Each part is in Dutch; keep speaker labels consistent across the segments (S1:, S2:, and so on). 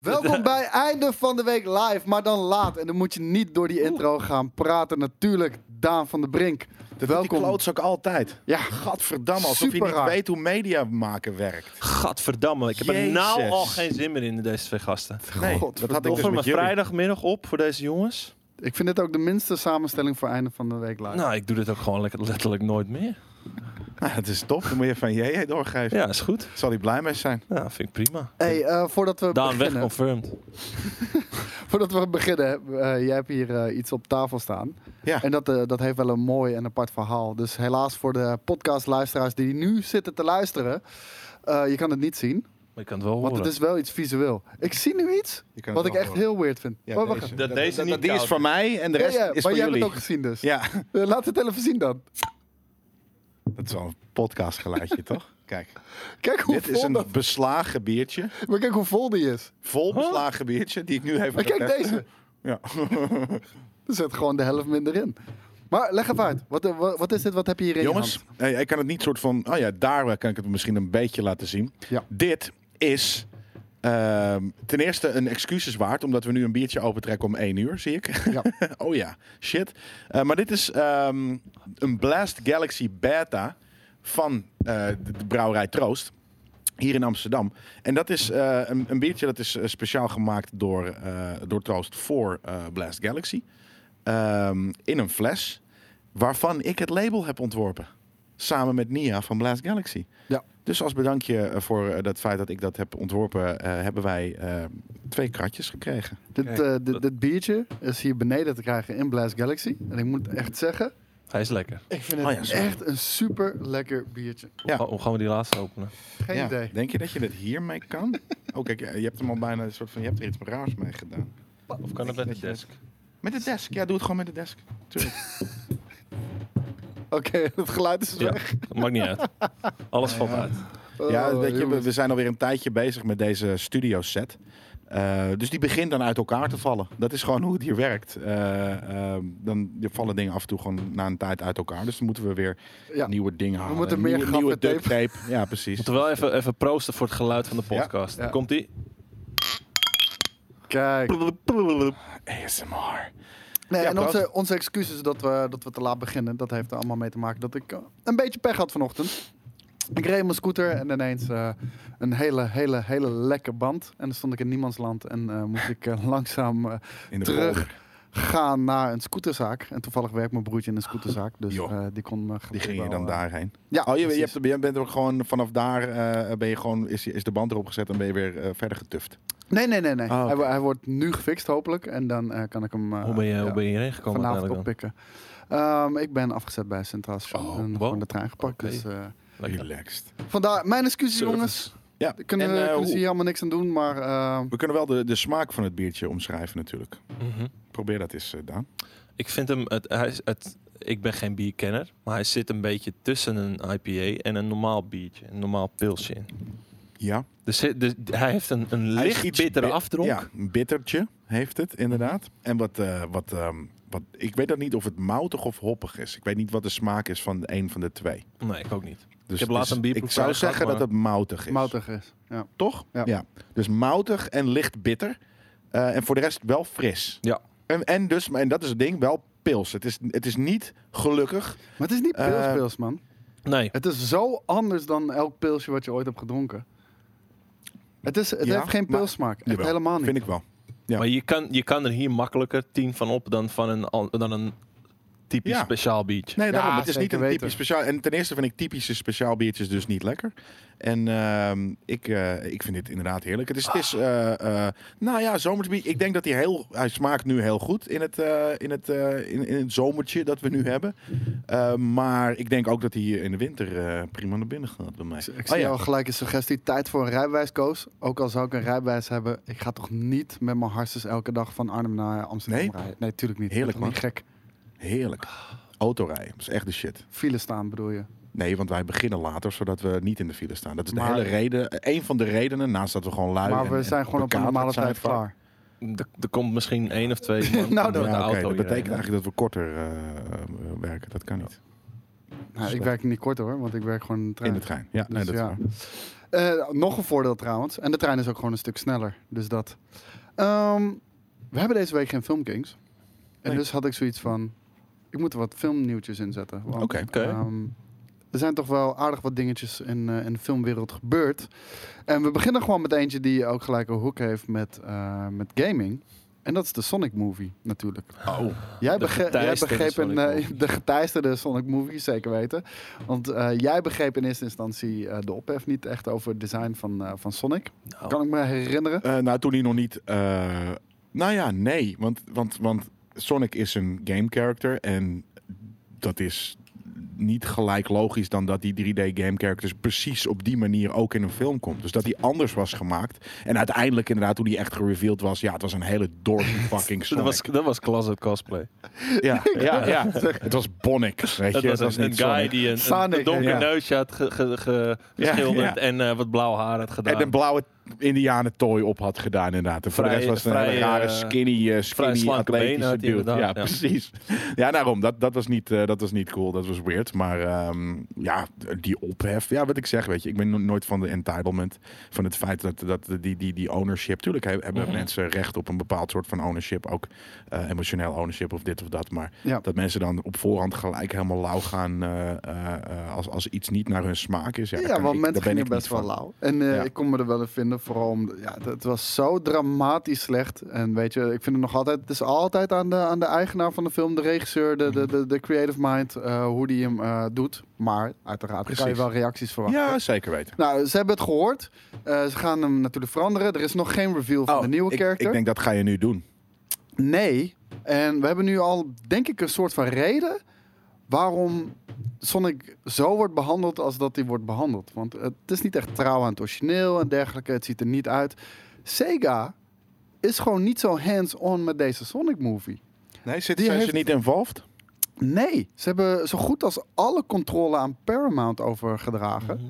S1: Welkom bij Einde van de Week live, maar dan laat. En dan moet je niet door die intro gaan praten. Natuurlijk, Daan van der Brink.
S2: Welkom. Die
S1: Welkom.
S2: klootzak altijd.
S1: Ja.
S2: Gadverdamme, alsof je
S1: Super
S2: niet
S1: raar.
S2: weet hoe media maken werkt.
S3: Gadverdamme, ik heb er
S2: Jezus.
S3: nou al geen zin meer in deze twee gasten.
S2: Nee, dat
S1: Godverdomme.
S2: had ik
S3: Offer
S2: dus
S3: me
S2: met jullie.
S3: vrijdagmiddag op voor deze jongens.
S1: Ik vind dit ook de minste samenstelling voor Einde van de Week live.
S3: Nou, ik doe dit ook gewoon lekker- letterlijk nooit meer.
S2: Nou, dat is top. Dan moet je van JJ doorgeven.
S3: Ja, is goed.
S2: Zal hij blij mee zijn?
S3: Ja, vind ik prima.
S1: hey, eh, voordat we
S3: Daan weg,
S1: beginnen,
S3: confirmed.
S1: voordat we beginnen eh, jij hebt hier eh, iets op tafel staan.
S2: Ja.
S1: En dat, eh, dat heeft wel een mooi en apart verhaal. Dus helaas voor de podcastluisteraars die nu zitten te luisteren, eh, je kan het niet zien,
S3: Maar ik kan het wel
S1: want
S3: horen.
S1: het is wel iets visueel. Ik zie nu iets
S2: Je kan het
S1: wat ik
S2: wel
S1: echt
S2: horen.
S1: heel weird vind.
S2: Ja,
S1: Oh, wacht
S2: deze.
S1: even.
S3: Dat deze
S2: Dat-
S3: niet
S2: Die is
S3: koud.
S2: van mij en de
S1: Ja,
S2: rest
S1: ja,
S2: is
S1: maar
S2: van
S1: jij hebt
S2: jullie.
S1: het ook gezien dus.
S2: Ja,
S1: Eh, laat het even zien dan.
S2: dat is wel een podcastgeluidje, toch? Kijk,
S1: Kijk hoe
S2: dit
S1: vol
S2: is een
S1: dat...
S2: beslagen biertje.
S1: Maar kijk hoe vol die is.
S2: Vol beslagen biertje, die ik nu even...
S1: Maar kijk
S2: ga
S1: deze.
S2: testen. Ja.
S1: Er zit gewoon de helft minder in. Maar leg even uit. Wat, eh, wa- wat is dit? Wat heb je hier in je
S2: Jongens,
S1: hand?
S2: eh, ik kan het niet soort van... Oh ja, daar kan ik het misschien een beetje laten zien.
S1: Ja.
S2: Dit is... ehm, ten eerste een excuses waard, omdat we nu een biertje opentrekken om 1 uur, zie ik.
S1: Ja.
S2: oh ja, shit. Eh, maar dit is ehm, een Blast Galaxy Beta van eh, de, de brouwerij Troost. Hier in Amsterdam. En dat is eh, een, een biertje dat is eh, speciaal gemaakt door, eh, door Troost voor eh, Blast Galaxy. Ehm, in een fles. Waarvan ik het label heb ontworpen. Samen met Nia van Blast Galaxy.
S1: Ja.
S2: Dus als bedankje eh, voor eh, dat feit dat ik dat heb ontworpen, eh, hebben wij eh, twee kratjes gekregen.
S1: Dit,
S3: Kijk,
S1: eh, dit,
S3: dat-
S1: dit biertje is hier beneden te krijgen in Blast Galaxy. En ik moet echt zeggen,
S3: Hij is lekker.
S1: ik vind
S2: Oh
S1: het
S2: ja, sorry.
S1: echt een super lekker biertje.
S2: Ja.
S3: Hoe gaan we die laatste openen?
S1: Geen
S2: Ja,
S1: idee.
S2: Denk je dat je dit hiermee kan? oh, kijk, je hebt hem al bijna een soort van. Je hebt er iets raars mee gedaan.
S3: Of kan dat met de desk?
S2: Met de desk. Ja, doe het gewoon met de desk. Tuurlijk.
S1: Oké, het geluid is
S3: Ja,
S1: weg.
S3: dat maakt niet uit. Alles valt uit.
S2: ja,
S1: Oh,
S2: weet je, we,
S1: jongens.
S2: we zijn alweer een tijdje bezig met deze studio set. Eh, dus die begint dan uit elkaar te vallen. Dat is gewoon hoe het hier werkt. Eh, eh, dan vallen dingen af en toe gewoon na een tijd uit elkaar. Dus dan moeten we weer
S1: Ja.
S2: nieuwe dingen halen.
S1: moeten meer
S2: nieuwe, nieuwe duct
S1: gaffetape.
S2: tape. Ja, precies.
S3: Moeten we wel even, even proosten voor het geluid van de podcast.
S1: Ja.
S3: Komt ie?
S1: Kijk.
S2: ASMR.
S1: Nee,
S2: Ja,
S1: en
S2: proost.
S1: onze, onze excuses dat we, dat we te laat beginnen. Dat heeft er allemaal mee te maken dat ik eh, een beetje pech had vanochtend. Ik reed op mijn scooter en ineens eh, een hele, hele, hele lekke band. En dan stond ik in niemands land en eh, moest ik eh, langzaam eh,
S2: In de
S1: Terug.
S2: polder.
S1: gaan naar een scooterzaak. En toevallig werkt mijn broertje in een scooterzaak. Dus
S2: Joh.
S1: eh, die kon me
S2: Die
S1: gelukkig
S2: ging je
S1: wel,
S2: dan
S1: eh,
S2: daarheen.
S1: Ja,
S2: Oh, je, je,
S1: precies.
S2: hebt, je bent ook gewoon vanaf daar eh, ben je gewoon, is, is de band erop gezet en ben je weer eh, verder getuft.
S1: Nee, nee, nee. nee.
S2: Ah, oké.
S1: hij, wo- hij wordt nu gefixt hopelijk. En dan eh, kan ik hem eh,
S3: Hoe ben je,
S1: ja,
S3: hoe ben je hierheen gekomen?
S1: vanavond
S3: uiteindelijk
S1: oppikken. Ehm, ik ben afgezet bij Centraal
S2: Oh,
S1: en
S3: wow.
S1: gewoon de trein gepakt.
S3: Oké.
S1: Dus, eh,
S3: dan? Lekker.
S2: Relaxed.
S1: vandaar mijn excuses
S3: Service.
S1: jongens.
S2: Ja,
S1: Kunnen,
S2: en,
S1: we,
S2: eh,
S1: kunnen
S2: hoe-
S1: ze hier allemaal niks aan doen, maar... eh,
S2: we kunnen wel de, de smaak van het biertje omschrijven natuurlijk.
S3: Mhm.
S2: Probeer dat eens, eh, Daan.
S3: Ik vind hem, het, hij is- het, ik ben geen bierkenner, maar hij zit een beetje tussen een IPA en een normaal biertje, een normaal pilsje in.
S2: Ja.
S3: Dus hij, dus hij heeft een, een
S2: Hij is
S3: licht
S2: iets
S3: bittere
S2: bi-
S3: afdronk. Mhm.
S2: Ja, een bittertje heeft het inderdaad. En wat, eh, wat, ehm, wat, ik weet dat niet of het moutig of hoppig is. Ik weet niet wat de smaak is van een van de twee.
S3: Nee, ik ook niet.
S2: Dus
S3: heb
S2: het
S3: laatst
S2: is-
S3: een bierproef
S2: Ik zou
S3: gehad,
S2: zeggen
S3: maar-
S2: dat het moutig is.
S1: moutig is. Ja.
S2: Toch?
S1: Ja.
S2: Dus moutig en licht bitter. Eh, en voor de rest wel fris.
S3: Ja.
S2: En, en dus, en dat is het ding, wel pils. Het is, het is niet gelukkig.
S1: Maar het is niet
S2: Eh,
S1: pilspils, man.
S3: Nee,
S1: Het is zo anders dan elk pilsje wat je ooit hebt gedronken. Het, is, het
S2: Ja,
S1: heeft geen
S2: maar-
S1: pilsmaak. Echt
S2: Jawel,
S1: helemaal niet.
S2: Vind ik wel. Ja.
S3: maar je kan, je kan er hier makkelijker tien van op dan van een, al- dan een typisch
S2: Ja.
S3: speciaal biertje.
S2: Nee,
S1: Ja,
S2: daarom. het is niet
S1: zeker
S2: een typisch
S1: weten.
S2: speciaal. En ten eerste vind ik typische speciaal biertjes dus niet lekker. En ehm, ik, eh, ik vind dit inderdaad heerlijk. Het is, het is eh, eh, nou ja, zomersbier. Ik denk dat hij heel, hij smaakt nu heel goed in het, eh, in het, eh, in, in het zomertje dat we nu hebben. Eh, maar ik denk ook dat hij in de winter eh, prima naar binnen gaat bij mij.
S1: Ik
S2: Oh
S1: zie
S2: ja.
S1: al gelijk een suggestie. Tijd voor een rijbewijs, Koos. Ook al zou ik een rijbewijs hebben, ik ga toch niet met mijn hartjes elke dag van Arnhem naar Amsterdam
S2: Nee?
S1: rijden? Nee, tuurlijk niet.
S2: Heerlijk,
S1: Ik ben toch Niet gek.
S2: Heerlijk. Autorijden, dat is echt de shit.
S1: File staan bedoel je.
S2: Nee, want wij beginnen later, zodat we niet in de file staan. Dat is de
S1: Maar-
S2: hele reden, een van de redenen, naast dat we gewoon lui
S1: maar
S2: en-
S1: we
S2: en
S1: zijn gewoon op een
S2: bekaderd
S1: normale
S2: zijn
S1: tijd
S2: vaak.
S1: klaar.
S3: Er, er komt misschien één of twee man
S1: Nou,
S3: met
S1: dan-
S3: de
S2: Ja, oké,
S3: auto
S2: dat
S3: hierheen. Nou,
S2: betekent eigenlijk dat we korter eh, eh, werken. Dat kan niet.
S1: Nou, ik
S2: Slecht.
S1: werk niet kort hoor, want ik werk gewoon in de trein.
S2: In de trein. Ja, nee,
S1: Dus
S2: dat is
S1: ja.
S2: waar.
S1: Eh, nog een voordeel trouwens. En de trein is ook gewoon een stuk sneller. Dus dat. Ehm, we hebben deze week geen Filmkings. En
S2: Nee.
S1: dus had ik zoiets van... Ik moet er wat filmnieuwtjes in zetten. Want,
S2: Oké.
S3: Oké.
S1: ehm, er zijn toch wel aardig wat dingetjes in, eh, in de filmwereld gebeurd. En we beginnen gewoon met eentje die ook gelijk een hoek heeft met, eh, met gaming. En dat is de Sonic Movie natuurlijk.
S2: Oh,
S1: Jij,
S3: De
S1: bege- jij
S3: geteisterde
S1: begreep een,
S3: Sonic
S1: eh, de geteisterde Sonic Movie, zeker weten. Want eh, jij begreep in eerste instantie eh, de ophef niet echt over het design van, eh, van Sonic.
S3: Nou,
S1: Kan ik me herinneren.
S2: eh, nou toen hij nog niet... eh, nou ja, nee. Want, want, want Sonic is een game character en dat is niet gelijk logisch dan dat die 3D game characters precies op die manier ook in een film komt. Dus dat die anders was gemaakt. En uiteindelijk inderdaad toen die echt gereveeld was, ja, het was een hele dorpy fucking
S3: dat
S2: Sonic.
S3: was, dat was closet cosplay.
S2: Ja, ja, ja. Het was Bonnick, weet je.
S3: Dat was
S2: Het was
S3: een, een
S2: niet
S3: guy
S2: Sonic.
S3: die een, een,
S1: Sonic,
S3: een donker
S2: ja.
S3: neusje had ge- ge- ge- geschilderd
S2: ja.
S3: en eh, wat blauw haar had gedaan.
S2: En een blauwe indianentooi op had gedaan inderdaad. En voor de
S3: Vrij-
S2: rest was het een
S3: vrij,
S2: hele rare
S3: eh,
S2: skinny, eh
S3: vrij
S2: skinny
S3: slanke
S2: atletische
S3: benen had
S2: dude.
S3: hij
S2: Ja,
S3: inderdaad, ja.
S2: precies. Ja, daarom. Dat, dat, was niet, eh, dat was niet cool. Dat was weird. Maar ehm, ja, die ophef. Ja, wat ik zeg, weet je. Ik ben no- nooit van de entitlement. Van het feit dat, dat die, die, die ownership... Tuurlijk he- hebben
S3: Mhm.
S2: mensen recht op een bepaald soort van ownership. Ook eh, emotioneel ownership of dit of dat. Maar
S1: Ja.
S2: dat mensen dan op voorhand gelijk helemaal lauw gaan... eh, eh, eh, als, als iets niet naar hun smaak is. Ja,
S1: Ja,
S2: daar kan
S1: want
S2: ik-
S1: mensen
S2: daar ben
S1: gingen
S2: ik niet
S1: best wel
S2: van.
S1: lauw. En eh,
S2: Ja.
S1: ik kon me er wel in vinden, vooral om... Ja, het- het was zo dramatisch slecht. En weet je, ik vind het nog altijd... Het is altijd aan de, aan de eigenaar van de film, de regisseur, de,
S2: Mhm.
S1: de, de, de creative mind, eh, hoe die hem eh, doet. Maar uiteraard kan je
S2: Precies.
S1: wel reacties verwachten.
S2: Ja, zeker weten.
S1: Nou, ze hebben het gehoord. Eh, ze gaan hem natuurlijk veranderen. Er is nog geen reveal van de nieuwe
S2: Oh, ik,
S1: character.
S2: Ik denk dat ga je nu doen.
S1: Nee. En we hebben nu al, denk ik, een soort van reden waarom Sonic zo wordt behandeld als dat hij wordt behandeld. Want het is niet echt trouw aan het origineel en dergelijke. Het ziet er niet uit. Sega is gewoon niet zo hands-on met deze Sonic movie.
S2: Nee, zit,
S1: Die
S2: zijn
S1: heeft-
S2: ze niet involved?
S1: Nee, ze hebben zo goed als alle controle aan Paramount overgedragen.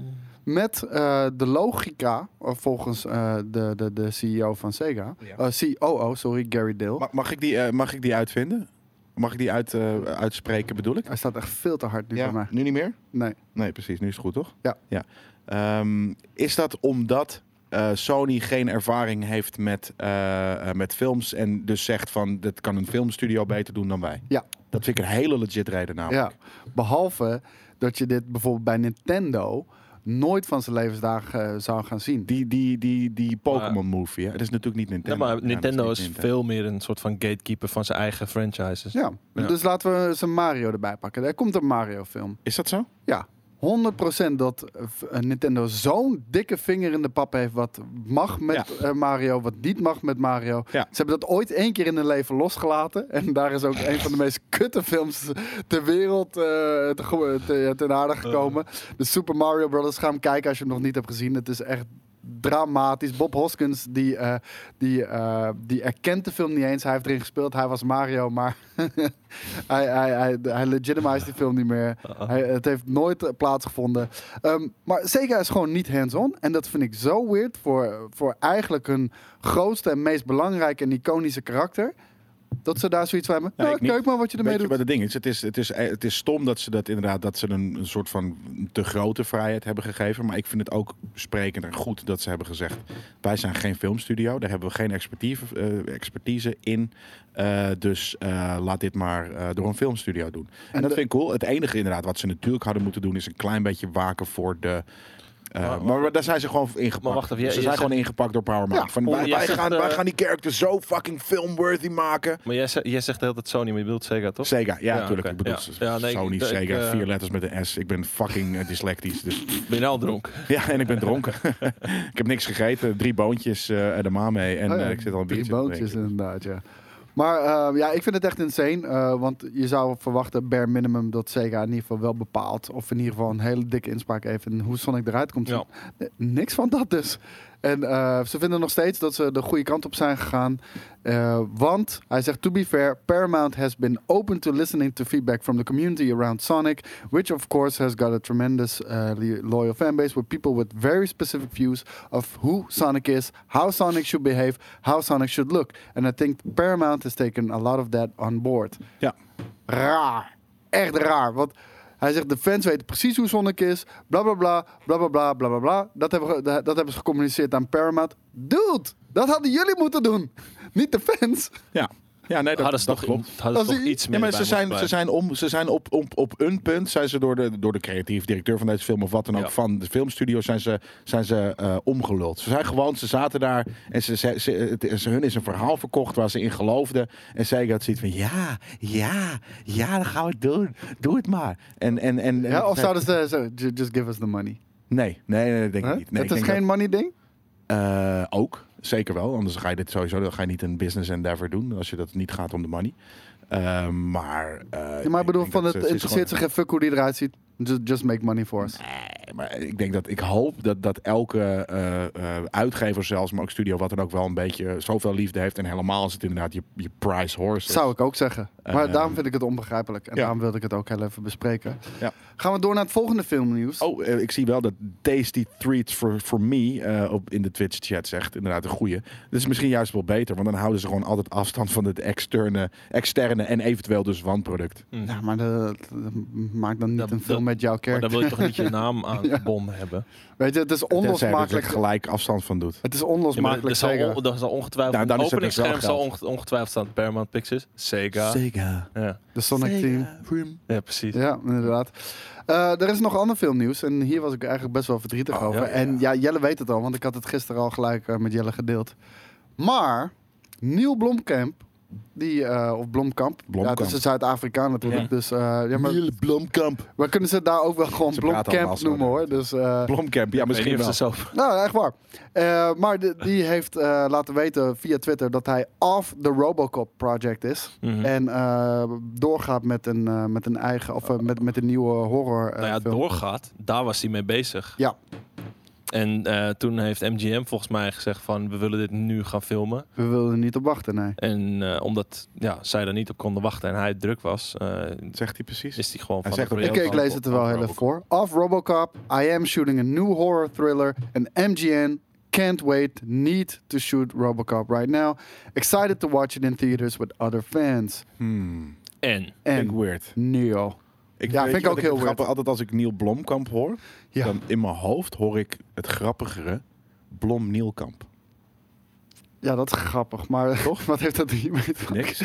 S1: Met eh, de logica, eh, volgens eh, de, de, de CEO van Sega.
S2: Ja.
S1: Eh, COO, sorry, Gary Dale.
S2: Mag, mag, ik, die, eh, mag ik die uitvinden? Mag ik die uit, eh, uitspreken, bedoel ik?
S1: Hij staat echt veel te hard nu bij mij.
S2: nu niet meer?
S1: Nee.
S2: Nee, precies. Nu is het goed, toch?
S1: Ja.
S2: ja. Ehm, is dat omdat eh, Sony geen ervaring heeft met, eh, eh, met films en dus zegt van... dit kan een filmstudio beter doen dan wij?
S1: Ja.
S2: Dat vind ik een hele legit reden namelijk.
S1: Ja. Behalve dat je dit bijvoorbeeld bij Nintendo nooit van zijn levensdagen eh, zou gaan zien.
S2: Die, die, die, die Pokémon-movie, hè? Dat is natuurlijk niet
S3: Ja,
S2: Nintendo.
S3: maar
S2: Ja, dat
S3: Nintendo
S2: niet
S3: is
S2: Nintendo.
S3: veel meer een soort van gatekeeper van zijn eigen franchises.
S1: Ja.
S3: Ja.
S1: Dus laten we eens een Mario erbij pakken. Er komt een Mario-film.
S2: Is dat zo?
S1: 100% dat eh, v- eh, Nintendo zo'n dikke vinger in de pap heeft. Wat mag met
S2: Ja.
S1: eh, Mario, wat niet mag met Mario.
S2: Ja.
S1: Ze hebben dat ooit één keer in hun leven losgelaten. En daar is ook een van de meest kutte films ter wereld eh, te, ge- te- ten aarde
S2: Eh.
S1: gekomen. De Super Mario Brothers. Ga hem kijken als je hem nog niet hebt gezien. Het is echt dramatisch. Bob Hoskins, die, eh, die, eh, die erkent de film niet eens. Hij heeft erin gespeeld. Hij was Mario, maar hij, hij, hij, hij legitimized die film niet meer.
S3: Uh-oh.
S1: Hij- het heeft nooit eh, plaatsgevonden. Ehm, maar Sega is gewoon niet hands-on. En dat vind ik zo weird voor, voor eigenlijk hun grootste en meest belangrijke en iconische karakter. Dat ze daar zoiets van hebben.
S2: Nee, ik
S1: nou,
S2: niet.
S1: kijk maar wat je ermee
S2: Weet je
S1: doet.
S2: wat het ding is? Het is, het is, eh, het is stom dat ze dat inderdaad dat ze een, een soort van te grote vrijheid hebben gegeven. Maar ik vind het ook sprekend en goed dat ze hebben gezegd: wij zijn geen filmstudio, daar hebben we geen expertise, eh, expertise in. Eh, dus eh, laat dit maar eh, door een filmstudio doen. En,
S1: En
S2: dat
S1: de-
S2: vind ik cool. Het enige inderdaad wat ze natuurlijk hadden moeten doen is een klein beetje waken voor de. eh,
S3: Maar-
S2: maar, daar zijn ze gewoon ingepakt.
S3: Maar wacht even, jij-
S2: ze
S3: jij
S2: zijn
S3: zegt-
S2: gewoon ingepakt door Paramount.
S1: Ja,
S2: van,
S3: om-
S2: wij,
S3: jij
S2: wij
S3: zegt,
S2: gaan,
S3: eh,
S2: wij gaan die character zo fucking filmworthy maken.
S3: Maar jij, ze- jij zegt de hele tijd Sony, maar je bedoelt Sega, toch?
S2: Sega, ja,
S3: Ja,
S2: natuurlijk.
S3: oké.
S2: Ik bedoel,
S3: Ja. Ja, nee,
S2: Sony,
S3: ik- ik,
S2: Sega,
S3: eh,
S2: vier letters met een S. Ik ben fucking eh, dyslectisch. Dus.
S3: Ben je nou al dronken?
S2: Ja, en ik ben dronken. ik heb niks gegeten. Drie boontjes eh en de maan mee. En
S1: Oh ja,
S2: eh, ik zit al een
S1: Drie
S2: biertje te
S1: bootjes
S2: drinken.
S1: inderdaad, ja. Maar eh, ja, ik vind het echt insane. eh, want je zou verwachten, bare minimum, dat Sega in ieder geval wel bepaalt. Of in ieder geval een hele dikke inspraak heeft in hoe Sonic eruit komt. te
S3: Ja.
S1: Nee, Niks van dat dus. En eh, ze vinden nog steeds dat ze de goede kant op zijn gegaan. Eh, want hij zegt: To be fair, Paramount has been open to listening to feedback from the community around Sonic, which of course has got a tremendous eh, lo- loyal fanbase with people with very specific views of who Sonic is, how Sonic should behave, how Sonic should look. And I think Paramount has taken a lot of that on board.
S2: Ja.
S1: Raar. Echt raar. Want Hij zegt, de fans weten precies hoe Sonic is. Bla, bla, bla, bla, bla, bla, bla, bla, bla. Dat hebben, we- dat hebben ze gecommuniceerd aan Paramount. Dude, dat hadden jullie moeten doen. Niet de fans.
S2: Ja, ja nee, dat,
S3: hadden ze
S2: dat
S3: Ah, toch,
S2: klopt.
S3: Hadden ze
S1: Als
S3: toch
S1: die-
S3: iets
S2: Ja,
S3: meer
S2: maar
S3: bij
S2: ze
S3: moeten
S2: zijn, ze
S3: blijven.
S2: zijn, om, ze zijn op, op, op een punt, zijn ze door de, door de creatief directeur van deze film of wat dan ook
S3: Ja.
S2: van de filmstudio, zijn ze, zijn ze eh, omgeluld. Ze zijn gewoon, ze zaten daar en ze, ze, ze- het- ze- hun is een verhaal verkocht waar ze in geloofden. En zeker had zoiets van, ja, ja, ja, dan gaan we het doen. Doe het maar. En, en, en,
S1: Ja, of zouden ze zeggen, "Ju- just give us the money.
S2: Nee, nee, nee, dat denk ik
S1: Huh?
S2: niet. Nee,
S1: het
S2: ik
S1: is
S2: denk
S1: geen money ding?
S2: eh, ook, zeker wel. Anders ga je dit sowieso dan ga je niet een business endeavor doen. Als je dat niet gaat om de money. Eh, maar... eh,
S1: Ja, maar ik bedoel,
S2: denk
S1: van
S2: dat
S1: het
S2: ze- ze is
S1: interesseert ze
S2: gewoon-
S1: geen fuck hoe die eruit ziet. Just, just make money for us.
S2: Nee, maar ik denk dat ik hoop dat, dat elke eh, eh, uitgever zelfs, maar ook studio, wat dan ook wel een beetje zoveel liefde heeft. En helemaal is het inderdaad je, je prize horse. is.
S1: Zou ik ook zeggen. Maar
S2: Eh,
S1: daarom vind ik het onbegrijpelijk. En
S2: ja.
S1: daarom wilde ik het ook heel even bespreken.
S2: Ja.
S1: Gaan we door naar het volgende filmnieuws.
S2: Oh, eh, ik zie wel dat Tasty Treats for, for Me eh, op, in de Twitch-chat zegt. Inderdaad, een goeie. Dat is misschien juist wel beter, want dan houden ze gewoon altijd afstand van het externe, externe en eventueel dus wandproduct.
S3: Hm.
S1: Ja, Nou, maar de, de- maak dan niet
S3: Dat-
S1: een film
S3: dat-
S1: met jouw
S3: Maar daar
S1: kerk.
S3: wil je toch niet je naam aan verbonden hebben?
S1: Weet je, het is
S2: Tenzij dat je er
S1: onlosmakelijk.
S2: gelijk afstand van doet.
S1: Het is
S3: Ja, maar er
S1: onlosmakelijk
S3: zal,
S1: zeker.
S3: on, er zal ongetwijfeld
S2: Nou, dan
S3: op
S2: is het dus wel
S3: openingsscherm zal
S2: geld.
S3: onge- ongetwijfeld staan Paramount Pictures. Sega.
S2: Sega.
S3: Ja.
S1: De Sonic Team.
S3: ja, precies.
S1: Ja, inderdaad. Eh, er is nog ander filmnieuws. En hier was ik eigenlijk best wel verdrietig
S2: Oh,
S1: over.
S2: ja, ja.
S1: En ja, Jelle weet het al, want ik had het gisteren al gelijk eh, met Jelle gedeeld. Maar Neil Blomkamp, die, eh, of Blomkamp,
S2: Blomkamp.
S1: Ja, het is een Zuid-Afrikaan natuurlijk.
S3: Ja.
S1: Dus eh, ja, maar
S2: Blomkamp.
S1: we kunnen ze daar ook wel gewoon
S2: Ze praten allemaal
S1: Blomkamp
S2: zo,
S1: noemen hoor.
S2: inderdaad.
S1: Dus, eh,
S2: Blomkamp, ja, misschien
S3: Misschien
S2: wel.
S3: heeft ze zo.
S1: nou, echt waar. Eh, maar de- die heeft eh, laten weten via Twitter dat hij off the Robocop project is.
S2: Hm.
S3: Mhm.
S1: En eh, doorgaat met een, eh, met een eigen, of eh, met, met een nieuwe horror. eh,
S3: nou ja,
S1: film.
S3: doorgaat. Daar was hij mee bezig.
S1: Ja.
S3: En eh, toen heeft MGM volgens mij gezegd van we willen dit nu gaan filmen.
S1: We wilden er niet op wachten, nee.
S3: En eh, omdat ja, zij er niet op konden wachten en hij druk was, eh,
S2: Zegt hij precies?
S3: is hij gewoon
S2: Hij
S3: van
S2: zegt ook-
S3: het
S1: Ik,
S3: project
S1: ik lees het er wel
S2: Off
S1: heel even
S2: Robocop.
S1: voor. Off Robocop, I am shooting a new horror thriller. And MGN can't wait, need to shoot Robocop right now. Excited to watch it in theaters with other fans.
S2: Hmm.
S3: En
S2: Vind ik
S1: En
S2: weird.
S1: Neo.
S2: Ik
S1: Ja,
S2: weet
S1: vind ik
S2: je wat
S1: ook heel weird.
S2: het grappige- Altijd als ik Neil Blomkamp hoor,
S1: Ja.
S2: dan in mijn hoofd hoor ik het grappigere Blom Nielkamp.
S1: Ja, dat is grappig, maar
S2: Toch?
S1: wat heeft dat hiermee te maken?
S2: Niks.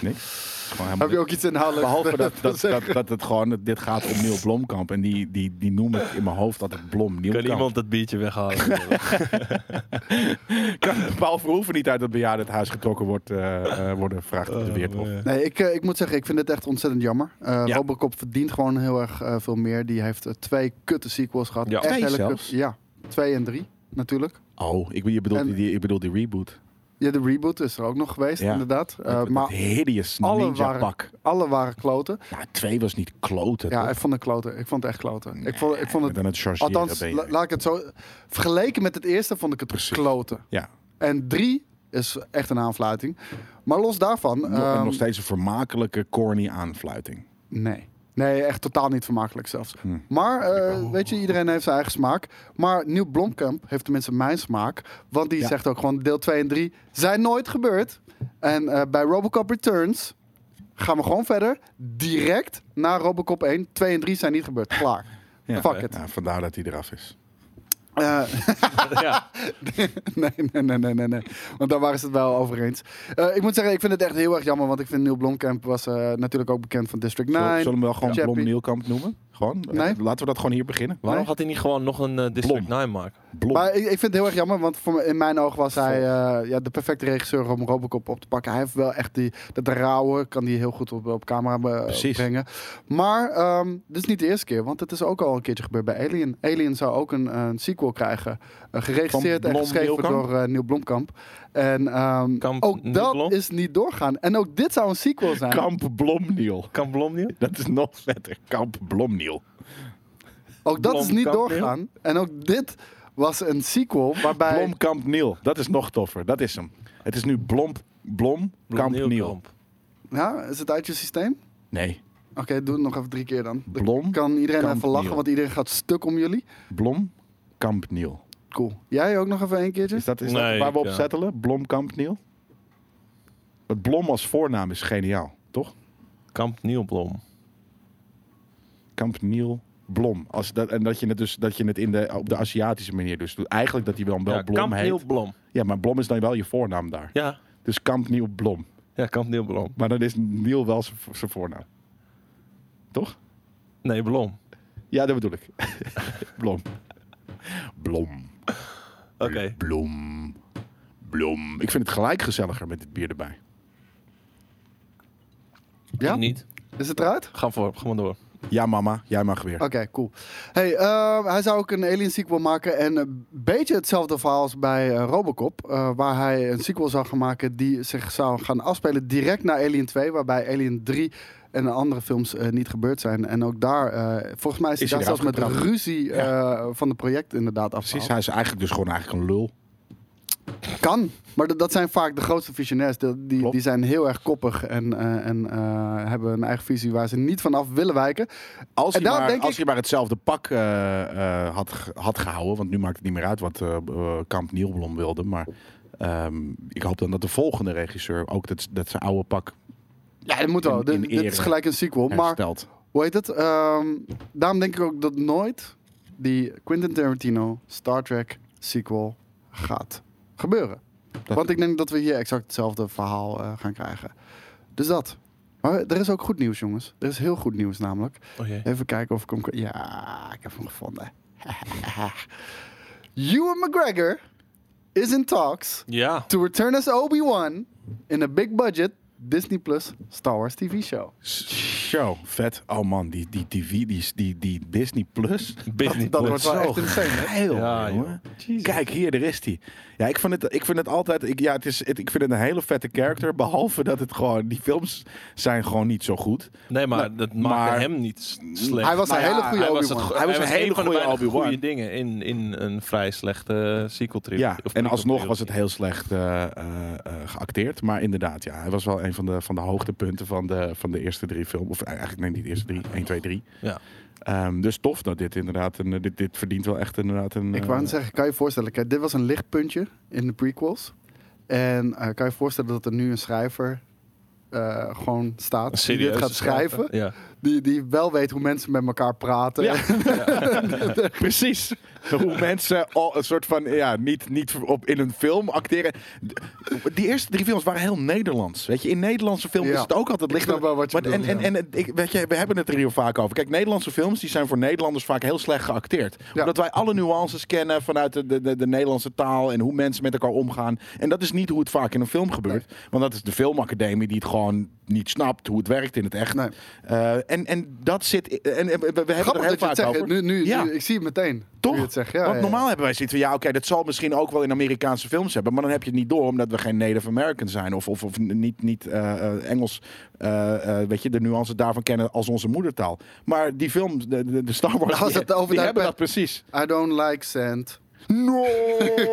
S2: Niks. Gewoon
S1: Heb
S2: helemaal
S1: je
S2: niks.
S1: ook iets inhoudelijks?
S2: Behalve
S1: te-
S2: dat,
S1: te
S2: dat, dat,
S1: zeggen?
S2: dat het gewoon, dat dit gaat om Neil Blomkamp. En die, die, die noem ik in mijn hoofd altijd Blom
S3: kan
S2: Nielkamp.
S3: iemand dat biertje weghalen?
S2: Kan Paul Verhoeven niet uit het bejaardentehuis getrokken wordt, eh, eh, worden? Vraagt de
S3: Oh,
S2: Weerthof.
S1: Nee, ik, eh, ik moet zeggen, ik vind het echt ontzettend jammer. Eh,
S2: Ja.
S1: Robocop verdient gewoon heel erg eh, veel meer. Die heeft eh, twee kutte sequels gehad.
S3: Ja.
S1: Echt
S2: Twee
S1: hele
S2: zelfs?
S1: kut- Ja, twee en drie natuurlijk.
S2: Oh, ik, be- je bedoelt
S1: En-
S2: die- die, ik bedoel die reboot.
S1: Ja, de reboot is er ook nog geweest,
S2: Ja.
S1: inderdaad. Eh,
S2: dat,
S1: maar
S2: dat hideous
S1: alle
S2: ninja
S1: waren-
S2: pak.
S1: alle waren kloten.
S2: Nou, twee was niet kloten.
S1: Ja,
S2: toch?
S1: ik vond het kloten. Ik vond het echt kloten. ik, vond, ik vond
S2: Maar
S1: het...
S2: dan het chargeren
S1: Althans,
S2: ben je-
S1: la- laat ik het zo... Vergeleken met het eerste vond ik het
S2: Precies.
S1: kloten.
S2: Ja.
S1: En drie is echt een aanfluiting. Maar los daarvan...
S2: nog,
S1: ehm,
S2: nog steeds een vermakelijke corny aanfluiting.
S1: Nee. Nee, echt totaal niet vermakelijk zelfs.
S2: Hm.
S1: Maar, eh, weet je, iedereen heeft zijn eigen smaak. Maar Nieuw Blomkamp heeft tenminste mijn smaak. Want die
S2: Ja.
S1: zegt ook gewoon deel 2 en 3 zijn nooit gebeurd. En eh, bij Robocop Returns gaan we gewoon verder. Direct naar Robocop 1. 2 en 3 zijn niet gebeurd. Klaar.
S2: Ja.
S1: Fuck it.
S2: Ja, vandaar dat hij eraf is.
S1: Eh,
S3: ja.
S1: nee, nee, nee, nee, nee, nee. Want daar waren ze het wel over eens. Eh, ik moet zeggen, ik vind het echt heel erg jammer. Want ik vind Nieuw Blomkamp was eh, natuurlijk ook bekend van District 9.
S2: Zullen, zullen we hem wel gewoon
S1: Chappie.
S2: Blom Nielkamp noemen? Gewoon? Eh,
S1: Nee.
S2: Laten we dat gewoon hier beginnen.
S3: Waarom
S1: Nee?
S3: had hij niet gewoon nog een eh, District
S2: Blom.
S3: 9 maken?
S2: Blom.
S1: Maar ik, ik vind het heel erg jammer, want voor me- in mijn oog was hij eh, ja, de perfecte regisseur om Robocop op te pakken. Hij heeft wel echt die, dat rauwe, kan die heel goed op, op camera be-
S2: Precies.
S1: brengen. Maar ehm, dit is niet de eerste keer, want het is ook al een keertje gebeurd bij Alien. Alien zou ook een, een sequel krijgen, eh, geregisseerd en
S2: Van Blom
S1: geschreven
S2: Nieuwkamp?
S1: door eh, Neil Blomkamp. En ehm,
S3: Kamp
S1: ook dat
S3: Nieuwblom?
S1: is niet doorgaan. En ook dit zou een sequel zijn.
S2: Kamp Blomniel.
S3: Kan Blom niet?
S2: Dat is nog vetter. Kamp Blomniel.
S1: ook dat is niet
S3: Blomkamp,
S1: doorgaan. En ook dit was een sequel waarbij...
S2: Blomkamp Niel. Dat is nog toffer. Dat is hem. Het is nu Blom, Blom, Kamp Niel.
S3: Blomkamp.
S1: Ja, is het uit je systeem?
S2: Nee.
S1: Oké, doe het nog even drie keer dan. Dan
S2: Blom,
S1: kan iedereen
S2: Kamp
S1: even lachen,
S2: Niel.
S1: want iedereen gaat stuk om jullie.
S2: Blom, Kamp Niel.
S1: Cool. Jij ook nog even één keertje?
S2: Is dat, is
S3: Nee,
S2: dat waar we op
S3: ja.
S2: settelen? Blom, Kamp Niel? Het Blom als voornaam is geniaal, toch?
S3: Kamp Nielblom.
S2: Campanile Blom. Als dat, en dat je het dus dat je het in de, op de Aziatische manier dus doet. Eigenlijk dat hij wel, wel
S3: ja,
S2: Blom
S3: Kamp Nieuw
S2: heet.
S3: Blom.
S2: Ja, maar Blom is dan wel je voornaam daar.
S3: Ja,
S2: Dus Kampnieuw Blom.
S3: ja Kamp Nieuw Blom.
S2: Maar dan is Niel wel zijn zijn voornaam. Toch?
S3: Nee, Blom.
S2: Ja, dat bedoel ik. Blom. Blom.
S3: Oké.
S2: Blom. Blom. Ik vind het gelijk gezelliger met dit bier erbij.
S1: Ja?
S3: Niet.
S1: Is het eruit?
S3: Ga voor, ga maar door.
S2: Ja, mama. Jij mag weer.
S1: Oké, cool. Hey, eh, hij zou ook een Alien sequel maken. En een beetje hetzelfde verhaal als bij eh, Robocop. eh, waar hij een sequel zou gaan maken die zich zou gaan afspelen direct na Alien 2. Waarbij Alien 3 en de andere films eh, niet gebeurd zijn. En ook daar, eh, volgens mij is,
S2: Is
S1: hij
S2: hij
S1: daar zelfs
S2: eraf
S1: met
S2: getrapt?
S1: ruzie eh, van het project inderdaad
S2: Precies.
S1: afgehaald.
S2: Hij is eigenlijk dus gewoon eigenlijk een lul.
S1: Kan, maar dat- dat zijn vaak de grootste visionairs. Dat- Die,
S2: Klopt.
S1: die zijn heel erg koppig en, eh, en eh, hebben een eigen visie waar ze niet van af willen wijken.
S2: Als,
S1: En
S2: hij
S1: daarom
S2: maar,
S1: denk
S2: als
S1: ik-
S2: hij maar hetzelfde pak eh, eh, had, ge- had gehouden. Want nu maakt het niet meer uit wat eh, eh, Kamp Nielblom wilde. Maar ehm, ik hoop dan dat de volgende regisseur ook dat, dat zijn oude pak
S1: Ja, dat moet wel.
S2: In-
S1: Dit-
S2: in
S1: dit is
S2: ere.
S1: gelijk een sequel. Maar
S2: herstelt.
S1: Hoe heet het? Ehm, daarom denk ik ook dat nooit die Quentin Tarantino Star Trek sequel gaat gebeuren.
S2: Dat-
S1: Want ik denk dat we hier exact hetzelfde verhaal eh, gaan krijgen. Dus dat. Maar er is ook goed nieuws, jongens. Er is heel goed nieuws namelijk.
S3: Oh jee.
S1: Even kijken of ik hem... kan- Ja, ik heb hem gevonden. Ewan McGregor is in talks
S3: Ja.
S1: to return as Obi-Wan in a big budget Disney Plus Star Wars TV show.
S2: Show. Vet. Oh man, die, die, die, die, die, die, die Disney Plus.
S3: Disney
S1: dat
S3: Plus.
S1: wordt wel echt insane, hè?
S2: geil,
S3: Ja,
S2: jongen.
S3: joh. Jezus.
S2: Kijk, hier, daar is hij. Ja, ik vind het, ik vind het altijd... Ik, ja, het is, het- ik vind het een hele vette character. Behalve dat het gewoon... Die films zijn gewoon niet zo goed.
S3: Nee, maar
S2: Nou,
S3: dat
S2: maar-
S3: maakte hem niet s- slecht.
S1: Hij was een
S2: Nou ja,
S1: hele goede
S3: hij was,
S1: Obi-Wan.
S3: het,
S2: Hij was een hele
S3: een van de
S2: goede
S3: weinige
S2: Obi-Wan.
S3: goede dingen in, in een vrij slechte sequel trilogie.
S2: Ja, en alsnog was het heel slecht eh, eh, eh, geacteerd. Maar inderdaad, ja, hij was wel een van de, van de hoogtepunten van de, van de eerste drie films. Of eh, eigenlijk, nee, niet de eerste drie. 1, 2, 3.
S3: Ja.
S2: Ehm, dus tof dat dit inderdaad... Een, eh, dit, dit verdient wel echt inderdaad een...
S1: Ik
S2: eh,
S1: wou net zeggen, kan je je voorstellen, kijk, dit was een lichtpuntje in de prequels. En eh, kan je je voorstellen dat er nu een schrijver eh, gewoon
S3: Een
S1: staat die dit
S3: serieuze
S1: gaat schrijven.
S3: Ja.
S1: Die, die wel weet hoe mensen met elkaar praten.
S2: Ja. Precies. Hoe mensen al een soort van, ja, niet, niet op, in een film acteren. Die eerste drie films waren heel Nederlands. Weet je, in Nederlandse films
S1: Ja.
S2: is het ook altijd
S1: Ik
S2: lichter.
S1: snap wel wat je
S2: maar- en,
S1: bedoelt,
S2: en,
S1: ja.
S2: en het- ik, weet je, we hebben het er heel vaak over. Kijk, Nederlandse films die zijn voor Nederlanders vaak heel slecht geacteerd. Omdat wij alle nuances kennen vanuit de, de, de, de Nederlandse taal en hoe mensen met elkaar omgaan. En dat is niet hoe het vaak in een film gebeurt. Want dat is de filmacademie die het gewoon niet snapt hoe het werkt in het echt.
S1: Nee.
S2: Eh, en, en dat zit. En, en we- we hebben het er
S1: Grappig
S2: heel
S1: dat je het
S2: vaak
S1: zegt.
S2: over.
S1: Nu, nu,
S2: Ja.
S1: nu- ik zie het meteen.
S2: Toch?
S1: Nu je het zegt. Ja,
S2: Want
S1: ja, ja.
S2: normaal hebben wij zitten van ja, oké, dat zal misschien ook wel in Amerikaanse films hebben, maar dan heb je het niet door omdat we geen Native American zijn of, of, of niet, niet eh, eh, Engels, eh, eh, weet je, de nuances daarvan kennen als onze moedertaal. Maar die film, de, de, de Star Wars,
S1: Nou, als
S2: die,
S1: het over
S2: die
S1: de-
S2: hebben dat precies.
S1: I don't like sand.
S2: No!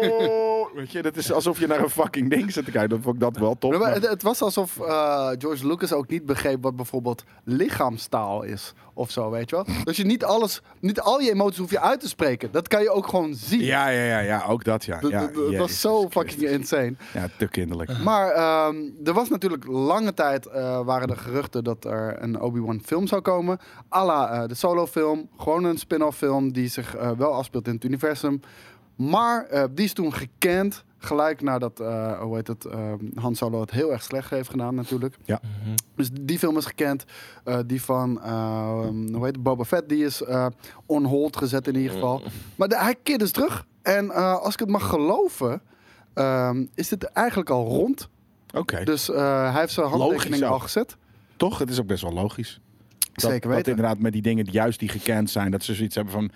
S2: weet je, dat is alsof je naar een fucking ding zit te kijken. Dat vond ik dat wel top.
S1: Maar
S2: maar-
S1: het, het was alsof eh, George Lucas ook niet begreep wat bijvoorbeeld lichaamstaal is. Of zo, weet je wel. Dus je niet alles, niet al je emoties hoef je uit te spreken. Dat kan je ook gewoon zien.
S2: Ja, ja, ja, ja, ook dat, ja.
S1: Dat,
S2: ja
S1: dat- dat
S2: Jezus
S1: was zo
S2: Christus.
S1: fucking insane.
S2: Ja, te kinderlijk.
S1: Maar ehm, er was natuurlijk lange tijd eh, waren er geruchten dat er een Obi-Wan film zou komen. à la eh, de solo film. Gewoon een spin-off film die zich eh, wel afspeelt in het universum. Maar eh, die is toen gekend. Gelijk nadat, eh, hoe heet het, ehm, Han Solo het heel erg slecht heeft gedaan natuurlijk. Dus die film is gekend. Eh, die van, eh, hoe heet het, Boba Fett, die is eh on hold gezet in ieder geval. Maar de- hij keert dus terug. En eh, als ik het mag geloven, ehm, is dit eigenlijk al rond.
S2: Oké,
S1: Dus eh, hij heeft zijn handtekening
S2: Logisch ook.
S1: al gezet.
S2: toch? Het is ook best wel logisch. Dat,
S1: Zeker
S2: dat
S1: weten.
S2: inderdaad met die dingen die juist die gekend zijn, dat ze zoiets hebben van,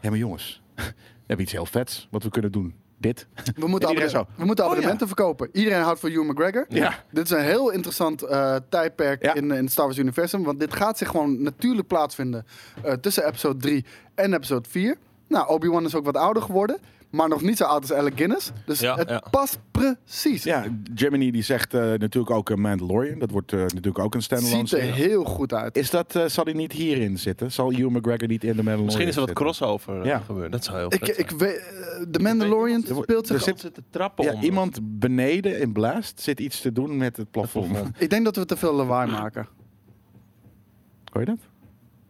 S2: hé maar jongens, we hebben iets heel vets wat we kunnen doen. Dit.
S1: We moeten,
S2: iedereen
S1: abonne-
S2: zo.
S1: we moeten
S2: Oh,
S1: abonnementen verkopen. Iedereen houdt van Hugh McGregor.
S2: Ja.
S1: Dit is een heel interessant eh, tijdperk
S2: Ja.
S1: in, in het Star Wars universum. Want dit gaat zich gewoon natuurlijk plaatsvinden eh, tussen episode 3 en episode 4. Nou, Obi-Wan is ook wat ouder geworden. Maar nog niet zo oud als Alec Guinness. Dus
S3: Ja,
S1: het
S3: ja.
S1: past precies.
S2: Ja, Gemini die zegt eh, natuurlijk ook een Mandalorian. Dat wordt eh, natuurlijk ook een
S1: Het
S2: standalone
S1: ziet er
S2: serie.
S1: heel goed uit.
S2: Is dat, eh, zal hij niet hierin zitten? Zal Hugh McGregor niet in de Mandalorian
S3: Misschien is er wat
S2: zitten?
S3: crossover eh,
S2: Ja.
S3: gebeuren. Dat zou heel
S1: Ik,
S3: vet
S1: ik
S3: zijn.
S1: weet, eh, de Mandalorian
S2: Er wordt-
S1: speelt
S2: er
S1: zich...
S2: zit-
S3: zitten trappen
S2: Ja,
S3: onder.
S2: iemand beneden in Blast zit iets te doen met het plafond.
S3: plafond.
S1: Ik denk dat we te veel lawaai maken.
S2: Hoor je dat?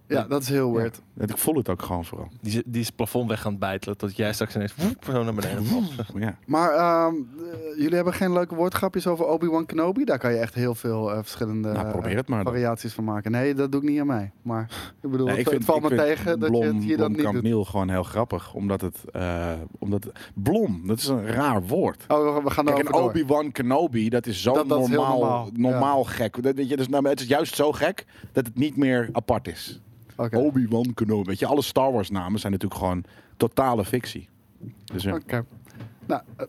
S1: Ja, dat is heel weird.
S2: Ik voel het ook gewoon vooral.
S3: Die, zi- die is het plafond weg aan het bijtelen. Tot jij straks ineens woep, zo naar beneden valt.
S2: Ja.
S1: Maar ehm, eh, jullie hebben geen leuke woordgrapjes over Obi-Wan Kenobi? Daar kan je echt heel veel eh, verschillende
S2: Nou, probeer het maar
S1: eh,
S2: dan.
S1: variaties van maken. Nee, dat doe ik niet aan mij. Maar ik bedoel,
S2: Nee,
S1: het, het valt me tegen dat je het hier dan niet
S2: Blomkamp
S1: doet.
S2: Niel gewoon heel grappig. Omdat het, eh, omdat het- Blom, dat is een raar woord.
S1: Oh, we gaan
S2: Kijk,
S1: erover
S2: en
S1: door.
S2: Obi-Wan Kenobi, dat is zo
S1: Dat- dat is heel
S2: normaal, normaal,
S1: normaal,
S2: gek. Dat, weet je, dus, nou, maar het is juist zo gek dat het niet meer apart is.
S1: Oké.
S2: Obi-Wan Kenobi. Weet je, alle Star Wars namen zijn natuurlijk gewoon totale fictie. Dus ja,
S1: Oké. Nou, eh,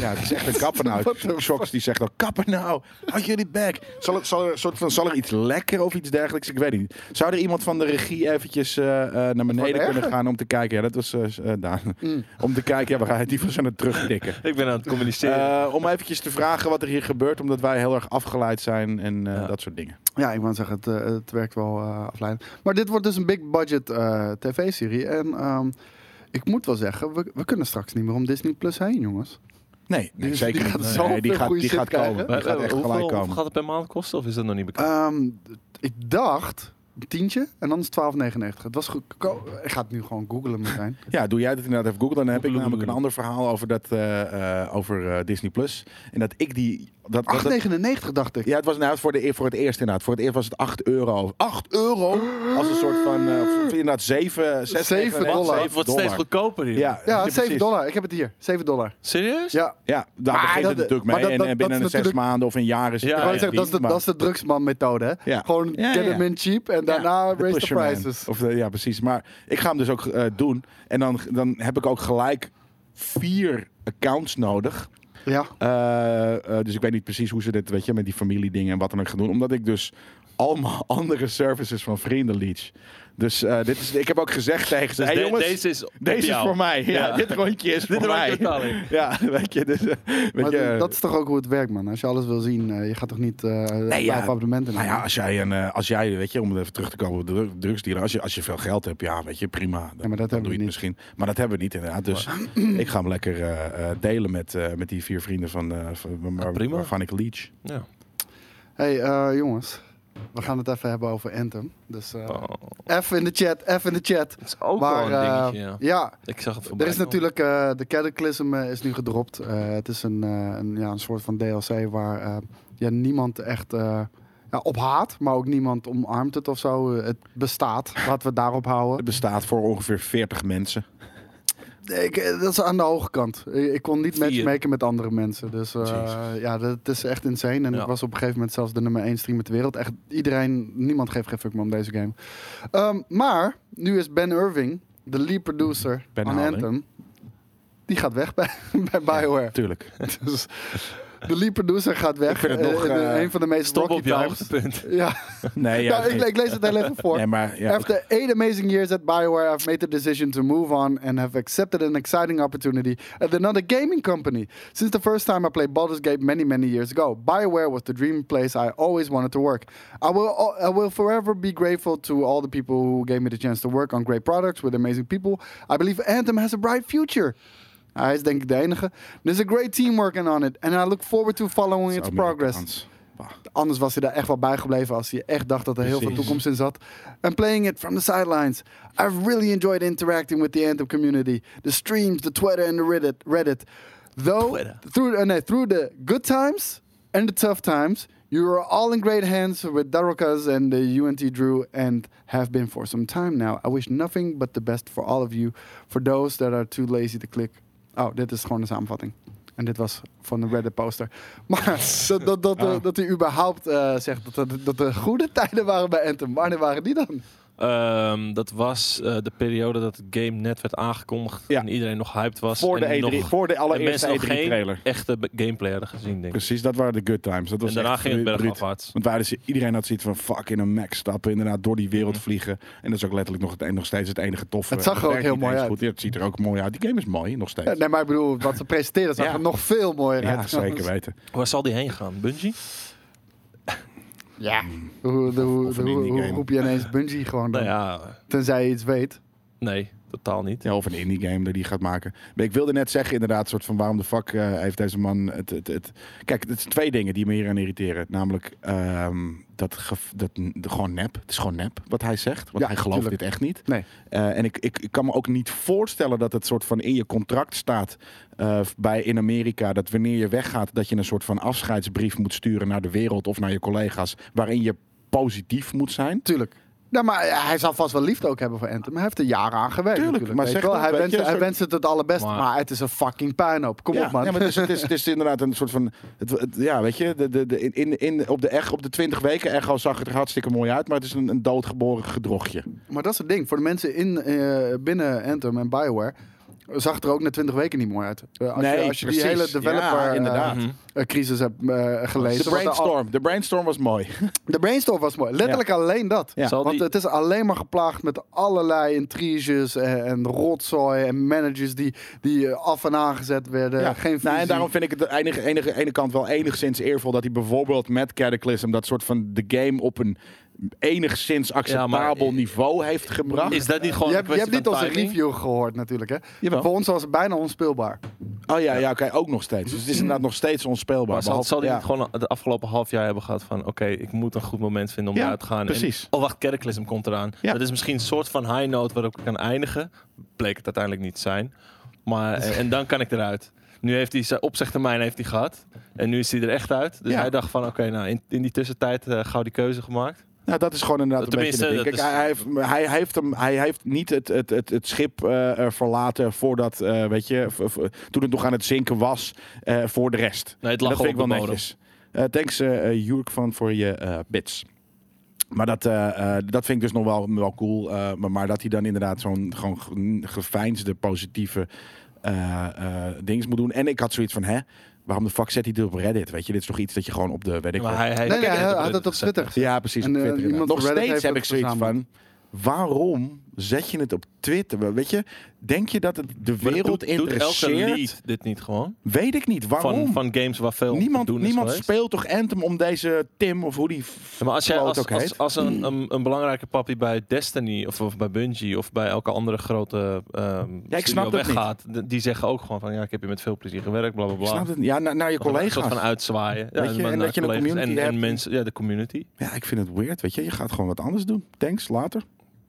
S2: ja het is echt een kapper nou.
S1: What the
S2: Shocks die zegt dan, kapper nou, had jullie back. Zal, het, zal, er, een soort van, zal er iets lekker of iets dergelijks? Ik weet het niet. Zou er iemand van de regie eventjes eh, eh, naar beneden kunnen
S1: erger.
S2: gaan om te kijken? Ja, dat was eh, eh, Daan.
S1: Mm.
S2: Om te kijken, ja, we gaan die van zijn het terugtikken.
S3: Ik ben aan het communiceren.
S2: Eh, om eventjes te vragen wat er hier gebeurt, omdat wij heel erg afgeleid zijn en eh,
S3: Ja.
S2: dat soort dingen.
S1: ja, ik wou zeggen, het, eh, het werkt wel eh afleidend. Maar dit wordt dus een big budget eh, tv-serie. En ehm, ik moet wel zeggen, we, we kunnen straks niet meer om Disney Plus heen, jongens.
S2: Nee,
S1: Die is-
S2: zeker
S1: die
S2: niet.
S1: gaat
S2: Nee,
S1: zoveel
S2: die gaat,
S1: goede
S2: die
S1: shit
S2: gaat komen.
S1: krijgen.
S2: Die gaat
S3: Eh,
S2: echt
S3: hoeveel,
S2: gelijk
S3: hoeveel
S2: komen.
S3: gaat het per maand kosten? Of is dat nog niet bekend?
S1: Ehm, d- ik dacht een tientje en dan is het 12,99. Het was goedkoop. Ik ga het nu gewoon googlen meteen.
S2: Ja, doe jij dat inderdaad even googlen. Dan heb ik
S3: Googlen,
S2: namelijk een
S3: googlen.
S2: ander verhaal over, dat, eh, eh, over eh, Disney+. Plus. En dat ik die... Dat, dat, dat-
S1: 8,99 dacht ik.
S2: ja, het was nou, voor, de, voor het eerst inderdaad. Voor het eerst was het 8 euro. 8 euro? Als een soort van... eh, of inderdaad 7... 6,
S1: Zeven dollar.
S3: het wordt steeds goedkoper hier.
S2: Eh, Ja,
S1: Ja, 7
S2: precies.
S1: dollar. Ik heb het hier. 7 dollar.
S3: Serieus?
S1: Ja.
S2: Ja, daar
S1: Maar
S2: begint
S1: dat-
S2: het natuurlijk
S1: maar
S2: mee.
S1: dat-
S2: en,
S1: dat-
S2: en
S1: dat
S2: binnen
S1: is
S2: een zes
S1: natuurlijk-
S2: maanden of een jaar is het...
S3: Ik
S1: Ik
S3: wou
S1: wou
S3: Ja,
S1: zeggen, dat, is de,
S2: maar-
S1: dat is de drugsman-methode. hè?
S2: Ja.
S1: Gewoon
S2: Ja, ja,
S1: get
S2: ja.
S1: them in cheap en daarna
S2: de
S1: nou, raise the
S2: pusher man.
S1: prices.
S2: Of de- ja, precies. Maar ik ga hem dus ook eh, doen. En dan, dan heb ik ook gelijk vier accounts nodig.
S1: Ja.
S2: Eh, eh, dus ik weet niet precies hoe ze dit, weet je, met die familiedingen en wat dan ook gaan doen. Omdat ik dus allemaal andere services van vrienden leech. Dus eh, dit is, ik heb ook gezegd tegen ze,
S3: Dus
S2: hey,
S3: de-
S2: jongens,
S3: deze is op
S2: deze is
S3: jou."
S2: voor mij. Ja,
S3: Ja.
S2: Dit rondje is
S3: Dit
S2: voor
S3: rondje
S2: mij.
S3: betaal ik.
S2: ja, weet je, dus, eh, weet
S1: Maar
S2: je,
S1: d- dat is toch ook hoe het werkt, man. Als je alles wil zien, eh, je gaat toch niet eh nee,
S2: ja.
S1: abonnementen
S2: Nou
S1: nemen?
S2: ja, als jij, een, eh, als jij, weet je, om even terug te komen op de dru- drugsdealer, als je, als je veel geld hebt, ja, weet je, prima. Dan,
S1: maar dat
S2: dan
S1: hebben we
S2: doe je het
S1: niet.
S2: misschien. Maar dat hebben we niet inderdaad. Dus ik ga hem lekker eh, eh, delen met, eh, met die vier vrienden van, eh, van
S1: Ah,
S2: waar-
S3: prima.
S2: waarvan ik leech.
S3: Ja.
S1: Hey eh, jongens, we gaan het even hebben over Anthem. Dus eh,
S3: Oh,
S1: even in de chat, even in de chat.
S3: dat is ook
S1: Maar
S3: wel een
S1: eh,
S3: dingetje. ja.
S1: ja,
S3: Ik zag het voorbij.
S1: er is
S3: komen.
S1: natuurlijk eh, de Cataclysm eh, is nu gedropt. Eh, het is een, eh, een, ja, een soort van DLC waar eh, ja, niemand echt eh, ja, op haat, maar ook niemand omarmt het of zo. Eh, het bestaat, laten we het daarop houden.
S2: Het bestaat voor ongeveer 40 mensen.
S1: Ik, eh, dat is aan de hoge kant. Ik, ik kon niet
S3: Vier.
S1: matchmaken met andere mensen. Dus eh,
S2: Jezus.
S1: ja, dat is echt insane. En
S3: Ja.
S1: ik was op een gegeven moment zelfs de nummer 1 streamer ter wereld. Echt iedereen, niemand geeft geen fuck meer om deze game. Ehm, maar nu is Ben Irving, de lead producer
S2: Ben
S1: van
S2: Haling.
S1: Anthem, die gaat weg bij, bij Bioware.
S2: Tuurlijk.
S1: Dus de lead producer gaat weg.
S2: Ik vind het
S1: Eh,
S2: nog,
S1: in
S2: eh,
S1: een van de meest
S3: Stop
S1: rocky
S3: op je
S1: times.
S3: hoogtepunt.
S1: Ja,
S2: Nee, ja,
S1: nou, ik,
S2: nee.
S1: ik lees het heel even voor.
S2: nee maar ja,
S1: After eight amazing years at BioWare, I've made the decision to move on and have accepted an exciting opportunity at another gaming company. Since the first time I played Baldur's Gate many, many years ago, BioWare was the dream place I always wanted to work. I will, I will forever be grateful to all the people who gave me the chance to work on great products with amazing people. I believe Anthem has a bright future. Hij is denk ik de enige. There's a great team working on it, and I look forward to following
S2: het
S1: its
S2: is
S1: progress.
S2: Amerikaans. Bah.
S1: Anders was hij daar echt wel bijgebleven als hij echt dacht dat er heel veel
S2: Precies.
S1: toekomst in zat. And playing it from the sidelines. I've really enjoyed interacting with the Anthem community. The streams, the Twitter and the Reddit. Reddit. Though
S3: Twitter.
S1: through uh, no, through the good times and the tough times, you are all in great hands with Darukas and the UNT Drew and have been for some time now. I wish nothing but the best for all of you. For those that are too lazy to click. Oh, dit is gewoon een samenvatting. En dit was van de Reddit poster. Maar dat, dat, dat, eh,
S2: Ah.
S1: dat hij überhaupt eh, zegt dat, dat, dat er goede tijden waren bij Anthem. Wanneer waren die dan?
S3: Ehm, dat was eh, de periode dat het game net werd aangekondigd.
S2: Ja.
S3: En iedereen nog hyped was.
S2: Voor
S3: en
S1: E
S2: de, E3,
S3: nog
S2: voor de allereerste
S3: mensen nog geen-
S2: E3-trailer.
S3: echte be- gameplay hadden gezien, denk ik.
S2: Precies, dat waren de good times. Dat was
S3: En daarna
S2: echt
S3: ging het
S2: bruut.
S3: bergafwaarts.
S2: Want wij hadden ze- iedereen had zoiets van fuck in een Mac stappen, inderdaad door die wereld vliegen. En dat is ook letterlijk nog, het, en nog steeds het enige toffe.
S1: Mhm. Het zag er ook
S2: werkt
S1: heel
S2: niet
S1: mooi
S2: eens
S1: uit.
S2: Goed. Ja, het ziet er ook mooi uit. Die game is mooi, nog steeds.
S1: Ja, nee, maar ik bedoel, wat ze presenteren zag
S2: Ja.
S1: er nog veel mooier
S2: Ja,
S1: uit.
S2: zeker weten.
S3: Waar zal die heen gaan? Bungie?
S1: Ja. Hoe, de- hoe,
S2: Of
S1: de-
S2: een
S1: hoe,
S2: indie
S1: hoe
S2: game.
S1: roep je ineens Bungie gewoon dan?
S3: Nou ja,
S1: Tenzij je iets weet.
S3: nee. totaal niet.
S2: Ja, of een indie game dat die gaat maken. Maar ik wilde net zeggen, inderdaad, soort van waarom de fuck eh, heeft deze man het, het, het. Kijk, het zijn twee dingen die me hier aan irriteren. Namelijk ehm, dat, gev- dat n- de, gewoon nep. Het is gewoon nep wat hij zegt. Want
S1: Ja,
S2: hij gelooft
S1: tuurlijk.
S2: dit echt niet.
S1: Nee.
S2: Eh, en ik, ik, ik kan me ook niet voorstellen dat het soort van in je contract staat eh, bij in Amerika. Dat wanneer je weggaat, dat je een soort van afscheidsbrief moet sturen naar de wereld of naar je collega's. Waarin je positief moet zijn.
S1: Tuurlijk. Ja, maar hij zou vast wel liefde ook hebben voor Anthem. Hij heeft er jaren aan gewerkt
S2: Tuurlijk,
S1: natuurlijk.
S2: maar
S1: weet
S2: zeg
S1: je wel.
S2: dat,
S1: hij,
S2: weet
S1: wenst,
S2: je,
S1: hij
S2: een
S1: wenst het het allerbest,
S3: Maar-
S1: maar, het is een fucking puinhoop. Kom
S2: ja,
S1: op, man.
S2: ja, maar het, is, het, is, het is inderdaad een soort van. Het, het- ja, weet je, de, de, de, in, in, op, de echt, op de 20 weken echo zag het er hartstikke mooi uit, maar het is een, een doodgeboren gedrochtje.
S1: Maar dat is het ding. Voor de mensen in, eh, binnen Anthem en Bioware zag het er ook na 20 weken niet mooi uit. Eh, als
S2: Nee,
S1: je, als je
S2: precies.
S1: die hele developer
S2: Ja,
S1: eh,
S2: inderdaad.
S3: Mhm.
S1: eh, crisis hebt eh, gelezen.
S2: De
S1: want al-
S2: brainstorm. De brainstorm was mooi.
S1: De brainstorm was mooi. Letterlijk alleen dat.
S2: Ja.
S3: Zal
S1: Want
S3: die-
S1: het is alleen maar geplaagd met allerlei intriges en, en rotzooi en managers die, die eh, af en aangezet werden.
S2: Ja.
S1: eh, Geen visie.
S2: Nou, en daarom vind ik het enige, enige, ene kant wel enigszins eervol dat hij bijvoorbeeld met Cataclysm dat soort van de game op een enigszins acceptabel niveau heeft gebracht.
S3: Is dat niet gewoon
S1: je
S3: een
S1: hebt, je hebt
S3: kwestie
S1: niet
S3: van
S1: onze
S3: timing?
S1: review gehoord natuurlijk. Hè?
S2: Jawel.
S1: Voor ons was het bijna onspeelbaar.
S2: Oh ja, ja oké, ook nog steeds. Dus het is inderdaad nog steeds onspeelbaar.
S3: Hmm. Maar zal,
S2: Behalve-
S3: zal die
S2: ja.
S3: niet gewoon het afgelopen half jaar hebben gehad van... oké, ik moet een goed moment vinden om
S2: Ja,
S3: eruit te gaan. En-
S2: precies.
S3: oh, wacht, Cataclysm komt eraan.
S2: Ja.
S3: Dat is misschien een soort van high note waarop ik kan eindigen. Bleek het uiteindelijk niet te zijn. Maar, eh, en, en dan kan ik eruit. Nu heeft hij zijn opzegtermijn heeft hij gehad. En nu is hij er echt uit. Dus
S2: Ja.
S3: hij dacht van, oké, nou, in, in die tussentijd eh, gauw die keuze gemaakt.
S2: Nou, dat is gewoon inderdaad
S3: Tenminste,
S2: een beetje het ding.
S3: dat
S2: Kijk, hij, heeft, hij, hij heeft hem, hij heeft niet het, het, het, het schip eh, eh, verlaten voordat, eh, weet je, v- v- toen het nog aan het zinken was eh, voor de rest.
S3: Nee, het lag
S2: dat vind ik wel
S3: gewoon op de
S2: netjes. Eh, thanks eh eh, Jurk van voor je eh, bits. Maar dat, eh, eh, dat vind ik dus nog wel, wel cool. eh, maar, maar dat hij dan inderdaad zo'n gewoon ge- geveinsde positieve eh eh dings moet doen. En ik had zoiets van, hè, waarom de fuck zet hij dit op Reddit? Weet je, dit is toch iets dat je gewoon op de, weet ik
S3: Maar
S2: wat,
S3: hij, hij,
S1: nee, nee,
S3: kijk,
S1: hij
S3: heeft
S1: had het op
S3: gezet.
S1: Twitter. gezet.
S2: ja, precies.
S1: En,
S2: op
S1: eh,
S2: Twitter,
S1: iemand
S2: inderdaad.
S1: van
S2: Nog
S1: Reddit
S2: steeds
S1: heeft
S2: heb ik
S1: het
S2: zoiets van. Waarom zet je het op Twitter? Weet je, denk je dat het de
S3: Maar
S2: wereld
S3: doet- doet elke
S2: interesseert?
S3: lead dit niet gewoon?
S2: Weet ik niet. Waarom?
S3: Van, van games waar veel
S2: niemand
S3: te doen
S2: niemand
S3: is geweest?
S2: speelt toch Anthem om deze Tim of hoe die.
S3: Ja, maar als jij
S2: Wat
S3: als,
S2: ook heet.
S3: als, als een, een, een belangrijke papi bij Destiny of, of bij Bungie of bij elke andere grote ehm
S2: Ja, ik
S3: studio
S2: snap dat
S3: weggaat, d- die zeggen ook gewoon van ja, ik heb je met veel plezier gewerkt, bla bla bla.
S2: Snap het? Ja, na- naar je
S3: Dat is een soort
S2: collega's.
S3: van uitzwaaien.
S2: Weet je,
S3: maar
S2: en
S3: naar
S2: dat je een
S3: eh, collega's
S2: community
S3: en, en
S2: hebt.
S3: mensen, ja, de community.
S2: Ja, ik vind het weird. Weet je, je gaat gewoon wat anders doen. Thanks, later.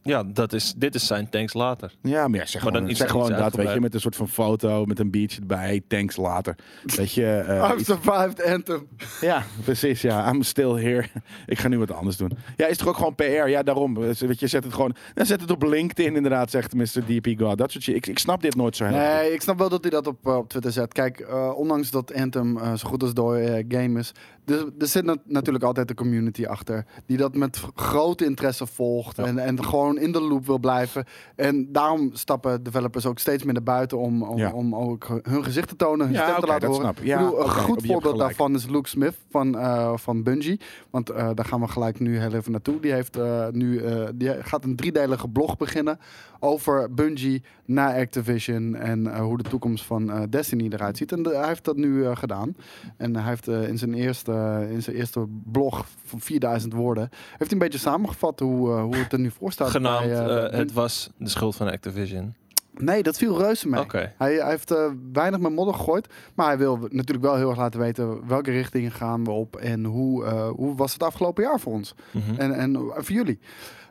S3: Ja, dat is, dit is zijn thanks later.
S2: Ja, maar ja, zeg
S3: Maar dan
S2: gewoon,
S3: iets-
S2: zeg
S3: iets
S2: gewoon dat, weet
S3: uitgebreid.
S2: je, met een soort van foto, met een biertje erbij. Hey, thanks, later. Weet je, eh,
S1: I've
S2: iets-
S1: survived Anthem.
S2: Ja, precies. Ja, I'm still here. Ik ga nu wat anders doen. Ja, is toch ook gewoon PR? Ja, daarom. Dus, Weet je, zet het gewoon. Dan zet het op LinkedIn inderdaad, zegt Mr. DP God. Dat soort shit. Ik, ik snap dit nooit zo heel goed.
S1: Nee, ik snap wel dat hij dat op, eh, op Twitter zet. Kijk, eh, ondanks dat Anthem eh, zo goed als door game is, er, er zit nat- natuurlijk altijd een community achter die dat met v- grote interesse volgt en, en gewoon in de loop wil blijven. En daarom stappen developers ook steeds meer naar buiten om, om,
S2: Ja.
S1: om ook hu- hun gezicht te tonen, hun
S2: Ja,
S1: stem
S2: oké,
S1: te laten
S2: dat
S1: horen.
S2: snap ik. Ja,
S1: ik bedoel, een
S2: oké, op-
S1: goed
S2: je hebt
S1: voorbeeld
S2: gelijk.
S1: daarvan is Luke Smith van, eh, van Bungie, want eh, daar gaan we gelijk nu heel even naartoe. Die, heeft, eh, nu, eh, die gaat een driedelige blog beginnen over Bungie na Activision en eh, hoe de toekomst van eh, Destiny eruit ziet. En de- hij heeft dat nu eh, gedaan. En hij heeft eh, in, zijn eerste, in zijn eerste blog van 4000 woorden, heeft hij een beetje samengevat hoe, eh, hoe het er nu voor staat.
S3: Genaamd,
S2: nou
S1: bij, eh,
S3: eh, het was de schuld van Activision.
S1: Nee, dat viel reuze mee.
S3: Oké.
S1: Hij, hij heeft eh, weinig met modder gegooid. Maar hij wil natuurlijk wel heel erg laten weten welke richting gaan we op. En hoe, eh, hoe was het afgelopen jaar voor ons.
S2: Hm.
S3: Mhm.
S1: En, en voor jullie.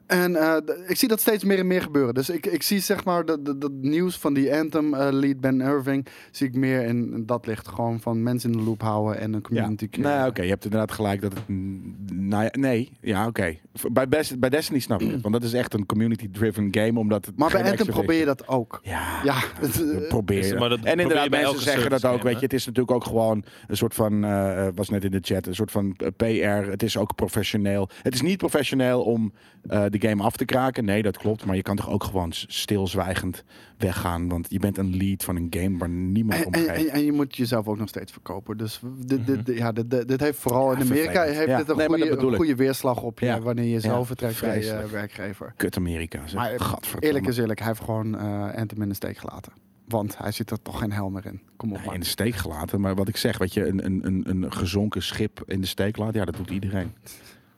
S1: En eh, d- ik zie dat steeds meer en meer gebeuren. Dus ik, ik zie zeg maar dat, dat, dat nieuws van die Anthem eh, lead Ben Irving... zie ik meer in dat licht. Gewoon van mensen in de loop houden en een
S2: Ja.
S1: community
S2: Nee,
S1: creëren.
S2: oké, je hebt inderdaad gelijk dat het. mm, Nou ja, nee, ja, oké. V- Bij, Best- bij Destiny snap ik het, want dat is echt een community-driven game, omdat het.
S1: Maar bij
S2: geen
S1: Anthem
S2: extra-
S1: probeer je dat ook.
S2: Ja,
S1: Ja, het, eh,
S2: probeer.
S3: Is-
S2: je.
S3: maar dat
S2: en
S3: probeer je
S2: inderdaad,
S3: bij
S2: mensen
S3: elke
S2: zeggen dat
S3: service
S2: ook.
S3: game,
S2: Weet je,
S3: hè?
S2: het is natuurlijk ook gewoon een soort van, eh, was net in de chat, een soort van eh, PR. Het is ook professioneel. Het is niet professioneel om eh, de game af te kraken. Nee, dat klopt. Maar je kan toch ook gewoon s- stilzwijgend weggaan. Want je bent een lead van een game waar niemand
S1: en,
S2: om
S1: en,
S2: geeft.
S1: en, en je moet jezelf ook nog steeds verkopen. Dus dit, dit, dit- ja, dit, dit- dit heeft vooral
S2: Mhm. Ja,
S1: in Amerika
S2: vervelend.
S1: heeft
S2: Ja,
S1: dit een,
S2: nee, maar dat
S1: goede,
S2: bedoel
S1: een
S2: ik.
S1: goede weerslag op je
S2: Ja.
S1: wanneer je zelf
S2: Ja,
S1: vertrekt bij je
S2: vreselijk.
S1: werkgever.
S2: Kut Amerika. Zeg.
S1: Maar eh,
S2: Gadverdamme.
S1: eerlijk is eerlijk, hij heeft gewoon eh Anthem in de steek gelaten. Want hij zit er toch geen helm meer in. Kom op,
S2: Nee,
S1: man.
S2: in de steek gelaten. Maar wat ik zeg, weet je, een, een, een, een gezonken schip in de steek laten, ja, dat doet iedereen.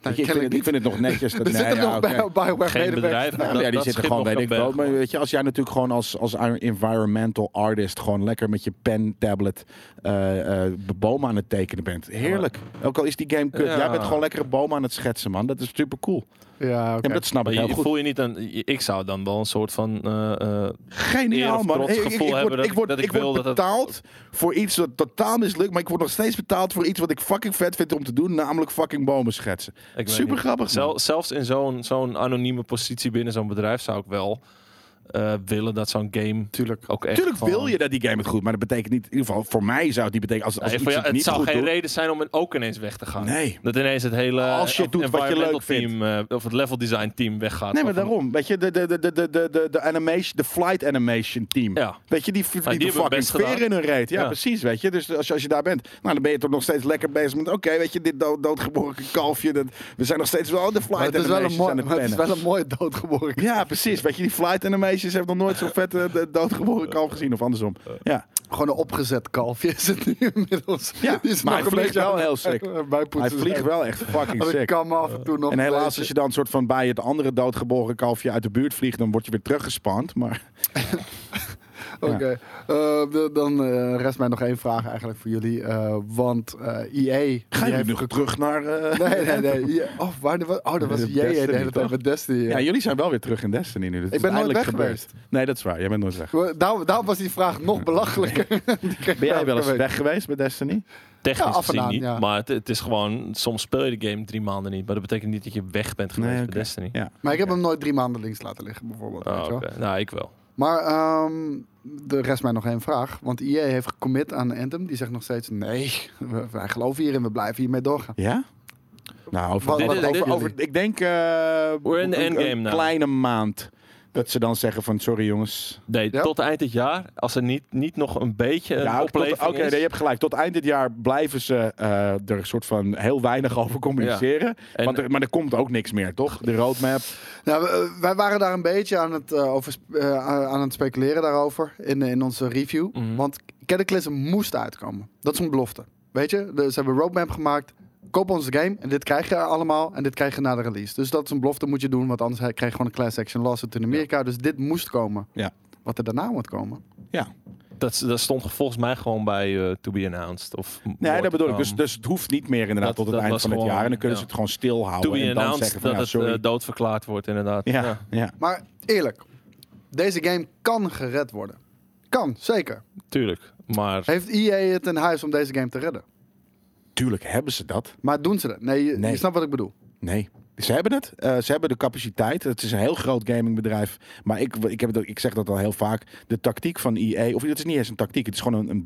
S2: Weet je, ik, vind
S1: Nou, kennelijk
S2: het, ik vind het nog netjes. Dat,
S1: Er
S2: nee,
S1: zitten
S2: ja,
S1: nog
S2: oké.
S1: bij BioWare
S3: Geen
S1: medewerkers.
S3: bedrijf.
S1: Nou,
S2: Ja,
S3: Dat-
S2: die
S3: dat
S2: zitten
S3: schip
S2: gewoon,
S3: nog
S2: weet
S3: kan
S2: ik wel.
S3: bergen.
S2: Maar weet je, als jij natuurlijk gewoon als, als environmental artist... gewoon lekker met je pen, tablet, eh, eh, bomen aan het tekenen bent. Heerlijk. Ook al is die game kut.
S3: Ja.
S2: Jij bent gewoon lekkere bomen aan het schetsen, man. Dat is super cool.
S1: Ja, oké.
S2: En dat snap
S3: Maar
S2: ik heel
S3: je,
S2: goed.
S3: voel je niet dan, ik zou dan wel een soort van eh, eh, eer
S2: Geniaal,
S3: of
S2: man.
S3: trots
S2: ik, ik- ik
S3: gevoel
S2: word,
S3: hebben dat-
S2: ik word,
S3: dat ik
S2: ik word
S3: wil dat het-
S2: betaald voor iets dat totaal mislukt... maar ik word nog steeds betaald voor iets wat ik fucking vet vind om te doen... namelijk fucking bomen schetsen.
S3: Ik weet
S2: Super
S3: niet.
S2: grappig,
S3: Zel-
S2: man.
S3: zelfs in zo'n zo'n anonieme positie binnen zo'n bedrijf zou ik wel eh, willen dat zo'n game
S1: Tuurlijk.
S3: ook echt.
S2: Natuurlijk wil
S3: gewoon-
S2: je dat die game het goed... maar dat betekent niet... in ieder geval voor mij zou het niet betekenen... als, als
S3: Nee,
S2: iets
S3: voor jou-
S2: het
S3: het
S2: niet
S3: zou
S2: goed
S3: geen
S2: doet.
S3: reden zijn om in- ook ineens weg te gaan.
S2: Nee.
S3: Dat ineens het hele
S2: Als je
S3: eh,
S2: doet wat je
S3: environmental
S2: leuk vindt.
S3: team eh, of het level design team weggaat.
S2: Nee, maar
S3: Van-
S2: daarom. Weet je, de, de, de, de, de, de, de, animation, de flight animation team.
S3: Ja.
S2: Weet je, die verdient
S3: die
S2: een
S3: hebben
S2: fucking
S3: best
S2: veer
S3: gedaan.
S2: in hun reet. Ja,
S3: Ja.
S2: precies, weet je. Dus als je, als je daar bent, nou, dan ben je toch nog steeds lekker bezig met... Oké, weet je, dit dood, doodgeboren kalfje. Dat, we zijn nog steeds wel de
S1: Maar
S2: flight
S1: het, is wel een
S2: animations
S1: mooi,
S2: aan het
S1: maar het is
S2: pennen.
S1: wel een mooi doodgeboren.
S2: Ja, precies. Weet je, die flight animations hebben nog nooit zo'n vet eh, de- doodgeboren kalf gezien. Of andersom. Ja,
S1: Gewoon een opgezet kalfje is het nu inmiddels.
S2: Ja,
S1: Die is
S2: maar
S1: nog een
S2: hij vliegt
S1: beetje
S2: wel
S1: aan-
S2: heel sick.
S1: Bij
S2: hij
S1: poetsen.
S2: vliegt wel echt fucking
S1: Want ik
S2: sick.
S1: kan me af en toe nog...
S2: En helaas,
S1: lezen.
S2: als je dan soort van bij het andere doodgeboren kalfje uit de buurt vliegt... dan word je weer teruggespand, maar...
S1: Oké, Eh, de- dan eh, rest mij nog één vraag eigenlijk voor jullie. eh, want eh EA...
S2: Ga
S1: die
S2: je
S1: heeft-
S2: nog terug naar... eh,
S1: Nee, nee, nee. EA Oh, waar, oh dat was
S2: Destiny,
S1: EA de hele
S2: toch?
S1: tijd met Destiny. ja.
S2: Ja, jullie zijn wel weer terug in Destiny nu. Dat is
S1: ben nooit
S2: eindelijk
S1: weg
S2: gebeurd. Nee, dat is waar. Jij bent nooit weg.
S1: Daarom, daarom was die vraag nog belachelijker. Die kreeg
S2: Ben jij
S1: elke
S2: wel eens
S1: week.
S2: weg geweest bij Destiny?
S3: Technisch
S1: Ja, af en
S3: gezien
S1: aan,
S3: niet.
S1: ja.
S3: Maar het, het is gewoon, soms speel je de game drie maanden niet. Maar dat betekent niet dat je weg bent geweest
S2: Nee, oké.
S3: bij Destiny.
S2: Ja.
S1: Maar ik heb hem nooit drie maanden links laten liggen, bijvoorbeeld.
S3: Oh,
S1: weet je wel.
S3: oké. Nou, ik wel.
S1: Maar ehm er rest mij nog één vraag. Want EA heeft gecommit aan Anthem. Die zegt nog steeds, nee, we- wij geloven hierin, we blijven hiermee doorgaan.
S2: Ja? Nou, over,
S1: Wat-
S2: over-
S3: wat denken
S2: over- over- ik denk... eh,
S3: We're in the
S2: een-
S3: endgame
S2: een
S3: now.
S2: kleine maand. Dat ze dan zeggen van, sorry jongens.
S3: Nee,
S1: Ja?
S3: tot eind dit jaar, als er niet, niet nog een beetje een
S2: Ja, tot-
S3: opleving
S2: Oké,
S3: is.
S2: nee, je hebt gelijk. Tot eind dit jaar blijven ze eh, er een soort van heel weinig over communiceren.
S3: En-
S2: Want er- maar er komt ook niks meer, toch? De roadmap.
S1: Nou, we- wij waren daar een beetje aan het, eh, over, sp- eh, aan- aan het speculeren daarover in, eh, in onze review.
S3: Mhm.
S1: Want Cataclysm moest uitkomen. Dat is een belofte. Weet je, dus ze hebben een roadmap gemaakt. Koop onze game en dit krijg je allemaal en dit krijg je na de release. Dus dat is een belofte moet je doen, want anders krijg je gewoon een class action lawsuit in Amerika. Dus dit moest komen.
S2: Ja.
S1: Wat er daarna moet komen.
S3: Dat, dat stond volgens mij gewoon bij eh, To Be Announced. Of
S2: Nee,
S3: more
S2: dat
S3: to
S2: bedoel ik. Dus,
S3: come.
S2: dus het hoeft niet meer inderdaad
S3: Dat-
S2: tot het
S3: dat
S2: eind
S3: was
S2: van het
S3: gewoon-
S2: jaar. En dan kunnen
S3: ja.
S2: ze het gewoon stilhouden.
S3: To Be
S2: en dan zeggen
S3: Announced
S2: van,
S3: dat
S2: ja,
S3: het
S2: sorry.
S3: eh, doodverklaard wordt inderdaad.
S2: ja, ja.
S1: Maar eerlijk, deze game kan gered worden. Kan, zeker.
S3: Tuurlijk, maar
S1: Heeft EA het in huis om deze game te redden?
S2: Tuurlijk hebben ze dat.
S1: Maar doen ze dat? Nee, je,
S2: Nee.
S1: je snapt wat ik bedoel.
S2: Nee. Ze hebben het. Eh, ze hebben de capaciteit. Het is een heel groot gamingbedrijf. Maar ik, ik, heb het, ik zeg dat al heel vaak. De tactiek van EA, of het is niet eens een tactiek, het is gewoon een, een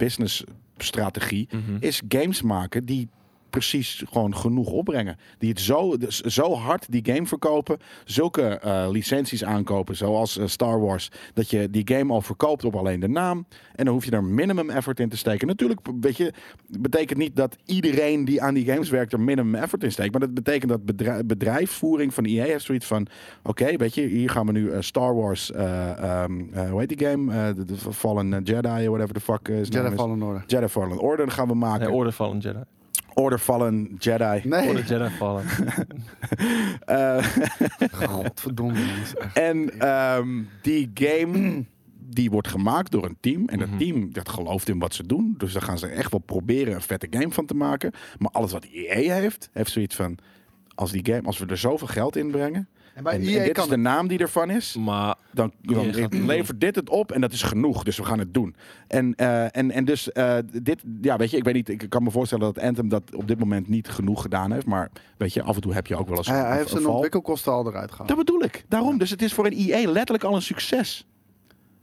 S2: businessstrategie. Is games maken die precies gewoon genoeg opbrengen. Die het zo, dus zo hard die game verkopen. Zulke eh, licenties aankopen, zoals eh, Star Wars. Dat je die game al verkoopt op alleen de naam. En dan hoef je daar minimum effort in te steken. Natuurlijk, weet je, betekent niet dat iedereen die aan die games werkt er minimum effort in steekt. Maar dat betekent dat bedrijf, bedrijfsvoering van EA heeft zoiets van... Oké, weet je, hier gaan we nu eh, Star Wars... eh, ehm, eh, hoe heet die game? Eh, de, de Fallen Jedi, whatever the fuck eh, his name
S1: Jedi
S2: is.
S1: Fallen Order.
S2: Jedi Fallen Order gaan we maken.
S3: nee, Order Fallen Jedi.
S2: Order Fallen Jedi.
S1: Nee.
S3: Order Jedi Fallen.
S2: Eh,
S1: Godverdomme. jongens, echt.
S2: En ehm, die game die wordt gemaakt door een team. En dat
S3: Mhm.
S2: team dat gelooft in wat ze doen. Dus daar gaan ze echt wel proberen een vette game van te maken. Maar alles wat EA heeft, heeft zoiets van... Als, die game, als we er zoveel geld in brengen...
S1: En
S2: En,
S1: bij
S2: en
S1: EA
S2: dit is
S1: E kan
S2: de naam die ervan is.
S3: Maar
S2: Dan, dan
S3: EA E gaat het
S2: levert dit het op en dat is genoeg. Dus we gaan het doen. En, eh, en, en dus eh, dit... Ja, weet je, ik weet niet. Ik kan me voorstellen dat Anthem dat op dit moment niet genoeg gedaan heeft. Maar weet je, af en toe heb je ook wel eens
S1: Hij, hij
S2: een-
S1: heeft
S2: een
S1: zijn
S2: val.
S1: ontwikkelkosten al eruit gehaald.
S2: Dat bedoel ik. Daarom. Dus het is voor een IE letterlijk al een succes.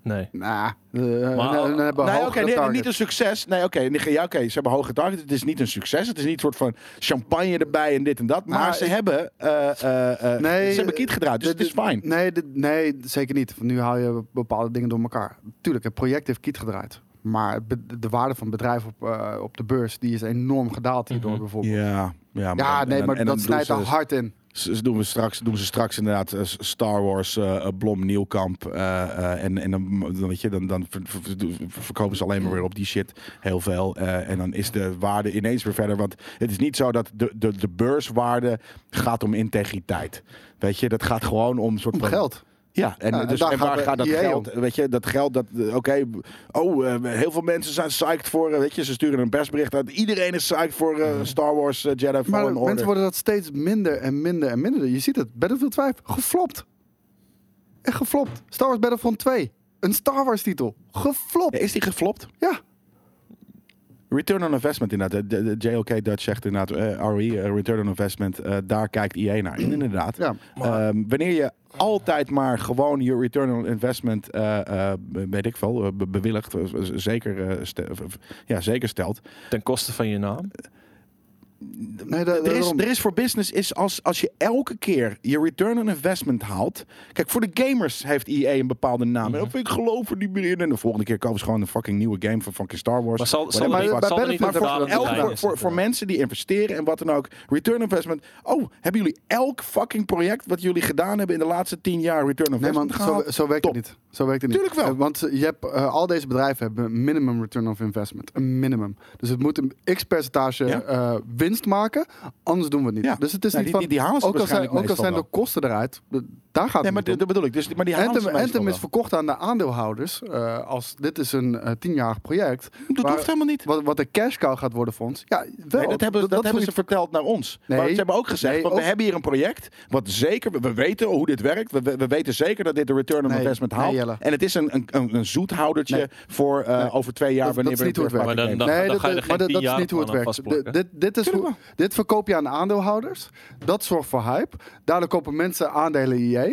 S3: nee.
S1: Nou, eh,
S3: Maar-
S1: dan- dan hebben we hogere
S2: nee, Nou oké, nee,
S1: target.
S2: niet een succes. Nee, oké, nee, ja, oké, ze hebben hoge targets. Het is niet een succes. Het is niet een soort van champagne erbij en dit en dat. Maar
S1: Nou,
S2: ze
S1: ik-
S2: hebben, eh, eh, eh,
S1: Nee,
S2: ze hebben kiet gedraaid, dus
S1: dit-
S2: het is fijn.
S1: Nee, dit- nee, zeker niet. Want nu haal je bepaalde dingen door elkaar. Tuurlijk, het project heeft kiet gedraaid. Maar het be- de waarde van het bedrijf op, eh, op de beurs die is enorm gedaald hierdoor
S3: Mhm.
S1: bijvoorbeeld.
S2: Ja, ja, maar
S1: Ja,
S2: dan-
S1: nee, maar
S2: en dan- en
S1: dat
S2: dan
S1: snijdt er
S2: doen ze- dus-
S1: hard in.
S2: Ze, ze doen, we straks, doen ze straks inderdaad eh, S- Star Wars, eh, eh, Blom, Nieuwkamp. eh, eh, en en dan, dan, weet je, dan, dan ver- ver- ver- verkopen ze alleen maar weer op die shit heel veel. eh, en dan is de waarde ineens weer verder. Want het is niet zo dat de, de, de beurswaarde gaat om integriteit. Weet je, dat gaat gewoon om een soort
S1: Om
S2: van-
S1: geld.
S2: ja, en,
S1: Ja, en
S2: dus,
S1: daar
S2: en waar
S1: gaat de
S2: gaat dat
S1: EA
S2: geld? Weet je, dat geld dat. eh, Oké, oh, eh, heel veel mensen zijn psyched voor. eh, Weet je, ze sturen een persbericht uit. Iedereen is psyched voor eh, Star Wars eh, Jedi
S1: Maar
S2: Fallen Order.
S1: mensen worden dat steeds minder en minder en minder. Je ziet het. Battlefield 5, geflopt. Echt geflopt. Star Wars Battlefront 2, een Star Wars titel. Geflopt.
S2: Ja, is die geflopt?
S1: Ja.
S2: Return on investment inderdaad. De, de- de JLK Dutch zegt inderdaad, eh, RE, eh, return on investment, eh, daar kijkt IE naar. En inderdaad.
S1: Ja.
S2: Ehm, wanneer je altijd maar gewoon je return on investment, eh, eh, weet ik veel, eh, be- bewilligt, eh, z- zeker, eh, ste- of- of- ja, zeker stelt.
S1: Eh,
S3: Ten koste van je naam.
S1: Nee, da-
S2: Er is,
S1: daarom.
S2: er is voor business is als, als je elke keer je return on investment haalt. Kijk, voor de gamers heeft EA een bepaalde naam.
S1: Mhm.
S2: En Ik geloof er niet meer in. En de volgende keer kopen ze gewoon een fucking nieuwe game van fucking Star Wars.
S3: Maar zal,
S1: maar
S3: zal, er,
S1: bij
S3: niet, zal er
S1: Battlefield
S3: niet
S1: hebben
S3: een
S1: ze
S3: bepaalde
S1: dat
S2: elk,
S3: lijn
S2: voor,
S3: in
S2: voor, voor
S3: zitten?
S2: mensen die investeren en wat dan ook. Return on investment. Oh, hebben jullie elk fucking project wat jullie gedaan hebben in de laatste tien jaar return on
S1: Nee
S2: investment
S1: man, zo,
S2: gehaald?
S1: zo werkt
S2: Top.
S1: het niet. Zo werkt het niet.
S2: Tuurlijk wel.
S1: Eh, Want je hebt, eh, al deze bedrijven hebben een minimum return of investment. Een minimum. Dus het moet een x percentage
S2: Ja.
S1: eh, winst maken, anders doen we het niet.
S2: Ja.
S1: Dus het is
S2: Nou,
S1: niet
S2: die-
S1: van...
S2: die- die halen ze
S1: ook al zijn,
S2: waarschijnlijk
S1: ook al
S2: meestal
S1: zijn de
S2: wel.
S1: kosten eruit, d- daar gaat
S2: Nee,
S1: het
S2: maar
S1: niet om.
S2: dat bedoel ik. Dus, maar die halen ze
S1: Anthem,
S2: meestal
S1: Anthem
S2: wel.
S1: is verkocht aan de aandeelhouders. eh, als dit is een eh, tienjarig project.
S2: Dat
S1: waar-
S2: hoeft helemaal niet.
S1: Wat, wat de cash cow gaat worden voor ons. Ja, wel.
S2: Nee, dat hebben, dat hebben ze
S1: is-
S2: verteld naar ons.
S1: Nee.
S2: maar ze hebben ook gezegd,
S1: Nee,
S2: want we
S1: ook-
S2: hebben hier een project... wat zeker, we, we weten hoe dit werkt. We, we, we weten zeker dat dit de return on
S1: Nee,
S2: investment
S1: nee,
S2: haalt.
S1: Jelle.
S2: en het is een, een, een, een zoethoudertje
S1: Nee.
S2: voor eh,
S1: Nee.
S2: over twee jaar...
S1: Dat-
S2: wanneer
S1: dat is
S2: we
S1: niet hoe het
S2: weer
S1: werkt.
S3: Maar
S2: fucking
S3: dan-
S1: Nee,
S2: game-
S3: dan-
S1: dat,
S3: ga je er
S1: maar dat,
S3: geen
S1: dat is niet hoe het
S3: 10-jarige
S1: werkt.
S3: plan aan
S1: Dit, dit, dit is hoe, dit verkoop je aan aandeelhouders. Dat zorgt voor hype. Daardoor kopen mensen aandelen IE.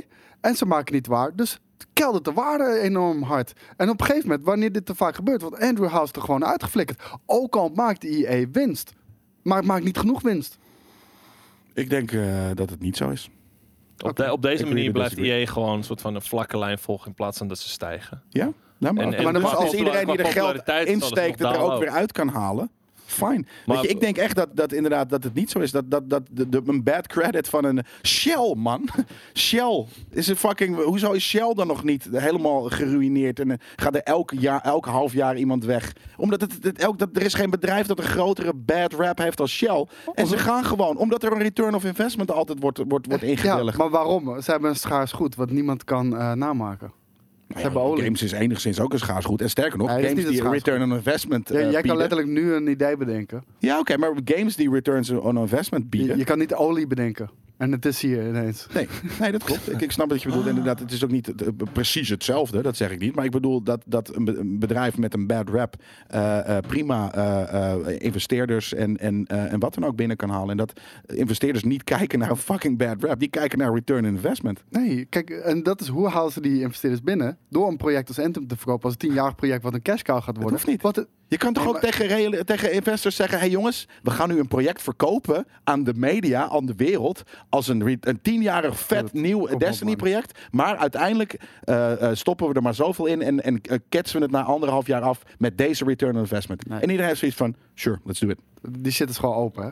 S1: En ze maken niet waar. Dus het keldert de waarde enorm hard. En op een gegeven moment, wanneer dit te vaak gebeurt... want Andrew House er gewoon uitgeflikkerd. Ook al maakt IE winst. Maar het maakt niet genoeg winst.
S2: Ik denk eh, dat het niet zo is.
S3: Op, de- op deze
S2: Agree
S3: manier
S2: to
S3: blijft
S2: disagree.
S3: EA gewoon een soort van een vlakke lijn volgen in plaats van dat ze stijgen.
S2: Ja? Nou, maar,
S3: En- en
S2: maar dan
S1: qua
S2: is, als
S1: popula-
S2: iedereen die
S3: qua
S2: er geld
S3: populariteit zal het
S2: insteekt...
S3: nog
S2: dat er ook
S3: dalen
S2: weer
S3: ook.
S2: uit kan halen... Fine. Weet
S3: Maar-
S2: je, ik denk echt dat, dat inderdaad dat het niet zo is. Dat, dat, dat de, de- een bad credit van een Shell, man. Shell is een fucking. Hoezo is Shell dan nog niet helemaal geruineerd? En eh, gaat er elk jaar, elk half jaar iemand weg? Omdat het, het- elk, dat, er is geen bedrijf dat een grotere bad rap heeft als Shell. En ze gaan gewoon, omdat er een return of investment altijd wordt, wordt, wordt
S1: Ja,
S2: ingewilligd.
S1: maar waarom? Ze hebben een schaars goed wat niemand kan eh, namaken.
S2: Nou
S1: hebben olie.
S2: games is enigszins ook een schaars goed. En sterker nog,
S1: Nee, het is
S2: games
S1: niet een
S2: die een
S1: schaars
S2: return on investment
S1: Ja,
S2: eh,
S1: jij kan
S2: bieden.
S1: letterlijk nu een idee bedenken.
S2: Ja, oké, maar games die returns on investment
S1: Je,
S2: bieden.
S1: je kan niet olie bedenken. En het is hier ineens.
S2: Nee, nee, dat klopt. Ik, ik snap wat je bedoelt. Inderdaad, het is ook niet eh, precies hetzelfde, dat zeg ik niet. Maar ik bedoel dat, dat een, be- een bedrijf met een bad rap eh, eh, prima eh, eh, investeerders en, en, eh, en wat dan ook binnen kan halen. En dat investeerders niet kijken naar een fucking bad rap. Die kijken naar return on investment.
S1: Nee, kijk, en dat is hoe halen ze die investeerders binnen? Door een project als Anthem te verkopen als een tienjarig project wat een cash cow gaat worden.
S2: hoeft niet.
S1: Wat het-
S2: Je kan toch
S1: Nee,
S2: ook
S1: maar-
S2: tegen, reële- tegen investors zeggen: hé hey jongens, we gaan nu een project verkopen aan de media, aan de wereld. Als een, re- een tienjarig
S1: dat-
S2: vet
S1: kom
S2: nieuw
S1: op, man.
S2: Destiny-project. Maar uiteindelijk eh, eh, stoppen we er maar zoveel in en, en eh, ketsen we het na anderhalf jaar af met deze return on investment.
S1: Nee.
S2: En iedereen heeft zoiets van: sure, let's do it.
S1: die shit is gewoon open, hè?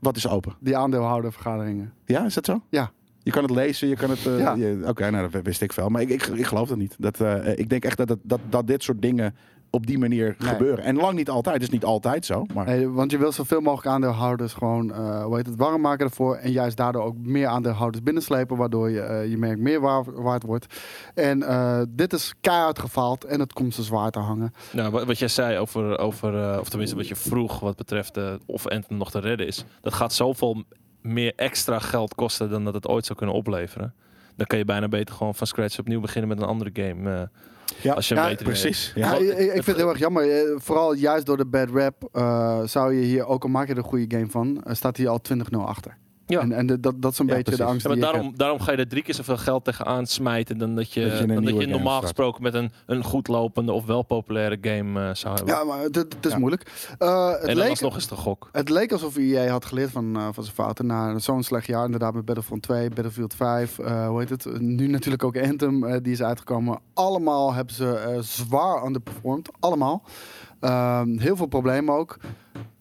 S2: Wat is open?
S1: Die aandeelhoudervergaderingen.
S2: Ja, is dat zo?
S1: Ja.
S2: Je kan het lezen, je kan het. eh,
S1: Ja.
S2: je- Oké, nou dat wist ik veel. Maar ik, ik, ik geloof dat niet. Dat, eh, ik denk echt dat, dat, dat, dat dit soort dingen op die manier
S1: Nee.
S2: gebeuren. En lang niet altijd. Het is niet altijd zo. Maar...
S1: Nee, want je wil zoveel mogelijk aandeelhouders gewoon, eh, hoe heet het, warm maken ervoor. En juist daardoor ook meer aandeelhouders binnenslepen, waardoor je, eh, je merk meer waar- waard wordt. En eh, dit is keihard gefaald en het komt ze zwaar te hangen.
S3: Nou, wa- wat jij zei over, over eh, of tenminste wat je vroeg wat betreft eh, of Anthem nog te redden is. Dat gaat zoveel m- meer extra geld kosten dan dat het ooit zou kunnen opleveren. Dan kan je bijna beter gewoon van scratch opnieuw beginnen met een andere game. eh,
S2: Ja,
S3: als je
S1: ja,
S3: hem beter
S2: Precies.
S1: Ja,
S2: Ja.
S1: ik, ik- ik vind het heel erg jammer. Eh, Vooral juist door de bad rap eh, zou je hier, ook al maak je er een goede game van, eh, staat hier al 20-0 achter.
S3: Ja.
S2: eh,
S1: En, en de- dat, dat is een
S2: Ja,
S1: beetje de
S2: precies.
S1: angst
S3: Ja,
S1: die
S3: maar
S1: ik heb.
S3: daarom, daarom ga je er drie keer zoveel geld tegenaan smijten dan dat je,
S2: Dat je een
S3: dan dat
S2: nieuwe
S3: je
S2: game
S3: normaal
S2: start.
S3: gesproken met een, een goed lopende of wel populaire game eh, zou hebben.
S1: Ja, maar het, het is
S2: Ja.
S1: moeilijk. Eh, het,
S3: en dan
S1: leek,
S3: alsnog is het een gok.
S1: het leek alsof EA had geleerd van, eh, van zijn fouten na zo'n slecht jaar. Inderdaad, met Battlefront 2, Battlefield 5, eh, hoe heet het? Nu natuurlijk ook Anthem, eh, die is uitgekomen. Allemaal hebben ze eh, zwaar underperformed. Allemaal. Ehm, heel veel problemen ook.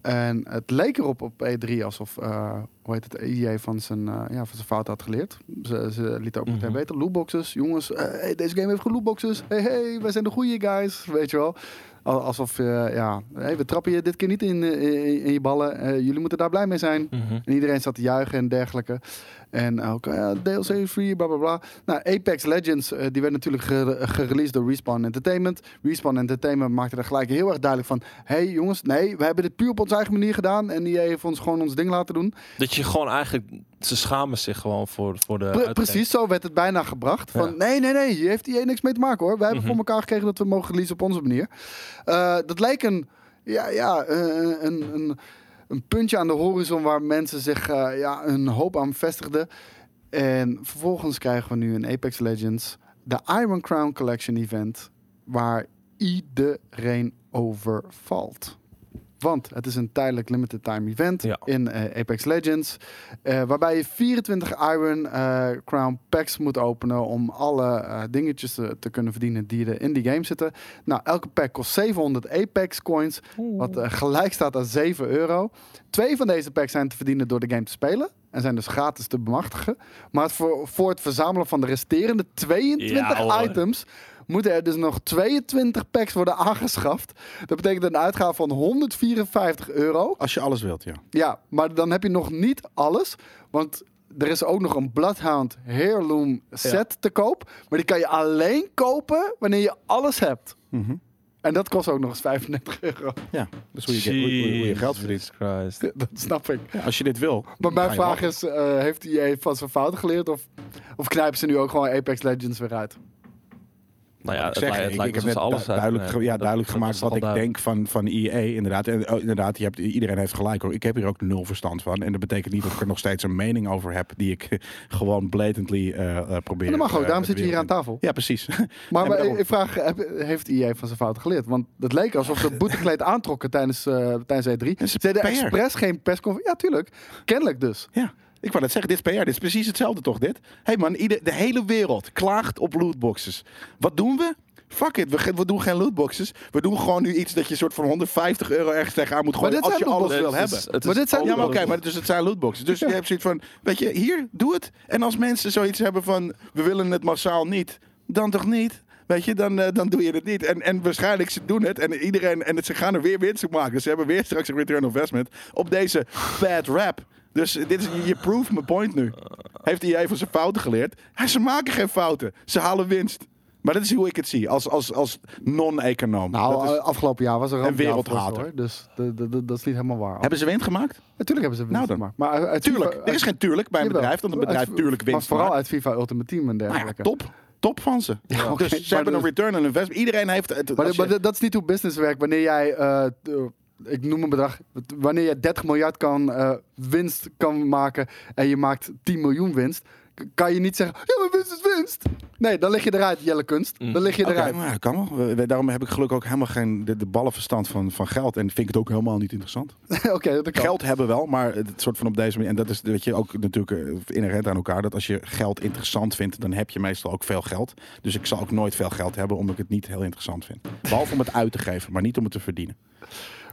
S1: En het leek erop op E3 alsof, eh, hoe heet het, EA van zijn, eh, ja, van zijn fout had geleerd. Ze, ze lieten ook meteen
S3: Mhm.
S1: weten, lootboxes, jongens, eh, hey, deze game heeft lootboxes. Hey, hey, wij zijn de goeie guys, weet je wel. Al- Alsof, eh, ja, hey, we trappen je dit keer niet in, eh, in, in je ballen. Eh, jullie moeten daar blij mee zijn.
S3: Mhm.
S1: En iedereen zat te juichen en dergelijke. En ook ja, DLC free, bla bla bla. Nou, Apex Legends, eh, die werd natuurlijk gere- gereleased door Respawn Entertainment. Respawn Entertainment maakte er gelijk heel erg duidelijk van... hé hey, jongens, nee, we hebben dit puur op onze eigen manier gedaan... en die heeft ons gewoon ons ding laten doen.
S3: Dat je gewoon eigenlijk... Ze schamen zich gewoon voor, voor de...
S1: Pre-
S3: uitgang.
S1: precies zo werd het bijna gebracht. Van
S3: eh, Ja.
S1: nee, nee, nee, hier heeft EA niks mee te maken hoor. Wij hebben
S3: Mhm.
S1: voor elkaar gekregen dat we mogen releasen op onze manier. Eh, dat lijkt een, ja, ja, eh, een, een, een puntje aan de horizon waar mensen zich eh, ja, een hoop aan vestigden. En vervolgens krijgen we nu in Apex Legends de Iron Crown Collection Event, waar iedereen over valt. Want het is een tijdelijk limited time event
S3: Ja.
S1: in eh, Apex Legends. Eh, waarbij je 24 Iron eh, Crown Packs moet openen om alle eh, dingetjes te, te kunnen verdienen die er in die game zitten. Nou, elke pack kost 700 Apex coins, wat eh, gelijk staat aan 7 euro. Twee van deze packs zijn te verdienen door de game te spelen. En zijn dus gratis te bemachtigen. Maar het voor, voor het verzamelen van de resterende 22
S3: Ja, hoor.
S1: items moeten er dus nog 22 packs worden aangeschaft. Dat betekent een uitgave van 154 euro.
S2: Als je alles wilt, ja.
S1: Ja, maar dan heb je nog niet alles. Want er is ook nog een Bloodhound Heirloom set te koop. Maar die kan je alleen kopen wanneer je alles hebt.
S2: Mhm.
S1: En dat kost ook nog eens 35 euro.
S2: Ja, dat is hoe je, hoe je- hoe je geld verdient.
S3: Jesus Christ.
S1: Dat snap ik.
S2: Ja, als je dit wil.
S1: Maar mijn
S2: ga je
S1: vraag
S2: wel.
S1: is, eh, heeft hij van zijn fouten geleerd? Of, of knijpen ze nu ook gewoon Apex Legends weer uit?
S3: Nou ja,
S2: Ik
S3: het,
S2: zeg,
S3: li- het
S2: ik-
S3: lijkt
S2: ik heb
S3: alsof
S2: net
S3: ze alles
S2: du- duidelijk, ge-
S3: uitknippen.
S2: ja,
S3: Dat-
S2: duidelijk
S3: dat
S2: gemaakt
S3: is
S2: wat
S3: toch
S2: ik
S3: al
S2: denk van, van EA, inderdaad. En, oh, inderdaad je hebt, iedereen heeft gelijk hoor. Ik heb hier ook nul verstand van. En dat betekent niet dat ik er nog steeds een mening over heb die ik gewoon blatantly eh, eh, probeer.
S1: En dat mag ook,
S2: eh,
S1: daarom
S2: de
S1: zit je hier aan
S2: wereld in.
S1: tafel.
S2: Ja, precies.
S1: Maar,
S2: Ja, maar
S1: eh,
S2: daarom.
S1: ik vraag, heb- heeft EA van zijn fouten geleerd? Want het leek alsof
S2: Ah.
S1: ze het boetekleed aantrokken tijdens, eh tijdens E3.
S2: is
S1: Ze deden
S2: PR.
S1: expres geen persconferentie. Ja, tuurlijk. Kennelijk dus.
S2: Ja, ik wou net zeggen, dit is PR. Dit is precies hetzelfde toch, dit? Hé hey man, ieder, de hele wereld klaagt op lootboxes. Wat doen we? Fuck it, we, ge- we doen geen lootboxes. We doen gewoon nu iets dat je soort van 150 euro ergens tegenaan moet gooien
S1: dit
S2: als je
S1: zijn
S2: alles
S1: lootboxes.
S2: wil
S3: Nee, het
S2: hebben.
S3: is- het
S1: Maar
S3: is
S1: dit zijn-
S2: Ja, maar oké,
S3: overal-
S2: maar dus het zijn lootboxes. Dus je hebt zoiets van, weet je, hier, doe het. En als mensen zoiets hebben van, we willen het massaal niet, dan toch niet? Weet je, dan, eh, dan doe je het niet. En, en waarschijnlijk, ze doen het en iedereen, en het, ze gaan er weer winst op maken. Dus ze hebben weer straks een return on investment op deze bad rap. Dus eh, dit is, je- je proeft mijn point nu. Heeft hij van zijn fouten geleerd? Ja, ze maken geen fouten. Ze halen winst. Maar dat is hoe ik het zie, als, als, als non-econoom. Dat
S1: Nou,
S2: is-
S1: eh, afgelopen jaar was er een
S2: wereldhater.
S1: rampjaar voor ze, hoor. Dus de- de- de- dat is niet helemaal waar.
S2: hebben ze winst gemaakt?
S1: Natuurlijk hebben ze winst
S2: Nou dan.
S1: gemaakt. Maar uit- uit
S2: Tuurlijk.
S1: FIFA-
S2: Er is geen tuurlijk bij een
S1: Jawel.
S2: bedrijf, want een bedrijf
S1: Uit-
S2: tuurlijk
S1: Maar
S2: winst
S1: vooral
S2: maakt.
S1: uit FIFA Ultimate Team en
S2: Nou ja,
S1: dergelijke.
S2: top. Top van ze.
S1: Ja, oké.
S2: Dus ze
S1: Maar
S2: hebben
S1: dus-
S2: een return on investment. Iedereen heeft... Het,
S1: Maar,
S2: als
S1: maar
S2: je-
S1: dat- dat is niet hoe business werkt. Wanneer jij, eh, t- eh, ik noem een bedrag, wanneer je 30 miljard kan, eh, winst kan maken en je maakt 10 miljoen winst, k- kan je niet zeggen, ja, maar winst is winst. Nee, dan lig je eruit, Jelle Kunst. Dan lig je
S2: Mm. Oké,
S1: eruit.
S2: maar dat kan wel. We- we- Daarom heb ik gelukkig ook helemaal geen de, de ballenverstand van, van geld. En vind ik het ook helemaal niet interessant.
S1: Oké, dat kan.
S2: Geld hebben wel, maar het soort van op deze manier. En dat is weet je, ook natuurlijk eh, inherent aan elkaar. Dat als je geld interessant vindt, dan heb je meestal ook veel geld. Dus ik zal ook nooit veel geld hebben, omdat ik het niet heel interessant vind. Behalve om het uit te geven, maar niet om het te verdienen.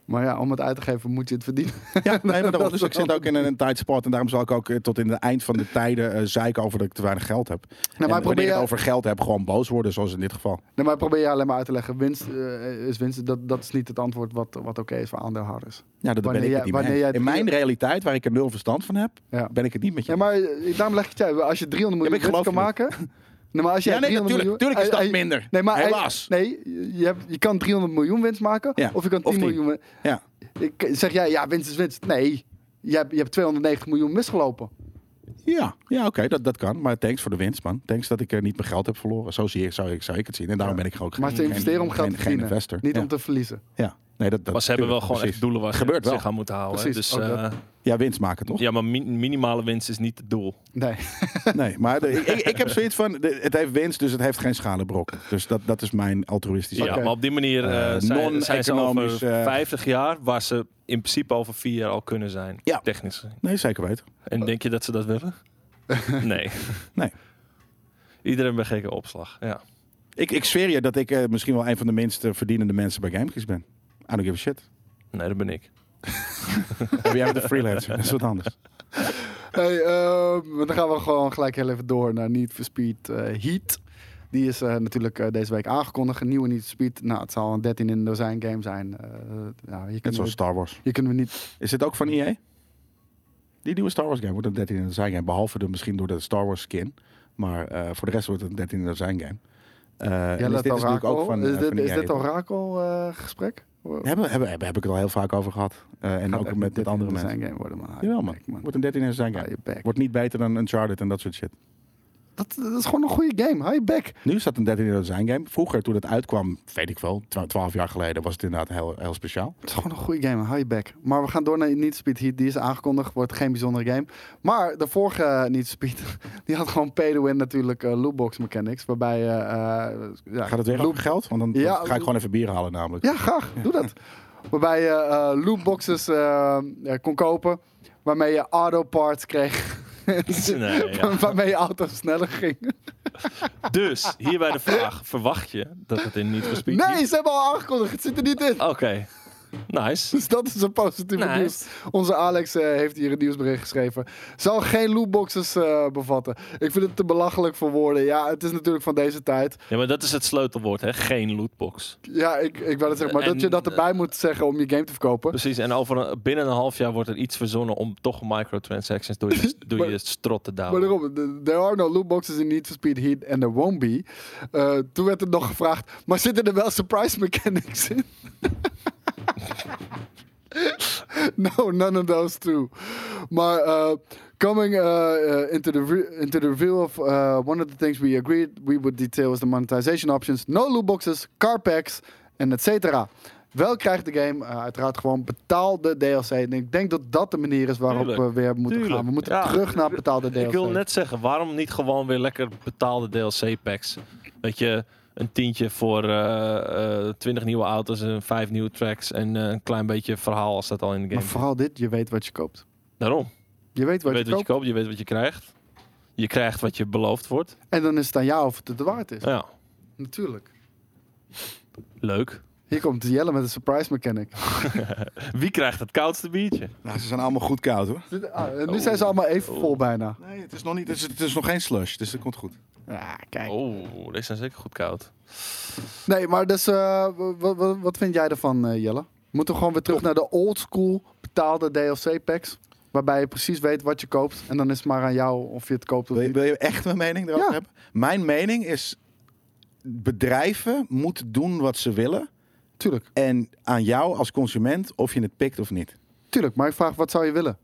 S1: Maar ja, om het uit te geven moet je het verdienen.
S2: Ja, nee, maar daarom, dus ik zit ook in een, een tight spot. En daarom zal ik ook eh, tot in het eind van de tijden eh, zeiken over dat ik te weinig geld heb.
S1: Nou, maar
S2: en wanneer
S1: probeer-
S2: ik het over geld heb, gewoon boos worden, zoals in dit geval.
S1: Nee, maar probeer je alleen maar uit te leggen, winst eh, is winst. Dat, dat is niet het antwoord wat, wat oké is voor aandeelhouders.
S2: Ja, dat
S1: Wanneer
S2: ben ik
S1: jij-
S2: het niet mee
S1: wanneer jij
S2: eens. In mijn realiteit, waar ik er nul verstand van heb,
S1: Ja.
S2: ben ik het niet met je.
S1: Ja, maar eh, daarom leg ik het uit. Als je 300 miljoen
S2: Ja, maar
S1: winst
S2: ik
S1: kan
S2: geloof
S1: maken... Nee, maar als je
S2: Ja, nee,
S1: 300
S2: natuurlijk,
S1: miljoen- eh,
S2: natuurlijk is dat
S1: eh,
S2: minder.
S1: Nee, maar eh,
S2: Helaas.
S1: Nee, je, hebt, je kan 300 miljoen winst maken.
S2: Ja,
S1: Of je kan
S2: of
S1: 10
S2: tien.
S1: miljoen... win-
S2: Ja.
S1: Ik, zeg jij, ja, winst is winst. Nee, je hebt, je hebt 290 miljoen misgelopen.
S2: Ja, ja oké, dat, dat kan. Maar thanks voor de winst, man. Thanks dat ik er niet mijn geld heb verloren. Zo zie ik, zou, ik, zou ik het zien. En daarom ben ik gewoon
S1: Maar
S2: geen-
S1: te investeren om
S2: geen-
S1: geld te
S2: geen, geen
S1: verdienen.
S2: investor.
S1: Niet
S2: ja.
S1: om te verliezen.
S2: Ja. Nee, dat, dat,
S3: Maar ze hebben wel
S2: tuurlijk,
S3: gewoon
S2: precies.
S3: echt doelen waar ze
S2: Gebeurt wel.
S3: zich aan moeten houden. hè.
S1: Precies,
S3: Dus,
S1: ook dat.
S3: eh,
S2: Ja, winst maken, toch?
S3: ja, maar min- minimale winst is niet het doel.
S1: Nee.
S2: Nee, maar de- ik, ik heb zoiets van, de- het heeft winst, dus het heeft geen schadebrokken. Dus dat, dat is mijn altruïstische...
S3: Dus Ja, maar op die manier eh
S2: Eh,
S3: zijn, zijn ze over
S2: non-economisch, eh,
S3: 50 jaar, waar ze in principe over vier jaar al kunnen zijn.
S2: Ja.
S3: Technisch gezien.
S2: Nee, zeker weten.
S3: En denk je dat ze dat willen? nee.
S2: Nee.
S3: Iedereen bij gekke opslag. Ja.
S2: Ik, ik zweer je dat ik eh, misschien wel een van de minst eh, verdienende mensen bij Gamekings ben. I don't give a shit.
S3: Nee, dat ben ik.
S2: Of jij bent een freelancer. Dat is wat anders.
S1: Hey, ehm, dan gaan we gewoon gelijk heel even door naar Need for Speed eh, Heat. Die is eh, natuurlijk eh, deze week aangekondigd. Een nieuwe Need for Speed. Nou, het zal een 13 in een dozijn game zijn. Eh nou, hier
S2: Net
S1: kunnen,
S2: zoals
S1: we,
S2: Star Wars.
S1: hier kunnen we niet...
S2: Is dit ook van EA? Die nieuwe Star Wars game wordt een 13 in de zijn game. Behalve de, misschien door de Star Wars skin. Maar eh, voor de rest wordt het een 13 in de zijn game. Eh, en
S1: Jelle,
S2: is
S1: het
S2: dit is natuurlijk
S1: orakel.
S2: ook van,
S1: is
S2: eh,
S1: dit,
S2: van
S1: is
S2: EA.
S1: dit orakel eh, gesprek?
S2: Hebben, hebben, hebben, heb ik het al heel vaak over gehad. Eh, en
S1: Gaat
S2: ook
S1: echt
S2: met, met
S1: 13
S2: andere
S1: in
S2: mensen.
S1: dozijn game worden, man.
S2: Jawel man.
S1: Kijk, man.
S2: Wordt een 13 in de zijn
S1: Hou
S2: game.
S1: je bek.
S2: Wordt niet beter dan Uncharted en dat soort shit.
S1: Dat, dat is gewoon een goede game. Hou je bek.
S2: Nu staat een 13 in de zijn game. Vroeger, toen het uitkwam, weet ik wel, twa- 12 jaar geleden, was het inderdaad heel, heel speciaal.
S1: Het is gewoon een goede game, hou je back. Maar we gaan door naar Need for Speed Heat. Die is aangekondigd, wordt geen bijzondere game. Maar de vorige eh, Need for Speed, die had gewoon pay to win natuurlijk eh, lootbox mechanics. Waarbij eh, eh, ja,
S2: Gaat het weer
S1: loot-
S2: over geld? Want dan
S1: Ja,
S2: dan ga ik gewoon even bier halen namelijk.
S1: Ja, graag. Doe dat. Waarbij je eh lootboxes eh, eh, kon kopen. Waarmee je auto parts kreeg.
S3: Nee, ja.
S1: waarmee je auto sneller ging.
S3: Dus, hierbij de vraag. Verwacht je dat het in niet verspiekt?
S1: Nee, ze hebben al aangekondigd. Het zit er niet in.
S3: Oké. Nice.
S1: Dus dat is een positieve
S3: Oh. Nice.
S1: nieuws. Onze Alex eh, heeft hier een nieuwsbericht geschreven. Zal geen lootboxes eh, bevatten. Ik vind het te belachelijk voor woorden. Ja, het is natuurlijk van deze tijd.
S3: Ja, maar dat is het sleutelwoord, hè? Geen lootbox.
S1: Ja, ik, ik wil het zeggen. Maar
S3: En, eh,
S1: dat je dat erbij moet zeggen om je game te verkopen.
S3: Precies, en over een- binnen een half jaar wordt er iets verzonnen om toch microtransactions door je, door
S1: Maar-
S3: je strot te
S1: Maar
S3: downloaden.
S1: daarom, th- there are no lootboxes in Need for Speed Heat and there won't be. Eh, toen werd er nog gevraagd, maar zitten er wel surprise mechanics in? no, none of those two. Maar eh, coming eh, eh, into, the re- into the reveal of eh, one of the things we agreed we would detail is the monetization options. No lootboxes, car packs en et cetera. Wel krijgt de game eh, uiteraard gewoon betaalde DLC. En ik denk dat dat de manier is waarop
S3: Tuurlijk.
S1: we weer moeten
S3: Tuurlijk.
S1: gaan. We moeten
S3: Ja.
S1: terug naar betaalde DLC.
S3: Ik wil net zeggen, waarom niet gewoon weer lekker betaalde DLC-packs? Weet je, een tientje voor eh, twintig nieuwe auto's en vijf nieuwe tracks en eh, een klein beetje verhaal als dat al in de game.
S1: Maar
S3: zit.
S1: vooral dit, je weet wat je koopt.
S3: Daarom.
S1: Je weet
S3: Je
S1: wat je,
S3: weet wat je
S1: koopt.
S3: koopt, je weet wat je krijgt. Je krijgt wat je beloofd wordt.
S1: En dan is het aan jou of het het waard is.
S3: Ja,
S1: Natuurlijk.
S3: leuk.
S1: Hier komt Jelle met een surprise mechanic.
S3: Wie krijgt het koudste biertje?
S2: Nou, ze zijn allemaal goed koud hoor.
S1: Dit- ah,
S3: Oh.
S1: en nu zijn ze allemaal even vol bijna.
S2: Nee, het is nog, niet, het is, het is nog geen slush, dus dat komt goed.
S1: Ja, kijk.
S3: Oh, deze zijn zeker goed koud.
S1: Nee, maar dus, wat, wat vind jij ervan, eh, Jelle? Moeten we gewoon weer terug naar de old school betaalde DLC packs? Waarbij je precies weet wat je koopt. En dan is het maar aan jou of je het koopt of
S2: Wil je,
S1: niet.
S2: wil je echt mijn mening erover
S1: Ja.
S2: hebben? Mijn mening is, bedrijven moeten doen wat ze willen.
S1: Tuurlijk,
S2: En aan jou als consument of je het pikt of niet.
S1: tuurlijk. Maar ik vraag, wat zou je willen?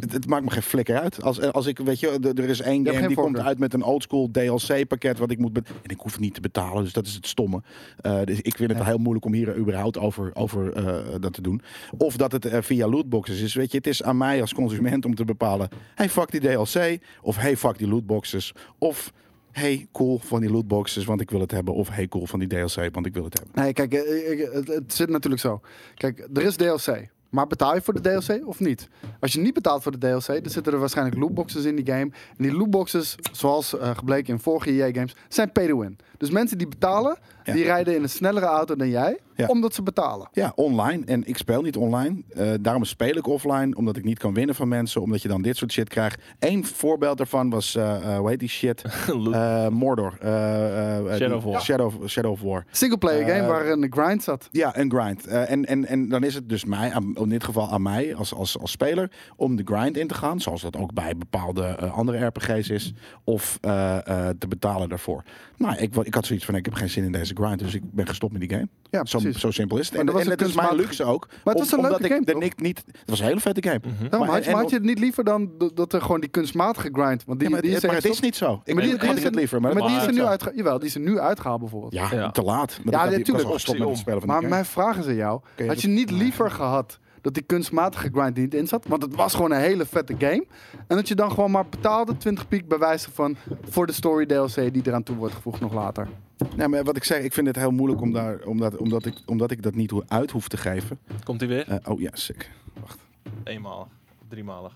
S2: Het, het maakt me geen flikker uit. Als, eh, als ik, weet je, er er is één
S1: hebt
S2: game
S1: geen
S2: die komt
S1: voorkeur.
S2: uit met een oldschool DLC pakket wat ik moet... be- En ik hoef het niet te betalen, dus dat is het stomme. Eh, dus ik vind het
S1: Ja.
S2: heel moeilijk om hier überhaupt over, over eh, dat te doen. Of dat het eh, via lootboxes is. Weet je, het is aan mij als consument om te bepalen... Hey, fuck die DLC. Of hey, fuck die lootboxes. Of... Hey, cool van die lootboxes, want ik wil het hebben. Of hey, cool van die DLC, want ik wil het hebben.
S1: Nee, kijk, eh, ik- het, het zit natuurlijk zo. Kijk, er is DLC. Maar betaal je voor de DLC of niet? Als je niet betaalt voor de DLC, dan zitten er waarschijnlijk lootboxes in die game. En die lootboxes, zoals eh, gebleken in vorige EA-games, zijn pay-to-win. Dus mensen die betalen,
S2: Ja.
S1: die rijden in een snellere auto dan jij,
S2: Ja.
S1: omdat ze betalen.
S2: Ja, online. En ik speel niet online. Eh, daarom speel ik offline, omdat ik niet kan winnen van mensen. Omdat je dan dit soort shit krijgt. Eén voorbeeld daarvan was, eh, eh, hoe heet die shit?
S3: Loot.
S2: Eh, Mordor. Eh, eh, die-
S3: Shadow of War.
S2: Shadow of- Shadow of War.
S1: Singleplayer
S2: Eh,
S1: game waar een grind zat.
S2: Ja, een grind. Eh, en, en, en dan is het dus mij, aan- in dit geval aan mij als, als, als speler, om de grind in te gaan. Zoals dat ook bij bepaalde eh, andere RPG's is. Of eh, eh, te betalen daarvoor. Maar ik, wa- ik had zoiets van, ik heb geen zin in deze grind. Dus ik ben gestopt met die game.
S1: Ja,
S2: Zo,
S1: precies.
S2: zo simpel is het.
S1: Maar
S2: En,
S1: dat was
S2: en
S1: een
S2: het is mijn
S1: kunstmatige-
S2: luxe ook.
S1: Maar het was een leuke
S2: omdat
S1: game,
S2: ik, de
S1: toch?
S2: Nick niet, het was een hele vette game.
S1: Daarom, had, je,
S2: en-
S1: maar had je het niet liever dan d- dat er gewoon die kunstmatige grind? Want die,
S2: Ja, maar
S1: die
S2: het, maar het
S1: echt
S2: is niet zo. Ik
S1: Maar die,
S2: had
S1: die
S2: ik
S1: is
S2: het
S1: er-
S2: liever. Maar,
S1: Maar,
S2: dat
S1: die is er
S2: was
S1: nu
S2: niet zo.
S1: uitgehaald. Jawel, die is er nu uitgehaald bijvoorbeeld.
S2: Ja,
S3: Ja.
S2: te laat. Maar
S1: Ja,
S2: ik had- ik was
S1: natuurlijk.
S2: al gestopt met het spelen van
S1: Maar
S2: die game.
S1: mijn vraag is aan jou.
S2: je
S1: Had
S2: dat-
S1: je niet liever gehad dat die kunstmatige grind er niet in zat? Want het was gewoon een hele vette game. En dat je dan gewoon maar betaalde 20 piek bij wijze van... voor de story DLC die eraan toe wordt gevoegd nog later.
S2: Nee, Nou, maar wat ik zeg, ik vind het heel moeilijk om daar, omdat, omdat, ik, omdat ik dat niet hoe- uit hoef te geven.
S3: Komt hij weer?
S2: Eh, oh ja, sick. Wacht.
S3: Eenmalig, driemalig.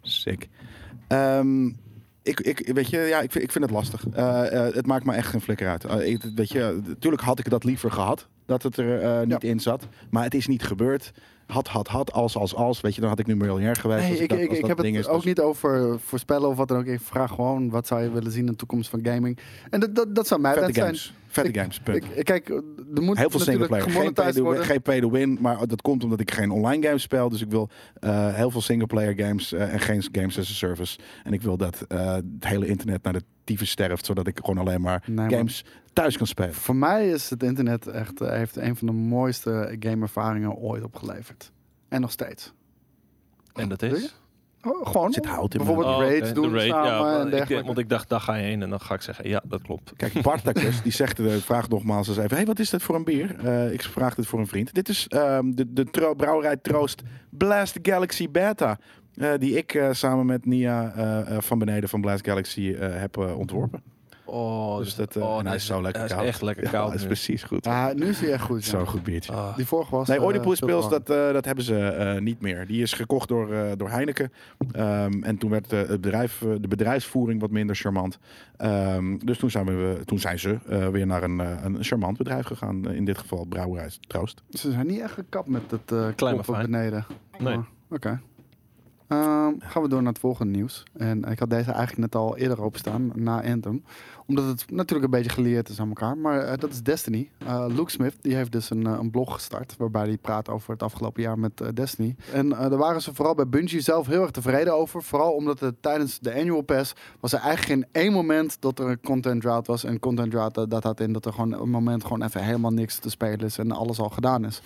S2: Sick. Ehm, ik, ik, weet je, ja, ik, vind- ik vind het lastig. Eh, eh, het maakt me echt geen flikker uit. Eh, ik- weet je, natuurlijk had ik dat liever gehad. dat het er eh, niet
S1: Ja.
S2: in zat. Maar het is niet gebeurd. Had, had, had, als, als, als. Weet je, dan had ik nu miljonair geweest.
S1: Nee,
S2: als
S1: ik,
S2: dat-
S1: ik,
S2: als
S1: ik
S2: dat
S1: heb het
S2: ding is.
S1: ook
S2: Dus-
S1: niet over voorspellen of wat dan ook. Ik vraag gewoon, wat zou je willen zien in de toekomst van gaming? En dat, dat, dat zou mij
S2: Vette
S1: wens zijn.
S2: games. Vette
S1: Ik-
S2: games, punt.
S1: Ik, ik- kijk, er moet
S2: Heel veel
S1: natuurlijk
S2: singleplayer. Geen pay,
S1: gemonetized
S2: to,
S1: worden.
S2: geen pay to win, maar dat komt omdat ik geen online games speel. Dus ik wil eh, heel veel singleplayer games eh, en geen games as a service. En ik wil dat eh, het hele internet naar de tyfus sterft, zodat ik gewoon alleen maar
S1: Nee, maar-
S2: games thuis kan spelen.
S1: Voor mij is het internet echt eh, heeft een van de mooiste gameervaringen ooit opgeleverd. En nog steeds.
S3: En dat
S1: Wil je?
S3: is.
S1: Oh, gewoon.
S2: Zit hout in
S1: bijvoorbeeld
S3: Oh, oké,
S1: raids
S3: de
S1: doen
S3: raid,
S1: samen
S3: ja,
S1: en
S3: ik-
S1: dergelijke.
S3: want ik dacht, daar ga je heen. En dan ga ik zeggen, ja, dat klopt.
S2: Kijk, Bartacus, die zegt, de vraag nogmaals eens even... hey, wat is dit voor een bier? Eh, ik vraag dit voor een vriend. Dit is ehm, de, de tro- brouwerij Troost Blast Galaxy Beta... eh, die ik eh, samen met Nia eh, eh, van beneden van Blast Galaxy eh, heb eh, ontworpen.
S3: Oh,
S2: Dus dat, eh,
S3: oh,
S2: en hij
S3: nee,
S2: is zo lekker
S3: hij is
S2: koud.
S3: echt lekker
S2: Ja,
S3: koud
S2: dat is
S3: nu.
S2: precies goed.
S1: Ja, nu is hij echt goed. ja.
S2: Zo'n goed biertje.
S3: Ah.
S1: Ah. Die vorige was...
S2: Nee,
S1: eh,
S2: Oedipus
S1: veel
S2: Pils,
S1: warmer.
S2: dat, eh, dat hebben ze eh, niet meer. Die is gekocht door, eh, door Heineken. Ehm, en toen werd eh, het bedrijf, eh, de bedrijfsvoering wat minder charmant. Ehm, dus toen zijn, we, toen zijn ze eh, weer naar een, eh, een charmant bedrijf gegaan. Eh, in dit geval Brouwerij Troost.
S1: Ze zijn niet echt gekapt met het eh kloppen
S3: fijn.
S1: beneden.
S3: Nee.
S1: Maar, Oké. Ehm, gaan we door naar het volgende nieuws. En ik had deze eigenlijk net al eerder openstaan, na Anthem. Omdat het natuurlijk een beetje geleerd is aan elkaar. Maar eh, dat is Destiny. Eh, Luke Smith die heeft dus een, eh, een blog gestart... waarbij hij praat over het afgelopen jaar met eh, Destiny. En eh, daar waren ze vooral bij Bungie zelf heel erg tevreden over. Vooral omdat het tijdens de Annual Pass... was er eigenlijk geen één moment dat er een content drought was. En content drought, eh, dat had in dat er gewoon een moment... gewoon even helemaal niks te spelen is en alles al gedaan is.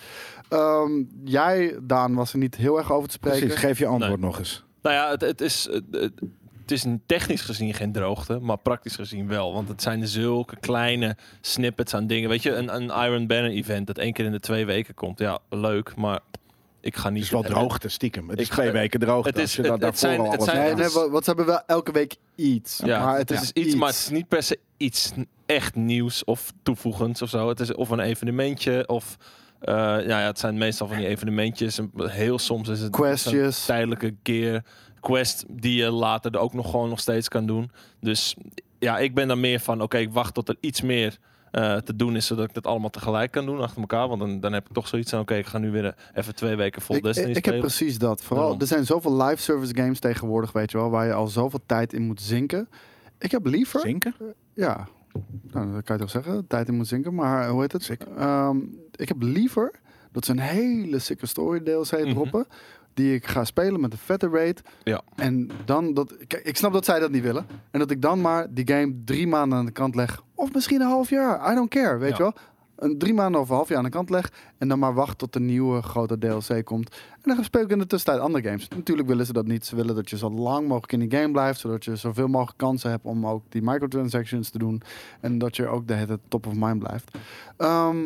S1: Ehm, jij, Daan, was er niet heel erg over te spreken.
S2: Precies, geef je antwoord
S3: Nee.
S2: nog eens.
S3: Nou ja, het, het is. Het, het- het is een- technisch gezien geen droogte, maar praktisch gezien wel. Want het zijn zulke kleine snippets aan dingen. Weet je, een, een Iron Banner event dat één keer in de twee weken komt. Ja, leuk, maar ik ga
S2: Het
S3: niet...
S2: is wel droogte, stiekem. Het is
S3: Eh, Ik-
S2: twee weken droogte.
S3: het is-
S2: als je
S3: het-
S2: dat
S3: het
S2: daarvoor
S3: zijn-
S2: al
S3: het
S2: alles
S3: zijn-
S2: had.
S1: Nee, nee, eh, wa- want ze hebben wel elke week iets.
S3: Ja,
S1: maar het is,
S3: is iets, maar het is niet per se iets n- echt nieuws of toevoegends of zo. Het is of een evenementje of... eh, ja, ja, het zijn meestal van die evenementjes. En Heel soms is het
S1: Questjes.
S3: zo'n tijdelijke keer quest die je later er ook nog gewoon nog steeds kan doen. Dus ja, ik ben dan meer van, oké, ik wacht tot er iets meer eh, te doen is, zodat ik dat allemaal tegelijk kan doen achter elkaar. Want dan, dan heb ik toch zoiets van, oké, ik ga nu weer even twee weken vol
S1: Ik, ik,
S3: Destiny
S1: ik heb
S3: spelen.
S1: precies dat. Vooral,
S3: Daarom.
S1: er zijn zoveel live service games tegenwoordig, weet je wel, waar je al zoveel tijd in moet zinken. Ik heb liever,
S2: Zinken?
S1: ja, nou, dat kan je toch zeggen, tijd in moet zinken. Maar eh, hoe heet het?
S2: Zeker.
S1: Ehm, ik heb liever dat ze een hele sikke story DLC
S3: Mhm.
S1: droppen. Die ik ga spelen met een vette rate.
S3: Ja.
S1: En dan dat. Kijk, ik snap dat zij dat niet willen. En dat ik dan maar die game drie maanden aan de kant leg. Of misschien een half jaar. I don't care. Weet
S3: Ja.
S1: je wel? Een drie maanden of een half jaar aan de kant leg. En dan maar wacht tot de nieuwe grote DLC komt. En dan speel ik in de tussentijd andere games. Natuurlijk willen ze dat niet. Ze willen dat je zo lang mogelijk in die game blijft. Zodat je zoveel mogelijk kansen hebt om ook die microtransactions te doen. En dat je ook de hele tijd top of mind blijft. Ehm,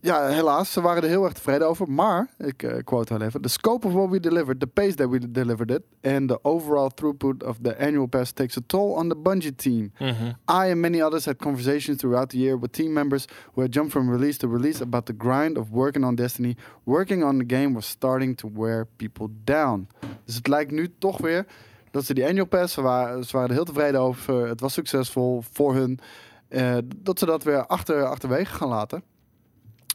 S1: ja, helaas. Ze waren er heel erg tevreden over. Maar, ik eh, quote wel even. The scope of what we delivered, the pace that we delivered it... and the overall throughput of the annual pass takes a toll on the Bungie team.
S3: Mhm.
S1: I and many others had conversations throughout the year with team members who had jumped from release to release about the grind of working on Destiny. Working on the game was starting to wear people down. Dus het lijkt nu toch weer dat ze die annual pass, ze waren, ze waren er heel tevreden over, het was succesvol voor hun, eh, dat ze dat weer achter, achterwege gaan laten.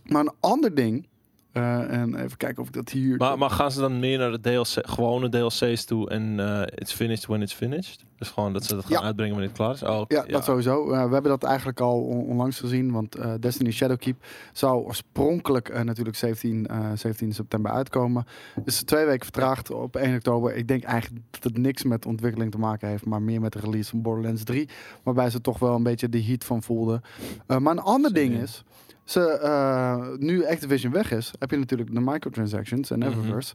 S1: Maar een ander ding, eh, en even kijken of ik dat hier...
S3: Maar, maar gaan ze dan meer naar de DLC, gewone DLC's toe en eh, it's finished when it's finished? Dus gewoon dat ze dat gaan
S1: Ja.
S3: uitbrengen wanneer het klaar is? Oh, oké,
S1: Ja, dat sowieso. Eh, we hebben dat eigenlijk al on- onlangs gezien, want eh, Destiny Shadowkeep zou oorspronkelijk eh, natuurlijk 17, eh, 17 september uitkomen. Is twee weken vertraagd op 1 oktober. Ik denk eigenlijk dat het niks met ontwikkeling te maken heeft, maar meer met de release van Borderlands 3, waarbij ze toch wel een beetje de heat van voelden. Eh, maar een ander
S3: Zin
S1: ding
S3: in.
S1: is, ze, eh, nu Activision weg is, heb je natuurlijk de microtransactions en
S3: Mhm.
S1: Eververse.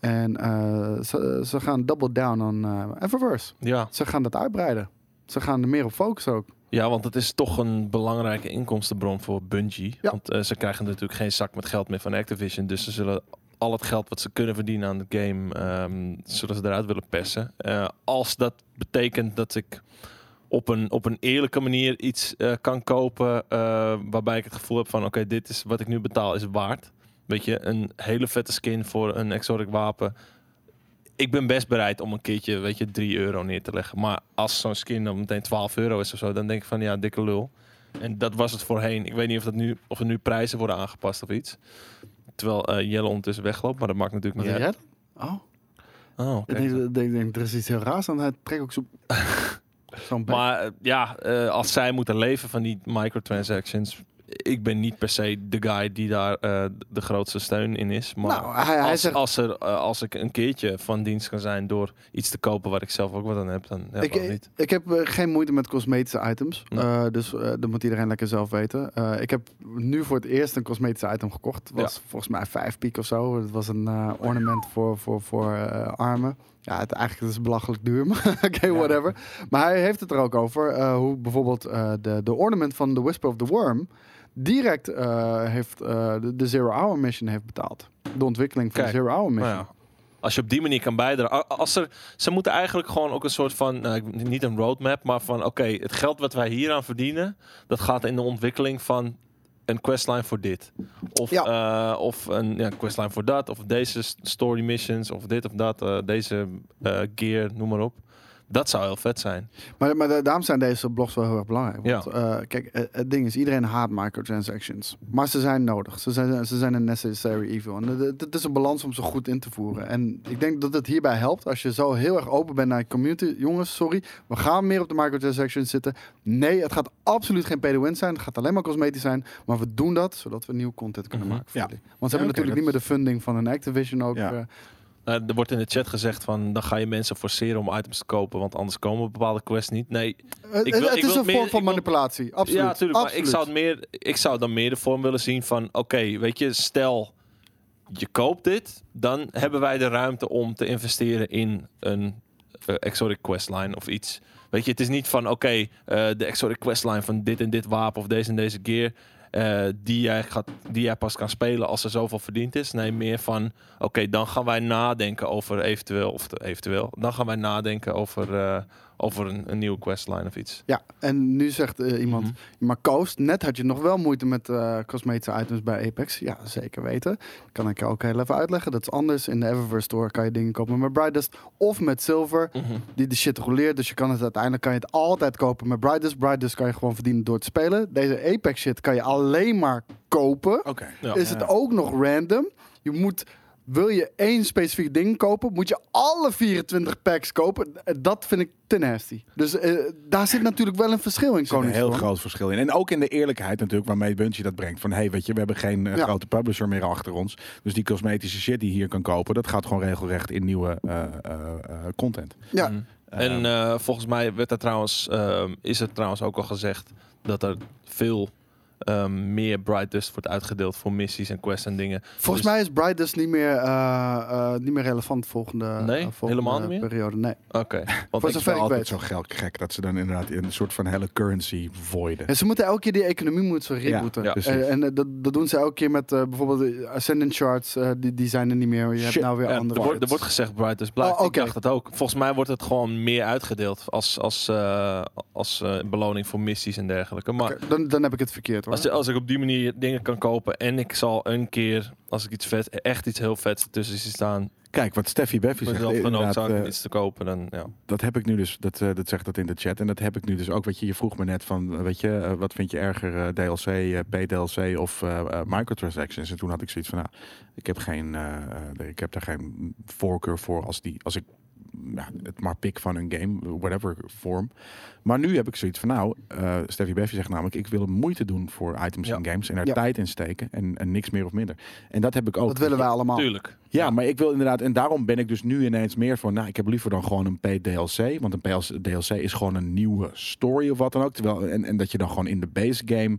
S1: En eh, ze, ze gaan double down on eh, Eververse.
S3: Ja.
S1: Ze gaan dat uitbreiden. Ze gaan er meer op focussen ook.
S3: ja, want het is toch een belangrijke inkomstenbron voor Bungie.
S1: Ja.
S3: Want eh, ze krijgen natuurlijk geen zak met geld meer van Activision. Dus ze zullen al het geld wat ze kunnen verdienen aan de game, ehm, zullen ze eruit willen persen. Eh, als dat betekent dat ik op een, op een eerlijke manier iets eh, kan kopen eh, waarbij ik het gevoel heb van oké, dit is wat ik nu betaal is waard. Weet je, een hele vette skin voor een exotic wapen. Ik ben best bereid om een keertje, weet je, 3 euro neer te leggen. Maar als zo'n skin dan meteen 12 euro is of zo, dan denk ik van ja, dikke lul. En dat was het voorheen. Ik weet niet of, dat nu, of er nu prijzen worden aangepast of iets. Terwijl eh, Jelle ondertussen wegloopt, maar dat maakt natuurlijk
S1: Wat
S3: niet
S1: denk
S3: uit.
S1: jij dan? Oh,
S3: Oh,
S1: ik
S3: kijk
S1: denk,
S3: zo.
S1: ik denk, denk, er is iets heel raars aan. Hij trekt ook zo- zo'n bek.
S3: Maar eh, ja, eh, als zij moeten leven van die microtransactions... Ik ben niet per se de guy die daar eh, de grootste steun in is. Maar
S1: nou, hij, hij
S3: als,
S1: zegt...
S3: als, er, eh, als ik een keertje van dienst kan zijn door iets te kopen waar ik zelf ook wat aan heb, dan heb ik
S1: Ik,
S3: niet.
S1: ik heb eh, geen moeite met cosmetische items.
S3: Nee.
S1: Eh, dus eh, dat moet iedereen lekker zelf weten. Eh, ik heb nu voor het eerst een cosmetische item gekocht. was volgens mij vijf piek of zo. Het was een eh, ornament voor, voor, voor eh, armen. Ja, het, eigenlijk is het belachelijk duur. Maar oké, whatever. Maar hij heeft het er ook over. eh, hoe bijvoorbeeld eh, de, de ornament van The Whisper of the Worm... direct eh, heeft, eh, de, de Zero Hour Mission heeft betaald. De ontwikkeling van
S3: Kijk,
S1: de Zero Hour Mission.
S3: Nou ja, als je op die manier kan bijdragen. a- Als er, ze moeten eigenlijk gewoon ook een soort van, nou, ik- niet een roadmap, maar van oké, het geld wat wij hier aan verdienen, dat gaat in de ontwikkeling van een questline voor dit. Of, eh, of een ja, questline voor dat, of deze s- story missions, of dit of dat, eh, deze eh, gear, noem maar op. Dat zou heel vet zijn.
S1: Maar, maar da- daarom zijn deze blogs wel heel erg belangrijk. Want
S3: Ja.
S1: eh, kijk, eh, het ding is, iedereen haat microtransactions. Maar ze zijn nodig. Ze zijn, ze zijn een necessary evil. En het- het het is een balans om ze goed in te voeren. En ik denk dat het hierbij helpt als je zo heel erg open bent naar je community. Jongens, sorry, we gaan meer op de microtransactions zitten. Nee, het gaat absoluut geen pay-to-win zijn. Het gaat alleen maar cosmetisch zijn. Maar we doen dat zodat we nieuw content kunnen
S3: Mhm.
S1: maken voor
S2: Ja.
S1: jullie. Want ze
S2: Ja,
S1: hebben
S2: oké,
S1: natuurlijk niet meer de funding van hun Activision ook.
S2: Ja.
S1: eh,
S3: Eh, er wordt in de chat gezegd van, dan ga je mensen forceren om items te kopen, want anders komen bepaalde quests niet. Nee,
S1: het-
S3: wil-
S1: het
S3: ik
S1: is
S3: wil
S1: een vorm
S3: meer-
S1: van
S3: ik wil-
S1: manipulatie. Absoluut.
S3: Ja, tuurlijk. Maar ik
S1: Absoluut.
S3: zou, het meer, ik zou dan meer de vorm willen zien van... Oké, weet je, stel je koopt dit... dan hebben wij de ruimte om te investeren in een eh, Exotic Questline of iets. Weet je, het is niet van... Oké, eh, de Exotic Questline van dit en dit wapen of deze en deze gear... eh, die, jij gaat, die jij pas kan spelen als er zoveel verdiend is. Nee, meer van... Oké, dan gaan wij nadenken over eventueel... of de- eventueel, dan gaan wij nadenken over... eh, over een, een nieuwe questline of iets.
S1: Ja, en nu zegt eh, iemand,
S3: Mhm.
S1: maar Koos, net had je nog wel moeite met eh, cosmetische items bij Apex. Ja, zeker weten. Kan ik je ook heel even uitleggen. Dat is anders. In de Eververse Store kan je dingen kopen met Brightest of met Silver, die de shit roleert. Dus je kan het uiteindelijk kan je het altijd kopen met Brightest. Brightest kan je gewoon verdienen door te spelen. Deze Apex shit kan je alleen maar kopen.
S2: Oké.
S3: Ja.
S1: Is het ook nog random? Je moet... Wil je één specifiek ding kopen, moet je alle 24 packs kopen. Eh, Dat vind ik ten nasty. Dus eh, daar zit natuurlijk wel een verschil in,
S2: Er zit een heel
S1: Koningsstorm.
S2: groot verschil in. En ook in de eerlijkheid natuurlijk waarmee Bungie dat brengt. Van, hey, weet je, we hebben geen eh,
S1: Ja.
S2: grote publisher meer achter ons. Dus die cosmetische shit die je hier kan kopen, dat gaat gewoon regelrecht in nieuwe eh, eh, eh, content.
S1: Ja.
S3: Mm.
S1: Ehm,
S3: En eh, volgens mij werd er trouwens, ehm, is er trouwens ook al gezegd dat er veel ehm, meer Bright Dust wordt uitgedeeld voor missies en quests en dingen.
S1: Volgens mij is Bright dus niet meer, eh, eh, niet meer relevant volgende,
S3: Nee,
S1: eh, volgende
S3: helemaal niet meer?
S1: periode. Nee.
S3: Oké. Want
S1: Voor
S3: ik-
S2: Het is
S1: zover
S2: wel
S1: ik
S2: altijd
S1: weet.
S2: zo geld gek dat ze dan inderdaad in een soort van hele currency voiden.
S1: En ze moeten elke keer die economie moeten ze rebooten.
S3: Ja, ja,
S2: precies.
S1: en en, eh, dat, dat doen ze elke keer met eh, bijvoorbeeld de Ascendant Charts. eh, die, die zijn er niet meer. Je hebt
S2: Shit.
S1: nou weer
S3: ja,
S1: andere.
S3: er, wordt, er wordt gezegd Bright Dust blijft.
S1: Oh, oké.
S3: Ik dacht het ook. Volgens mij wordt het gewoon meer uitgedeeld als, als, eh, als eh, beloning voor missies en dergelijke. Maar
S1: Oké, dan, dan heb ik het verkeerd hoor.
S3: als, als ik op die manier dingen kan kopen en ik zal een keer, als ik iets vet, echt iets heel vets tussen zie staan,
S2: Kijk, wat Steffi Beffy zegt,
S3: mezelf
S2: inderdaad,
S3: genoodzaakt om
S2: eh,
S3: iets te kopen, dan ja.
S2: dat heb ik nu dus, dat, eh, dat zegt dat in de chat. En dat heb ik nu dus ook, weet je, je vroeg me net van, eh, weet je, eh, wat vind je erger, eh, DLC, eh, PDLC of eh, eh, microtransactions? En toen had ik zoiets van, nou, ik heb, geen, eh, eh, ik heb daar geen voorkeur voor als, die, als ik ja, het maar pik van een game, whatever vorm. Maar nu heb ik zoiets van, nou, eh Steffi Beffy zegt namelijk, ik wil moeite doen voor items
S3: Ja.
S2: en games en er
S1: Ja.
S2: tijd in steken en, en niks meer of minder. En dat heb
S3: oh,
S2: ik ook.
S1: dat willen wij allemaal.
S3: Tuurlijk.
S2: Ja, maar ik wil inderdaad, en daarom ben ik dus nu ineens meer van, nou, ik heb liever dan gewoon een PDLC, want een PLC DLC is gewoon een nieuwe story of wat dan ook. Terwijl, en, en dat je dan gewoon in de base game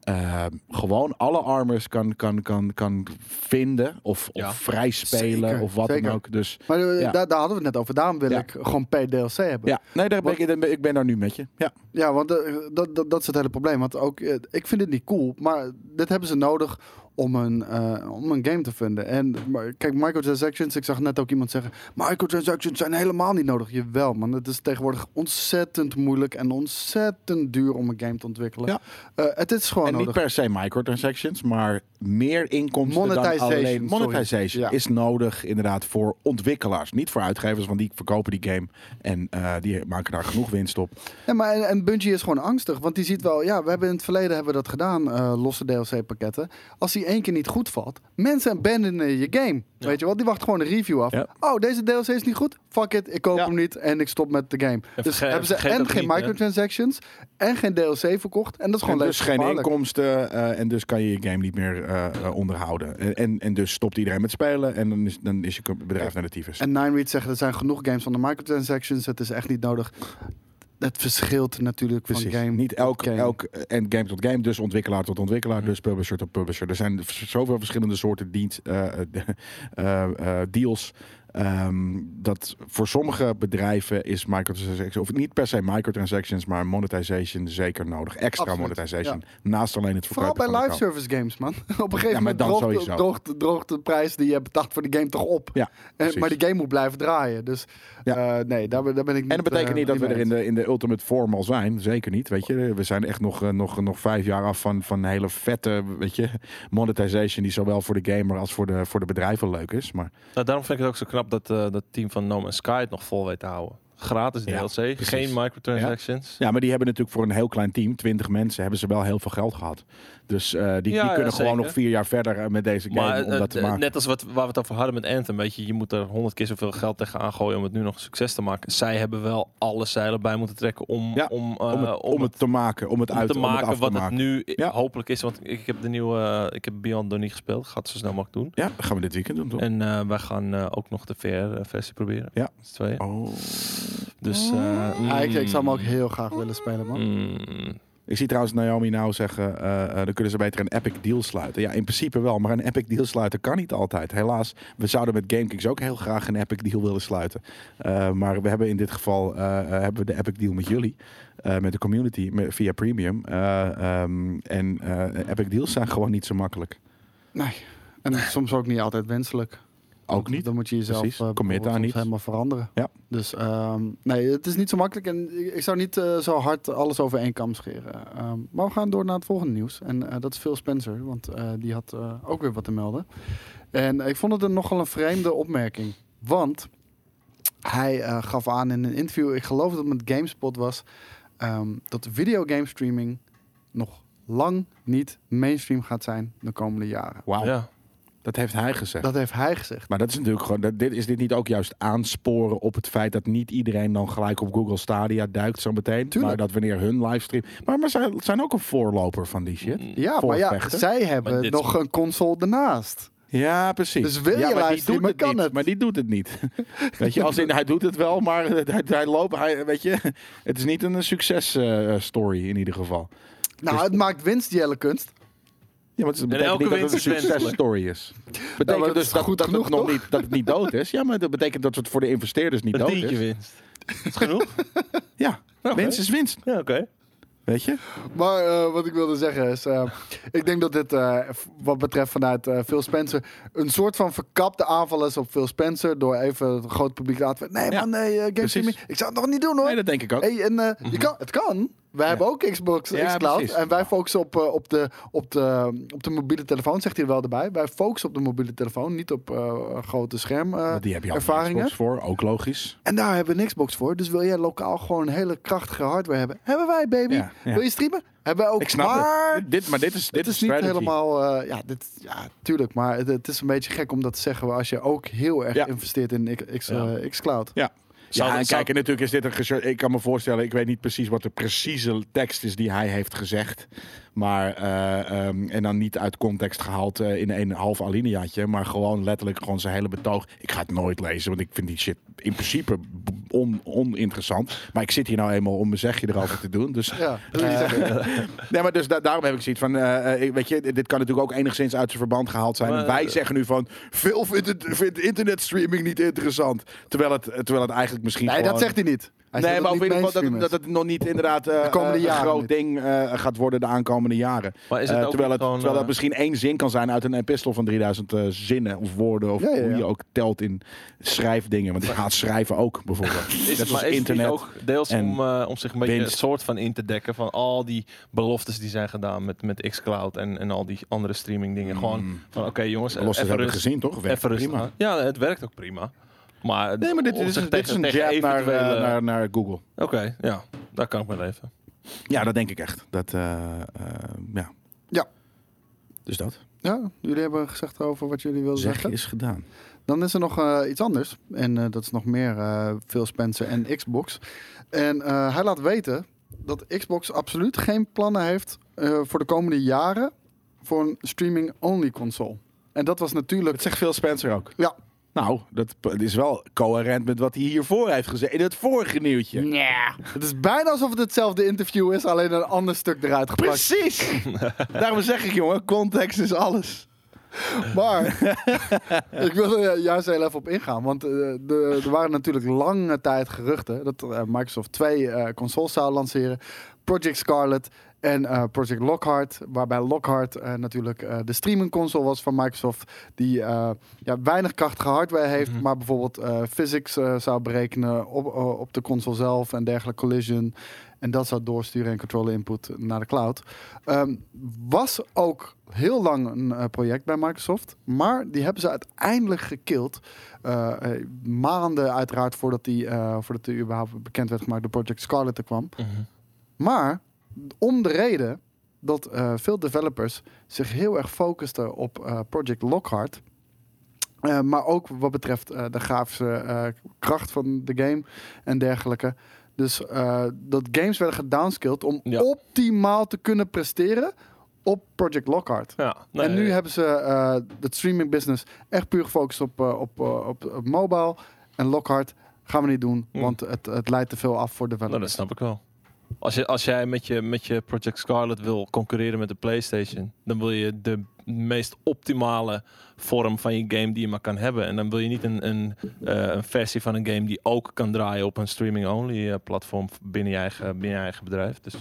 S2: eh, gewoon alle armors kan, kan, kan, kan vinden of,
S3: Ja.
S2: of vrij spelen
S1: Zeker,
S2: of wat
S1: zeker.
S2: dan ook. Dus
S1: Maar eh,
S2: Ja.
S1: daar, daar hadden we het net over. Daarom wil
S2: Ja.
S1: ik gewoon per DLC hebben.
S2: ja, nee, daar ben
S1: Wat-
S2: ik, daar ben- ik ben daar nu met je. Ja,
S1: Ja, want eh, dat, dat, dat is het hele probleem. Want ook, eh, ik vind het niet cool, maar dit hebben ze nodig om een, eh, om een game te vinden. En maar, kijk, microtransactions, ik zag net ook iemand zeggen... microtransactions zijn helemaal niet nodig. Jawel, man. Het is tegenwoordig ontzettend moeilijk en ontzettend duur om een game te ontwikkelen.
S2: Ja.
S1: Eh, het is gewoon
S2: En niet
S1: nodig.
S2: per se microtransactions, maar meer inkomsten
S1: Monetization,
S2: dan alleen...
S1: sorry.
S2: Monetization
S1: Ja.
S2: is nodig inderdaad voor ontwikkelaars. Niet voor uitgevers, want die verkopen die game en eh, die maken daar genoeg winst op.
S1: Ja, maar en, en Bungie is gewoon angstig. Want die ziet wel, ja, we hebben in het verleden hebben we dat gedaan, eh, losse DLC-pakketten. Als die één keer niet goed valt, mensen abandonen je game. Weet je wel, die wachten gewoon een review af.
S2: Ja.
S1: Oh, deze DLC is niet goed. Fuck it, ik koop
S2: Ja.
S1: hem niet en ik stop met de game.
S3: En
S1: dus
S3: verge-
S1: hebben ze
S3: vergeet
S1: en
S3: dat
S1: geen
S3: niet, hè?
S1: microtransactions en geen DLC verkocht. En dat is
S2: En
S1: gewoon
S2: dus geen
S1: levensgevaarlijk.
S2: inkomsten eh, en dus kan je je game niet meer eh, eh, onderhouden. En, en, en dus stopt iedereen met spelen en dan is, dan is je co- bedrijf naar de tyfus.
S1: En Nine Read zegt, er zijn genoeg games zonder microtransactions. Het is echt niet nodig. Het verschilt natuurlijk
S2: Precies.
S1: van game.
S2: niet elk,
S1: game.
S2: elk eh, en game tot game, dus ontwikkelaar tot ontwikkelaar, dus publisher tot publisher. Er zijn v- zoveel verschillende soorten dienst, eh, eh, de- eh, eh, deals. ehm, dat voor sommige bedrijven is microtransactions, of niet per se microtransactions, maar monetization zeker nodig. Extra
S1: Absoluut,
S2: monetization. Naast alleen het verkopen.
S1: Vooral bij
S2: van de
S1: live
S2: koop.
S1: service games, man. Op een gegeven
S2: maar
S1: moment
S2: dan
S1: droogt,
S2: sowieso.
S1: droogt- droogt de prijs die je betaalt voor de game toch op.
S2: Ja,
S1: En-
S2: precies.
S1: maar die game moet blijven draaien. Dus
S2: Ja.
S1: eh, nee, daar, ben- daar ben ik niet
S2: En dat betekent
S1: eh,
S2: niet dat we
S1: mee
S2: er in de, in de ultimate form al zijn. Zeker niet. Weet je, we zijn echt nog, eh, nog, nog vijf jaar af van, van hele vette weet je, monetization. Die zowel voor de gamer als voor de, voor de bedrijven leuk is. Maar
S3: Nou, daarom vind ik het ook zo knap dat eh dat team van No Man's Sky het nog vol weet te houden. Gratis
S2: Ja,
S3: DLC,
S2: precies.
S3: geen microtransactions.
S2: Ja, maar die hebben natuurlijk voor een heel klein team, 20 mensen, hebben ze wel heel veel geld gehad. Dus eh, die,
S3: Ja,
S2: die
S3: ja,
S2: kunnen gewoon
S3: zeker.
S2: nog vier jaar verder eh, met deze game
S3: Maar
S2: om
S3: eh,
S2: dat te
S3: eh,
S2: maken.
S3: net als wat, waar we het over hadden met Anthem, weet je, je moet er honderd keer zoveel geld tegenaan gooien om het nu nog een succes te maken. Zij hebben wel alle zeilen bij moeten trekken om,
S2: Ja,
S3: om, eh,
S2: om, het, om, het te maken, om het
S3: om
S2: uit
S3: te maken
S2: om het af
S3: wat
S2: te maken.
S3: het nu i-
S2: Ja.
S3: hopelijk is. Want ik heb de nieuwe, eh, ik heb Beyond nog niet gespeeld, ik ga het zo snel mogelijk doen.
S2: Ja, dat gaan we dit weekend doen toch?
S3: En eh, wij gaan eh, ook nog de VR-versie proberen.
S2: Ja.
S3: Dat is twee.
S2: Oh.
S3: Dus, eh,
S1: eens. Ah, ik, ik zou hem ook
S3: mm,
S1: heel graag willen spelen, man.
S3: mm.
S2: Ik zie trouwens Naomi nou zeggen, eh, eh, dan kunnen ze beter een epic deal sluiten. Ja, in principe wel, maar een epic deal sluiten kan niet altijd. Helaas, we zouden met GameKings ook heel graag een epic deal willen sluiten. Eh, maar we hebben in dit geval eh, eh, hebben we de epic deal met jullie, eh, met de community, met- via Premium. Eh, ehm, en eh, epic deals zijn gewoon niet zo makkelijk.
S1: Nee. En soms ook niet altijd wenselijk.
S2: Ook
S1: Want
S2: niet.
S1: Dan moet je jezelf
S2: Precies.
S1: eh,
S2: Commit
S1: bijvoorbeeld
S2: daar
S1: soms
S2: niet.
S1: helemaal veranderen.
S2: Ja.
S1: Dus ehm, nee, het is niet zo makkelijk. En ik, ik zou niet eh, zo hard alles over één kam scheren. Ehm, maar we gaan door naar het volgende nieuws. En eh, dat is Phil Spencer, want eh, die had eh, ook weer wat te melden. En ik vond het een nogal een vreemde opmerking. Want hij eh, gaf aan in een interview, ik geloof dat het met GameSpot was, ehm, dat videogame streaming nog lang niet mainstream gaat zijn de komende jaren.
S2: Wauw,
S3: Ja.
S2: dat heeft hij gezegd.
S1: Dat heeft hij gezegd.
S2: Maar dat is natuurlijk gewoon. Dat, dit, is dit niet ook juist aansporen op het feit dat niet iedereen dan gelijk op Google Stadia duikt zo meteen?
S1: Tuurlijk.
S2: Maar dat wanneer hun livestream. Maar, maar zij zijn ook een voorloper van die shit.
S1: Ja, maar ja,
S2: voorvechten.
S1: zij
S3: Maar
S1: hebben
S3: dit-
S1: nog een console ernaast.
S2: Ja, precies.
S1: Dus wil je
S2: ja, maar die
S1: livestreamen,
S2: doet het
S1: kan
S2: niet,
S1: het.
S2: Maar die doet het niet. weet je, als in, hij doet het wel, maar hij, hij loopt. Hij, weet je, het is niet een successtory in ieder geval.
S1: Nou,
S2: Dus-
S1: het maakt winst, Jelle Kunst.
S2: Ja, want het
S3: En
S2: betekent
S3: elke
S2: niet dat
S3: winst
S2: het een
S3: is wenselijk.
S2: successtory is.
S1: Nou, maar
S2: Betekent
S1: dat
S2: dus
S1: is
S2: dat,
S1: goed
S2: dat,
S1: genoeg,
S2: het nog
S1: toch?
S2: niet, dat het niet dood is. Ja, maar dat betekent dat het voor de investeerders niet
S3: Een
S2: dood
S3: tientje
S2: is.
S3: winst. Dat is genoeg.
S2: Ja, winst is winst.
S3: Ja, oké.
S2: Weet je?
S1: Maar eh, wat ik wilde zeggen is, eh, ik denk dat dit eh, f- wat betreft vanuit eh, Phil Spencer een soort van verkapte aanval is op Phil Spencer door even het groot publiek te laten. Nee
S2: Ja,
S1: man, nee, eh, game
S2: precies.
S1: streaming. Ik zou het nog niet doen hoor.
S2: Nee, dat denk ik ook. Mhm.
S1: Hey, en eh, je kan, het kan. Wij hebben ook Xbox,
S2: Ja,
S1: Xcloud.
S2: precies.
S1: En wij focussen op, eh, op, de, op, de, op de mobiele telefoon, zegt hij er wel erbij. Wij focussen op de mobiele telefoon, niet op eh, grote scherm. eh,
S2: Want die heb je al
S1: ervaringen.
S2: ervaringen voor, ook logisch.
S1: En daar hebben we een Xbox voor. Dus wil jij lokaal gewoon hele krachtige hardware hebben? Hebben wij, baby.
S2: Ja, ja.
S1: Wil je streamen? Hebben wij ook.
S2: Ik snap
S1: maar
S2: het. Dit, maar dit is, dit
S1: het is niet
S2: strategy.
S1: helemaal. eh, ja, dit, ja, tuurlijk. Maar het, het is een beetje gek om dat te zeggen als je ook heel erg
S2: Ja.
S1: investeert in X, X,
S3: Ja.
S1: eh, Xcloud.
S2: Ja.
S3: Zou-
S2: ja, en
S3: zou-
S2: kijk, en natuurlijk is dit een gezer- Ik kan me voorstellen, ik weet niet precies wat de precieze tekst is die hij heeft gezegd. Maar, eh, ehm, en dan niet uit context gehaald eh, in een half alineaatje. Maar gewoon letterlijk gewoon zijn hele betoog. Ik ga het nooit lezen, want ik vind die shit in principe b- on, oninteressant. Maar ik zit hier nou eenmaal om mijn zegje erover te doen. Dus
S1: Ja, wil je zeggen.
S2: Nee, maar dus da- daarom heb ik zoiets van, eh, eh, ik- weet je, dit kan natuurlijk ook enigszins uit zijn verband gehaald zijn.
S3: Maar-
S2: En
S1: eh,
S2: wij zeggen nu van, veel vindt, het, vindt internetstreaming niet interessant. Terwijl het, terwijl het eigenlijk misschien
S1: Nee, dat
S2: gewoon-
S1: zegt hij niet. Hij
S2: nee,
S1: zegt
S2: maar
S1: dat
S2: ook in ieder
S1: het
S2: geval dat,
S1: mainstream
S2: dat het nog niet inderdaad eh,
S1: De komende
S2: een
S1: jaren
S2: groot
S1: niet.
S2: ding eh, gaat worden de aankomende jaren.
S3: Maar is het
S2: Eh,
S3: ook
S2: terwijl,
S3: niet
S2: het,
S3: gewoon,
S2: terwijl dat
S3: eh,
S2: misschien één zin kan zijn uit een epistel van 3000 eh, zinnen of woorden. Of
S1: Ja, ja,
S2: hoe
S1: ja.
S2: je ook telt in schrijfdingen. Want ik ga het schrijven ook bijvoorbeeld.
S3: Is,
S2: Net
S3: het-
S2: als
S3: maar is het niet
S2: internet.
S3: ook deels
S2: en
S3: om, eh, om zich een beetje
S2: winst.
S3: een soort van in te dekken van al die beloftes die zijn gedaan met, met Xcloud en, en al die andere streaming dingen. Gewoon van oké jongens,
S2: Los, dat
S3: even
S2: Mm. hebben we
S3: rust,
S2: gezien toch? Werkt
S3: even rust
S2: prima.
S3: aan. Ja, het werkt ook prima. Maar,
S2: Nee, maar dit,
S3: om
S2: is,
S3: zich
S2: dit is een jab naar, eh,
S3: eventuele-
S2: naar, naar Google.
S3: Oké, ja, daar kan ik mee leven.
S2: Ja, dat denk ik echt. Dat, eh, eh, ja.
S1: Ja.
S2: Dus dat.
S1: Ja, jullie hebben gezegd over wat jullie wilden
S2: Zeg
S1: zeggen.
S2: is gedaan.
S1: Dan is er nog eh, iets anders. En eh, dat is nog meer eh, Phil Spencer en Xbox. En eh, hij laat weten dat Xbox absoluut geen plannen heeft eh, voor de komende jaren voor een streaming-only console. En dat was natuurlijk.
S2: Dat zegt Phil Spencer ook.
S1: Ja.
S2: Nou, dat p- is wel coherent met wat hij hiervoor heeft gezegd. In het vorige nieuwtje.
S1: Het is bijna alsof het hetzelfde interview is, alleen een ander stuk eruit gepakt.
S2: Precies! Daarom zeg ik, jongen, context is alles.
S1: Maar ik wil er juist heel even op ingaan. Want eh, de, er waren natuurlijk lange tijd geruchten dat eh, Microsoft twee eh, consoles zou lanceren. Project Scarlet en eh, Project Lockhart. Waarbij Lockhart eh, natuurlijk eh, de streamingconsole was van Microsoft. Die eh, ja, weinig krachtige hardware heeft, maar bijvoorbeeld eh, physics eh, zou berekenen op, eh, op de console zelf en dergelijke collision. En dat zou doorsturen en controller input naar de cloud. Ehm, was ook heel lang een eh, project bij Microsoft. Maar die hebben ze uiteindelijk gekild. Eh, eh, maanden uiteraard voordat die, eh, voordat die überhaupt bekend werd gemaakt door Project Scarlet er kwam.
S2: Mhm.
S1: Maar om de reden dat eh, veel developers zich heel erg focusten op eh, Project Lockhart. Eh, maar ook wat betreft eh, de grafische eh, kracht van de game en dergelijke. Dus eh, dat games werden gedownskilled om
S3: Ja.
S1: optimaal te kunnen presteren op Project Lockhart.
S3: Ja, nee,
S1: en nu hebben ze eh het streaming business echt puur gefocust op, eh, op, eh, op, op mobile. En Lockhart gaan we niet doen,
S3: Hmm.
S1: want het, het leidt te veel af voor
S3: nou, dat
S1: developers.
S3: snap ik wel. Als, je, als jij met je, met je Project Scarlet wil concurreren met de PlayStation, dan wil je de meest optimale vorm van je game die je maar kan hebben. En dan wil je niet een, een, eh, een versie van een game die ook kan draaien op een streaming-only eh, platform binnen je, eigen, binnen je eigen bedrijf. Dus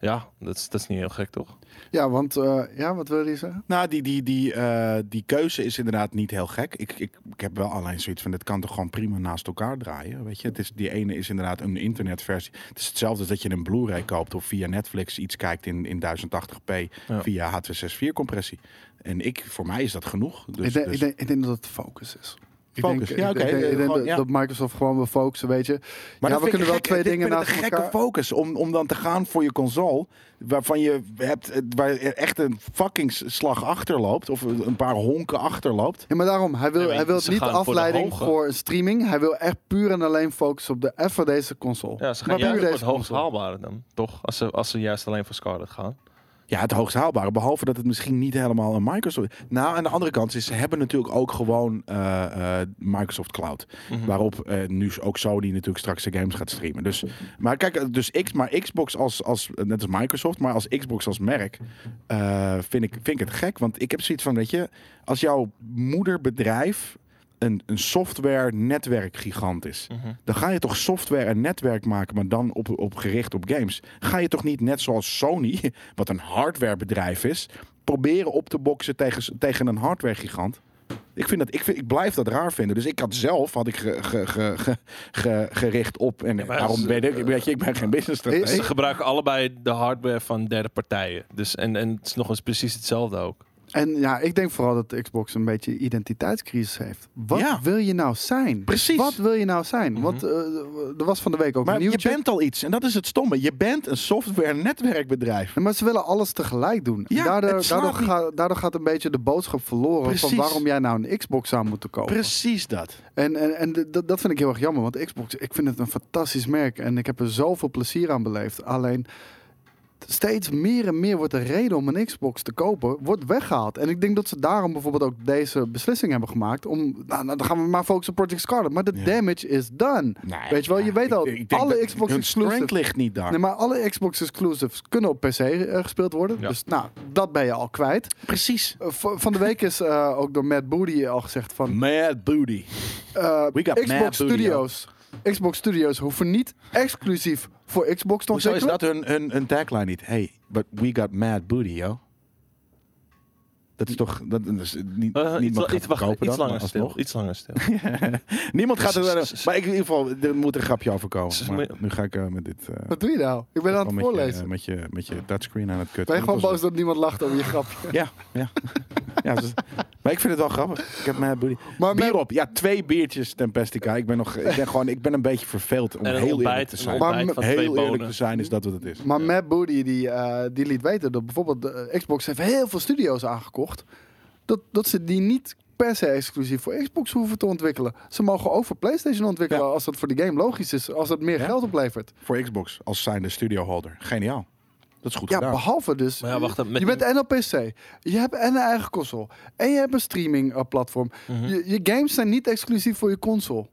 S3: ja, dat is, dat is niet heel gek, toch?
S1: Ja, want eh, ja, wat wil je zeggen?
S2: Nou, die, die, die, eh, die keuze is inderdaad niet heel gek. Ik, ik, ik heb wel alleen zoiets van, dit kan toch gewoon prima naast elkaar draaien, weet je? Het is, die ene is inderdaad een internetversie. Het is hetzelfde als dat je een Blu-ray koopt of via Netflix iets kijkt in, in 1080p
S3: Ja.
S2: via H264-compressie. En ik, voor mij is dat genoeg. Dus,
S1: ik, denk,
S2: dus-
S1: ik, denk, ik denk dat het focus is. Ik
S2: Focus.
S1: denk-
S2: Ja,
S1: ik
S2: oké.
S1: denk- ik
S2: Eh,
S1: denk
S2: gewoon,
S1: dat-
S2: ja.
S1: dat Microsoft gewoon wil focussen, weet je.
S2: Maar
S1: ja, we
S2: dat vind ik
S1: kunnen wel
S2: gek.
S1: twee
S2: Ik
S1: dingen
S2: vind het
S1: naast
S2: een gekke
S1: elkaar.
S2: focus om, om dan te gaan voor je console. Waarvan je hebt, eh, waar je echt een fucking slag achter loopt. Of een paar honken achter loopt.
S1: Ja, maar daarom, hij wil,
S3: Nee, maar
S1: hij wil
S3: ze
S1: het niet
S3: gaan voor de
S1: afleiding
S3: hoge.
S1: voor, streaming. Hij wil echt puur en alleen focussen op de F van deze console.
S3: Ja, ze
S1: Maar
S3: gaan juist
S1: puur
S3: voor het hoogst
S1: console.
S3: haalbare dan, toch? Als ze, als ze juist alleen voor Scarlet gaan.
S2: Ja, het hoogst haalbare. Behalve dat het misschien niet helemaal een Microsoft is. Nou, aan de andere kant, is, ze hebben natuurlijk ook gewoon eh, eh, Microsoft Cloud. Waarop eh, nu ook Sony natuurlijk straks de games gaat streamen. Dus, maar kijk, eh, dus X, maar Xbox als, als, eh, net als Microsoft, maar als Xbox als merk, eh, vind, ik, vind ik het gek. Want ik heb zoiets van, weet je, als jouw moederbedrijf een, een software netwerkgigant is.
S3: Mhm.
S2: Dan ga je toch software en netwerk maken, maar dan op, op gericht op games. Ga je toch niet net zoals Sony, wat een hardwarebedrijf is, proberen op te boksen tegen, tegen een hardwaregigant? Ik, vind dat, ik, vind, ik blijf dat raar vinden. Dus ik had zelf had ik ge- ge- ge- ge- ge- gericht op. En
S3: maar
S2: daarom
S3: ze-
S2: ben ik, weet je, ik ben geen business
S1: Is-
S3: Ze
S2: stratege.
S3: gebruiken allebei de hardware van derde partijen. Dus, en, en het is nog eens precies hetzelfde ook.
S1: En ja, ik denk vooral dat de Xbox een beetje identiteitscrisis heeft. Wat
S2: Ja.
S1: wil je nou zijn?
S2: Precies. Mhm.
S1: Wat wil je nou zijn? Want eh, er was van de week ook
S2: Maar
S1: een
S2: je
S1: nieuwtje.
S2: bent al iets. En dat is het stomme. Je bent een software netwerkbedrijf.
S1: Ja, maar ze willen alles tegelijk doen. En
S2: Ja,
S1: daardoor,
S2: het slaat
S1: daardoor,
S2: niet.
S1: ga- daardoor gaat een beetje de boodschap verloren van
S2: Precies.
S1: waarom jij nou een Xbox zou moeten
S2: Oh.
S1: kopen.
S2: Precies dat.
S1: En, en, en d- dat- dat vind ik heel erg jammer, want Xbox, ik vind het een fantastisch merk en ik heb er zoveel plezier aan beleefd. Alleen steeds meer en meer wordt de reden om een Xbox te kopen, wordt weggehaald. En ik denk dat ze daarom bijvoorbeeld ook deze beslissing hebben gemaakt om, nou, nou, dan gaan we maar focussen op Project Scarlet. Maar de
S2: Ja.
S1: damage is done.
S2: Nee,
S1: Weet je wel, je weet al,
S2: denk
S1: alle
S2: dat
S1: Xbox
S2: hun strength
S1: exclusives-
S2: ligt niet daar.
S1: Nee, maar alle Xbox exclusives kunnen op PC eh, gespeeld worden.
S3: Ja.
S1: Dus nou, dat ben je al kwijt.
S2: Precies.
S1: Eh, v- van de week is eh, ook door Matt Booty al gezegd van,
S2: Mad booty.
S1: eh,
S2: Mm. We got
S1: Xbox
S2: mad booty,
S1: Studios Xbox Studios hoeven niet exclusief voor Xbox te
S2: Hoezo is
S1: ontwikkelen.
S2: dat hun, hun, hun tagline niet? Hey, but we got mad booty, yo. Dat is toch... Dat is niet,
S3: Eh, iets,
S2: niemand
S3: la-
S2: gaat
S3: iets, wacht,
S2: kopen dan,
S3: iets langer
S2: maar
S3: stil.
S2: alsnog.
S3: Iets langer stil.
S2: Niemand gaat er... eh, Maar ik, in ieder geval, er moet een grapje over komen.
S3: Ze-
S2: Maar nu ga ik eh, met dit... eh,
S1: Wat doe je nou? Ik ben aan het
S2: met je- eh,
S1: voorlezen.
S2: met, je, met je touchscreen aan het kutten.
S1: ben je gewoon
S2: Dat
S1: boos
S2: was
S1: dat niemand lacht over je grapje?
S2: het. Ja, ja. ja dus- maar ik vind het wel grappig. Ik heb mijn booty.
S1: Maar
S2: Bier
S1: met,
S2: op. Ja, twee biertjes Tempestica. Ik ben, nog, ik ben, gewoon, ik ben een beetje verveeld om
S3: En een
S2: heel eerlijk
S3: ontbijt,
S2: te
S3: een
S2: zijn.
S1: Maar
S3: ontbijt van twee
S2: Heel eerlijk
S3: bonen.
S2: te zijn is dat wat het is.
S1: maar Matt Booty die, eh, die liet weten dat bijvoorbeeld de, eh, Xbox heeft heel veel studio's aangekocht. Dat, dat ze die niet per se exclusief voor Xbox hoeven te ontwikkelen. Ze mogen ook voor PlayStation ontwikkelen
S2: Ja.
S1: als dat voor de game logisch is. Als dat meer
S2: Ja.
S1: geld oplevert.
S2: Voor Xbox als zijnde studioholder. Geniaal. Dat is goed
S1: Ja,
S2: gedaan.
S1: behalve dus.
S3: Maar ja, wacht, met
S1: je
S3: die-
S1: bent en op PC. Je hebt en een eigen console. En je hebt een streaming eh, platform.
S3: Mhm.
S1: je, je games zijn niet exclusief voor je console.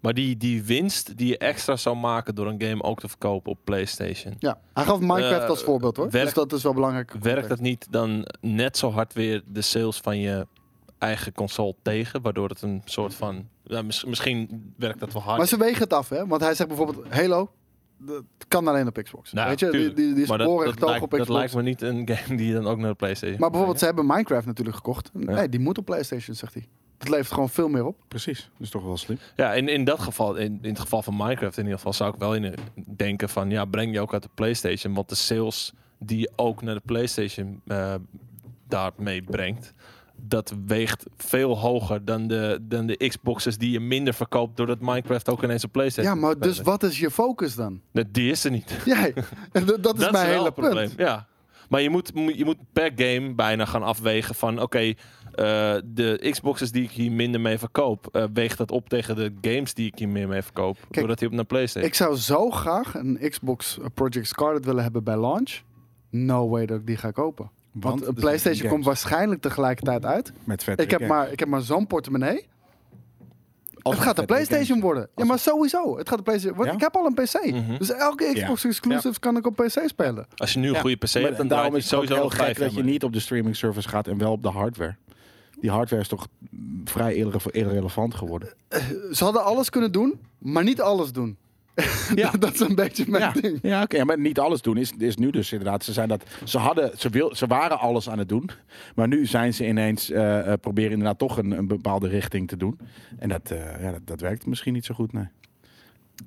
S3: Maar die, die winst die je extra zou maken door een game ook te verkopen op PlayStation.
S1: Ja. Hij gaf Minecraft
S3: Eh,
S1: als voorbeeld hoor. dus
S3: werkt-
S1: dat is wel belangrijk.
S3: Werkt dat niet dan net zo hard weer de sales van je eigen console tegen? Waardoor het een soort van... Ja, mis- misschien werkt dat wel hard.
S1: Maar ze wegen het af, hè? Want hij zegt bijvoorbeeld: Halo, dat kan alleen op Xbox.
S3: Nou,
S1: Weet je, die,
S3: tuurlijk.
S1: die, die
S3: Maar dat-
S1: sporen
S3: dat
S1: getogen
S3: lijkt-
S1: op Xbox.
S3: Dat lijkt me niet een game die je dan ook naar de PlayStation
S1: maar bijvoorbeeld, ze hebben Minecraft natuurlijk gekocht. Nee, die moet op PlayStation, zegt hij. Dat levert gewoon veel meer op.
S2: Precies. Dat is toch wel slim.
S3: Ja, in, in dat geval, in, in het geval van Minecraft in ieder geval, zou ik wel in eh, denken van ja, breng je ook uit de PlayStation. Want de sales die je ook naar de PlayStation eh, daarmee brengt, dat weegt veel hoger dan de, dan de Xboxes die je minder verkoopt doordat Minecraft ook ineens op PlayStation
S1: Ja, maar
S3: te
S1: dus
S3: spelen.
S1: wat is je focus dan?
S3: Nee, Die is er niet.
S1: Jij. En dat, dat is mijn
S3: wel
S1: hele
S3: het probleem.
S1: punt.
S3: Ja. Maar je moet, je moet per game bijna gaan afwegen van... oké, eh, de Xboxes die ik hier minder mee verkoop... eh, weegt dat op tegen de games die ik hier meer mee verkoop... doordat hij op naar PlayStation...
S1: Ik zou zo graag een Xbox Project Scarlet willen hebben bij launch. No way dat ik die ga kopen. Want, een
S2: het is
S1: PlayStation
S2: games
S1: komt waarschijnlijk tegelijkertijd uit.
S2: met vet.
S1: Ik heb maar, ik heb maar zo'n portemonnee. het gaat de PlayStation worden. Ja, maar sowieso. Het gaat de PlayStation worden.
S2: Ja? Mhm.
S1: Ik heb al een PC. Dus elke Xbox exclusive kan ik op PC spelen.
S3: Als je nu een goede PC hebt, dan draait
S2: daarom
S3: hij
S2: is het sowieso
S3: sowieso
S2: heel
S3: nog
S2: gek
S3: vijf
S2: dat je niet op de streaming service gaat en wel op de hardware. Die hardware is toch mm, vrij irre- irrelevant geworden.
S1: Ze hadden alles kunnen doen, maar niet alles doen.
S2: Ja.
S1: dat is een beetje mijn
S2: Ja,
S1: ding.
S2: ja oké. Maar niet alles doen is, is nu dus inderdaad. Ze, zijn dat, ze, hadden, ze, wil, ze waren alles aan het doen. Maar nu zijn ze ineens. eh, eh, proberen inderdaad toch een, een bepaalde richting te doen. En dat, eh, ja, dat, dat werkt misschien niet zo goed. Nee.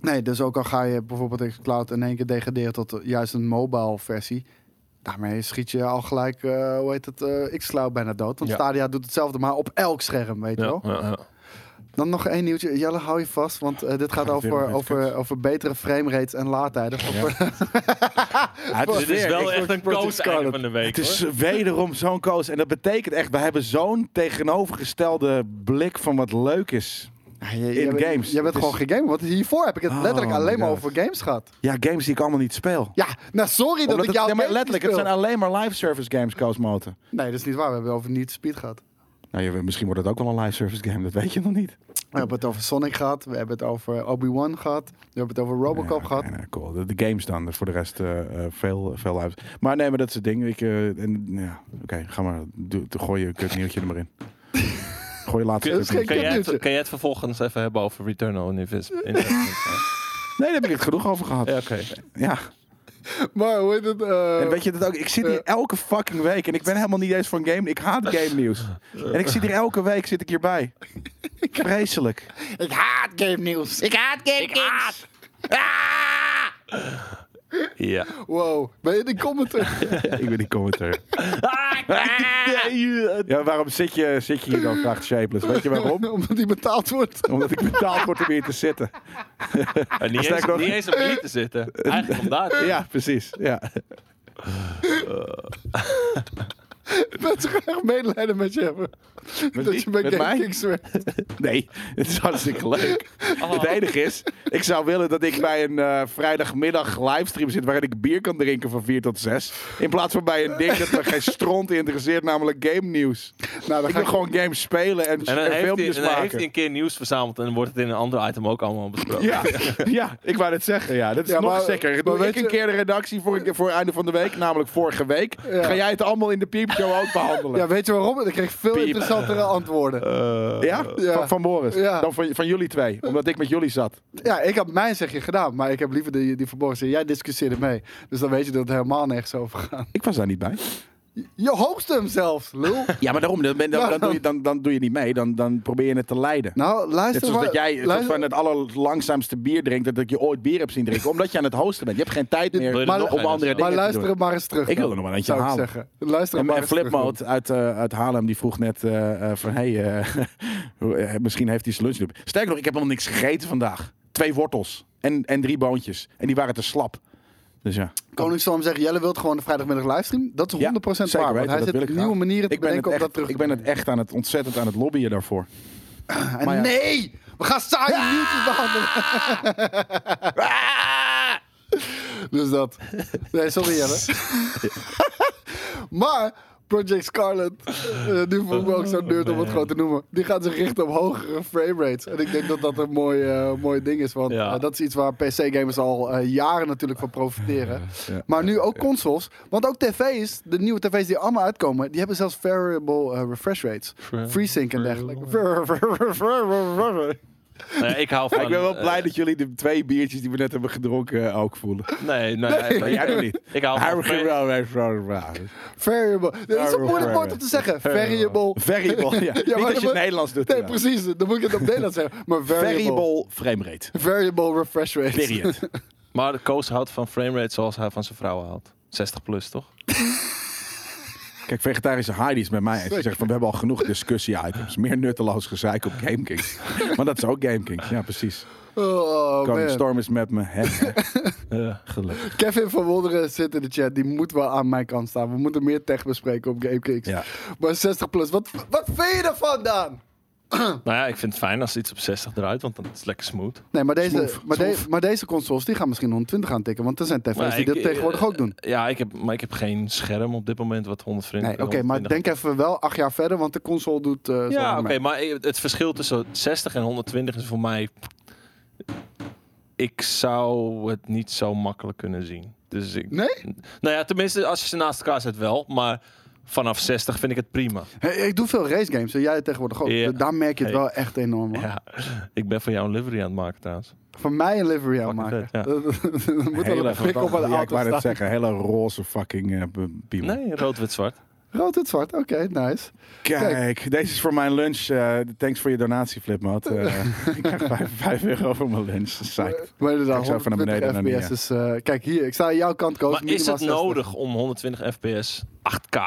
S1: Nee, dus ook al ga je bijvoorbeeld in cloud in één keer degraderen tot eh, juist een mobile versie. Daarmee schiet je al gelijk, eh, hoe heet het, eh X-Cloud bijna dood. Want
S3: Ja.
S1: Stadia doet hetzelfde, maar op elk scherm, weet je wel.
S3: Ja, ja, ja.
S1: Dan nog één nieuwtje. Jelle, hou je vast, want eh, dit gaat
S2: Gaat weer
S1: over,
S2: met kuts.
S1: over, over betere framerates en laadtijden.
S2: Ja, het
S3: Dit is
S2: weer-
S3: wel
S2: ik-
S3: echt een
S1: Project
S3: koos einde
S1: Scarlet.
S3: van de week,
S2: Het is wederom zo'n koos. En dat betekent echt, we hebben zo'n tegenovergestelde blik van wat leuk is.
S1: in
S2: games.
S1: Jij bent
S2: Het is-
S1: gewoon geen gamer, want hiervoor heb ik het
S2: Oh
S1: letterlijk alleen
S2: my
S1: maar
S2: God.
S1: over games gehad.
S2: Ja, games die ik allemaal niet speel.
S1: Ja, nou sorry dat
S2: Omdat
S1: ik
S2: het-
S1: jou
S2: ja, maar
S1: games
S2: letterlijk, het
S1: speel.
S2: zijn alleen maar live service games, Koos Moten.
S1: Nee, dat is niet waar. We hebben over niet speed gehad.
S2: Nou, je- misschien wordt het ook wel een live service game, dat weet je nog niet.
S1: We hebben het over Sonic gehad. We hebben het over Obi-Wan gehad. We hebben het over Robocop
S2: Ja,
S1: gehad.
S2: oké, nou, cool. De, de games dan, voor de rest eh, eh, veel, veel live. Maar nee, maar dat is het ding. Ik, eh, en, ja, Oké, ga maar, doe, doe- gooi je kut nieuwtje er maar in. Gooi je laatste
S1: Kun-
S2: kut
S1: kun- heb
S3: Kan jij, het,
S1: nieuwtje.
S3: kan jij het vervolgens even hebben over Return on Invest- Investment?
S2: Nee, daar heb ik het genoeg over gehad.
S3: ja,
S2: Ja.
S3: oké.
S1: Maar hoe heet het? eh,
S2: En weet je dat ook? Ik zit hier elke fucking week en ik ben helemaal niet eens van game. Ik haat game nieuws. En ik zit hier elke week zit ik hierbij. Vreselijk.
S1: Ik haat game nieuws. Ik haat game nieuws.
S3: Ja.
S1: Wow, ben je de commenter?
S2: Ik ben die commentator. Ja, waarom zit je, zit je hier dan, vraagt Shapeless. Weet je waarom?
S1: Omdat die betaald wordt.
S2: Omdat ik betaald word om hier te zitten.
S3: En niet, eens,
S2: Sterker nog-
S3: niet eens om hier te zitten. Eigenlijk om daar te
S2: Ja, precies. Ja.
S1: Mensen gaan echt medelijden met je hebben. dat
S2: wie?
S1: je bij
S2: Met mij?
S1: Game Kings werkt.
S2: Nee, het is hartstikke leuk. Het enige is, ik zou willen dat ik bij een eh, vrijdagmiddag livestream zit... waarin ik bier kan drinken van 4 tot 6. In plaats van bij een ding dat me geen stront interesseert, namelijk game nieuws.
S1: Nou, dan
S2: Ik
S1: ga
S2: wil
S1: ik...
S2: gewoon games spelen en,
S3: En dan,
S2: en
S3: heeft hij,
S2: filmpjes
S3: en dan heeft
S2: maken.
S3: hij een keer nieuws verzameld en dan wordt het in een ander item ook allemaal besproken.
S2: Ja, ja, ik wou het zeggen. Ja, dat is
S1: Ja,
S2: nog
S1: maar-
S2: zeker.
S1: maar
S2: Doe
S1: weet
S2: ik een
S1: je-
S2: keer de redactie voor, voor einde van de week, namelijk vorige week. Ga jij het allemaal in de piepshow ook behandelen?
S1: Ja, weet je waarom? Ik kreeg veel
S2: Piep. Eh.
S1: interessante betere antwoorden.
S2: Ja?
S1: ja.
S2: Van, van Boris.
S1: Ja.
S2: Dan van, van jullie twee. Omdat ik met jullie zat.
S1: Ja, ik had mijn zegje gedaan, maar ik heb liever die, die verborgen zegje. Jij discussieerde mee. Dus dan weet je dat het helemaal nergens over gaat.
S2: Ik was daar niet bij.
S1: Je hoogst hem zelfs, lul.
S2: Ja, maar daarom. Dan, ben- dan, dan, doe, je, dan, dan doe je niet mee. Dan, dan probeer je het te leiden.
S1: Nou,
S2: Net
S1: luister
S2: zoals
S1: maar-
S2: dat jij het,
S1: luister-
S2: van het allerlangzaamste bier drinkt dat ik je ooit bier heb zien drinken. Omdat je aan het hosten bent. Je hebt geen tijd
S1: Dit-
S2: meer
S3: Wil je er
S1: maar-
S3: nog
S2: om
S3: een?
S2: andere dingen
S1: Maar
S2: te
S1: luister
S2: doen.
S1: hem maar eens terug.
S2: Ik wil
S1: dan,
S2: er nog maar eentje
S1: zou ik
S2: halen.
S1: zeggen. Luister hem
S2: En,
S1: maar
S2: en
S1: eens terug. dan.
S2: Flipmode uit, eh, uit Haarlem die vroeg net eh, eh, van... Hey, eh, hoe- eh, misschien heeft hij zijn lunch niet op. Sterker nog, ik heb helemaal niks gegeten vandaag. Twee wortels en, en drie boontjes. En die waren te slap. Dus ja.
S1: Koningsstorm zegt, Jelle wilt gewoon een vrijdagmiddag livestream. Dat is 100%
S2: zeker
S1: waar. Want
S2: weten,
S1: hij
S2: dat
S1: zit
S2: wil ik
S1: nieuwe
S2: graag.
S1: manieren te
S2: Ik ben, het
S1: bedenken om
S2: echt,
S1: dat terug te
S2: ik ben het
S1: brengen.
S2: echt aan het, ontzettend aan het lobbyen daarvoor.
S1: En
S2: maar ja. Ah!
S1: Nee! We gaan saaie nieuwtjes behandelen. dus dat. Nee, sorry Jelle. maar Project Scarlet, eh, nu voel ik me ook zo nerd om het gewoon te noemen. Die gaat zich richten op hogere framerates. En ik denk dat dat een mooi, eh, mooi ding is. Want
S3: Ja.
S1: eh, dat is iets waar PC-gamers al eh, jaren natuurlijk van profiteren.
S2: Ja.
S1: Maar nu ook consoles. Want ook tv's, de nieuwe tv's die allemaal uitkomen, die hebben zelfs variable eh, refresh rates. FreeSync en dergelijke.
S3: Nee, Nou ik hou van...
S2: ik ben wel blij
S3: eh,
S2: dat jullie de twee biertjes die we net hebben gedronken eh, ook voelen.
S3: Nee, nee,
S2: Maar
S3: nee,
S2: jij nog niet.
S3: Ik hou van...
S2: Harry
S3: fra-
S2: Railway Railway.
S1: Variable. Dat is een moeilijk woord om te zeggen. Variable.
S2: Variable, ja.
S1: maar
S2: Niet als je
S1: dan
S2: het
S1: moet-
S2: Nederlands doet.
S1: Nee,
S2: ja.
S1: precies. Dan moet ik het op Nederlands zeggen. Maar variable. Variable,
S2: Variable frame rate.
S1: refresh rate.
S2: Period.
S3: Maar Koos houdt van framerate zoals hij van zijn vrouw houdt. 60 plus, toch?
S2: Kijk, vegetarische Heidi is met mij. eens. Ze zegt van, we hebben al genoeg discussie-items. Meer nutteloos gezeik op GameKings. maar dat is ook GameKings. Ja, precies.
S1: Oh,
S2: Koning
S1: man.
S2: Storm is met me. Hè, hè.
S3: Ja, gelukkig.
S1: Kevin van Wonderen zit in de chat. Die moet wel aan mijn kant staan. We moeten meer tech bespreken op GameKings.
S2: Ja.
S1: Maar 60 plus. Wat, wat vind je ervan, Daan?
S3: Nou ja, ik vind het fijn als iets op 60 draait, want dan is het lekker smooth.
S1: Nee, maar deze,
S2: Smooth,
S1: maar, de-
S2: smooth.
S1: maar deze consoles die gaan misschien 120 gaan tikken. Want er zijn tv's
S3: Maar
S1: die
S3: ik-
S1: dat tegenwoordig
S3: eh,
S1: ook doen.
S3: Ja, ik heb, maar ik heb geen scherm op dit moment wat 120...
S1: Nee, oké, maar
S3: 120
S1: denk even wel acht jaar verder, want de console doet. eh, zo
S3: Ja,
S1: mee.
S3: oké, maar het verschil tussen 60 en 120 is voor mij. Ik zou het niet zo makkelijk kunnen zien. Dus ik.
S1: Nee?
S3: Nou ja, tenminste, als je ze naast elkaar zet, wel. Maar vanaf 60 vind ik het prima.
S1: Hey, ik doe veel race games en jij tegenwoordig ook.
S3: Ja.
S1: Daar merk je het
S3: Hey.
S1: wel echt enorm. hoor.
S3: Ja, ik ben van jou een livery aan het maken trouwens.
S1: Voor mij een livery aanmaken.
S3: vet, ja.
S1: Dat dat moet wel
S2: Hele
S1: een prik op een
S2: verdachte- ja, ik
S1: auto
S2: wou net
S1: staan.
S2: zeggen. Hele roze fucking eh, b- piemel.
S3: Nee, rood, wit, zwart.
S1: Rood en zwart, oké, nice.
S2: Kijk, deze is voor mijn lunch. eh, thanks voor je donatie, Flipmod. Eh, ik krijg 5, euro voor mijn lunch. Psyched.
S1: Maar
S2: Ik zou
S1: inderdaad,
S2: van naar
S1: 120
S2: beneden naar
S1: fps is... eh, kijk hier, ik sta aan jouw kant, Koos.
S3: maar is
S1: minimaal
S3: het
S1: 60.
S3: nodig om 120 fps 8K?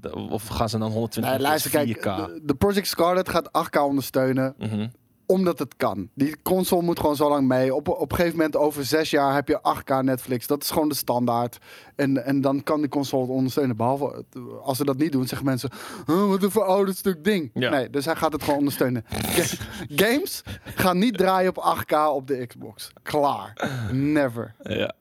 S3: De- Of gaan ze dan 120
S1: Nee, luister,
S3: fps
S1: kijk,
S3: 4K?
S1: de, de Project Scarlet gaat 8K ondersteunen,
S3: Mhm.
S1: omdat het kan. Die console moet gewoon zo lang mee. Op, op een gegeven moment, over zes jaar, heb je 8K Netflix. Dat is gewoon de standaard. En, en dan kan die console het ondersteunen. Behalve, eh, als ze dat niet doen, zeggen mensen... "Huh, wat een verouderd stuk ding.
S3: Ja.
S1: Nee, dus hij gaat het gewoon ondersteunen. Ga- Games gaan niet draaien op 8K op de Xbox. Klaar. Never.
S3: Ja.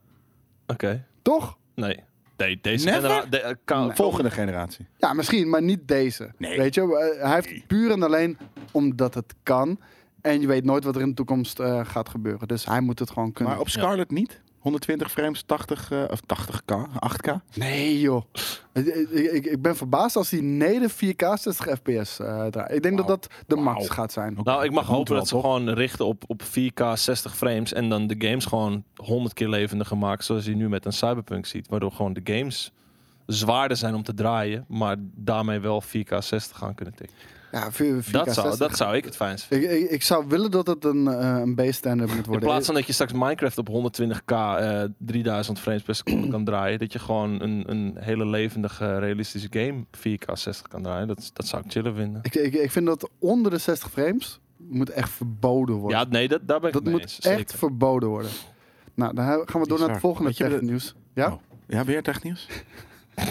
S3: Oké.
S1: Toch?
S3: Nee. Nee, deze
S2: Never?
S3: genera- de- eh, ka-
S2: Volgende generatie.
S1: Ja, misschien, maar niet deze.
S2: Nee.
S1: Weet je, eh, hij heeft het puur en alleen omdat het kan. En je weet nooit wat er in de toekomst eh, gaat gebeuren. Dus hij moet het gewoon kunnen.
S2: Maar op Scarlet niet. 120 frames, 80 eh, of 80k, 8k.
S1: Nee, joh. Ik, ik, ik ben verbaasd als die neder 4K 60 fps eh, draait. Ik denk
S2: Wauw.
S1: dat dat de
S2: Wauw.
S1: max gaat zijn.
S3: Nou, ik mag
S2: Dat moet
S3: hopen
S2: wel,
S3: dat ze
S2: toch?
S3: gewoon richten op, op 4K 60 frames en dan de games gewoon 100 keer levendiger maken, zoals je nu met een Cyberpunk ziet, waardoor gewoon de games zwaarder zijn om te draaien, maar daarmee wel 4K 60 gaan kunnen tikken.
S1: Ja, 4, k
S3: Dat zou, dat zou ik het fijnst vinden.
S1: Ik, ik, ik zou willen dat het een, eh, een B-standard moet
S3: In
S1: worden.
S3: plaats van dat je straks Minecraft op 120k eh, 3000 frames per seconde kan draaien, dat je gewoon een, een hele levendige, realistische game 4K 60 kan draaien, dat, dat zou ik chiller vinden.
S1: ik, ik, ik vind dat onder de 60 frames moet echt verboden worden.
S3: Ja, nee, dat, daar ben ik
S1: dat
S3: het
S1: moet
S3: mee eens,
S1: echt
S3: zeker.
S1: verboden worden. Nou, dan gaan we door naar
S2: Bizar.
S1: het volgende
S2: Weet je, de-
S1: technieuws. Ja?
S2: Oh. Ja, weer technieuws? ja,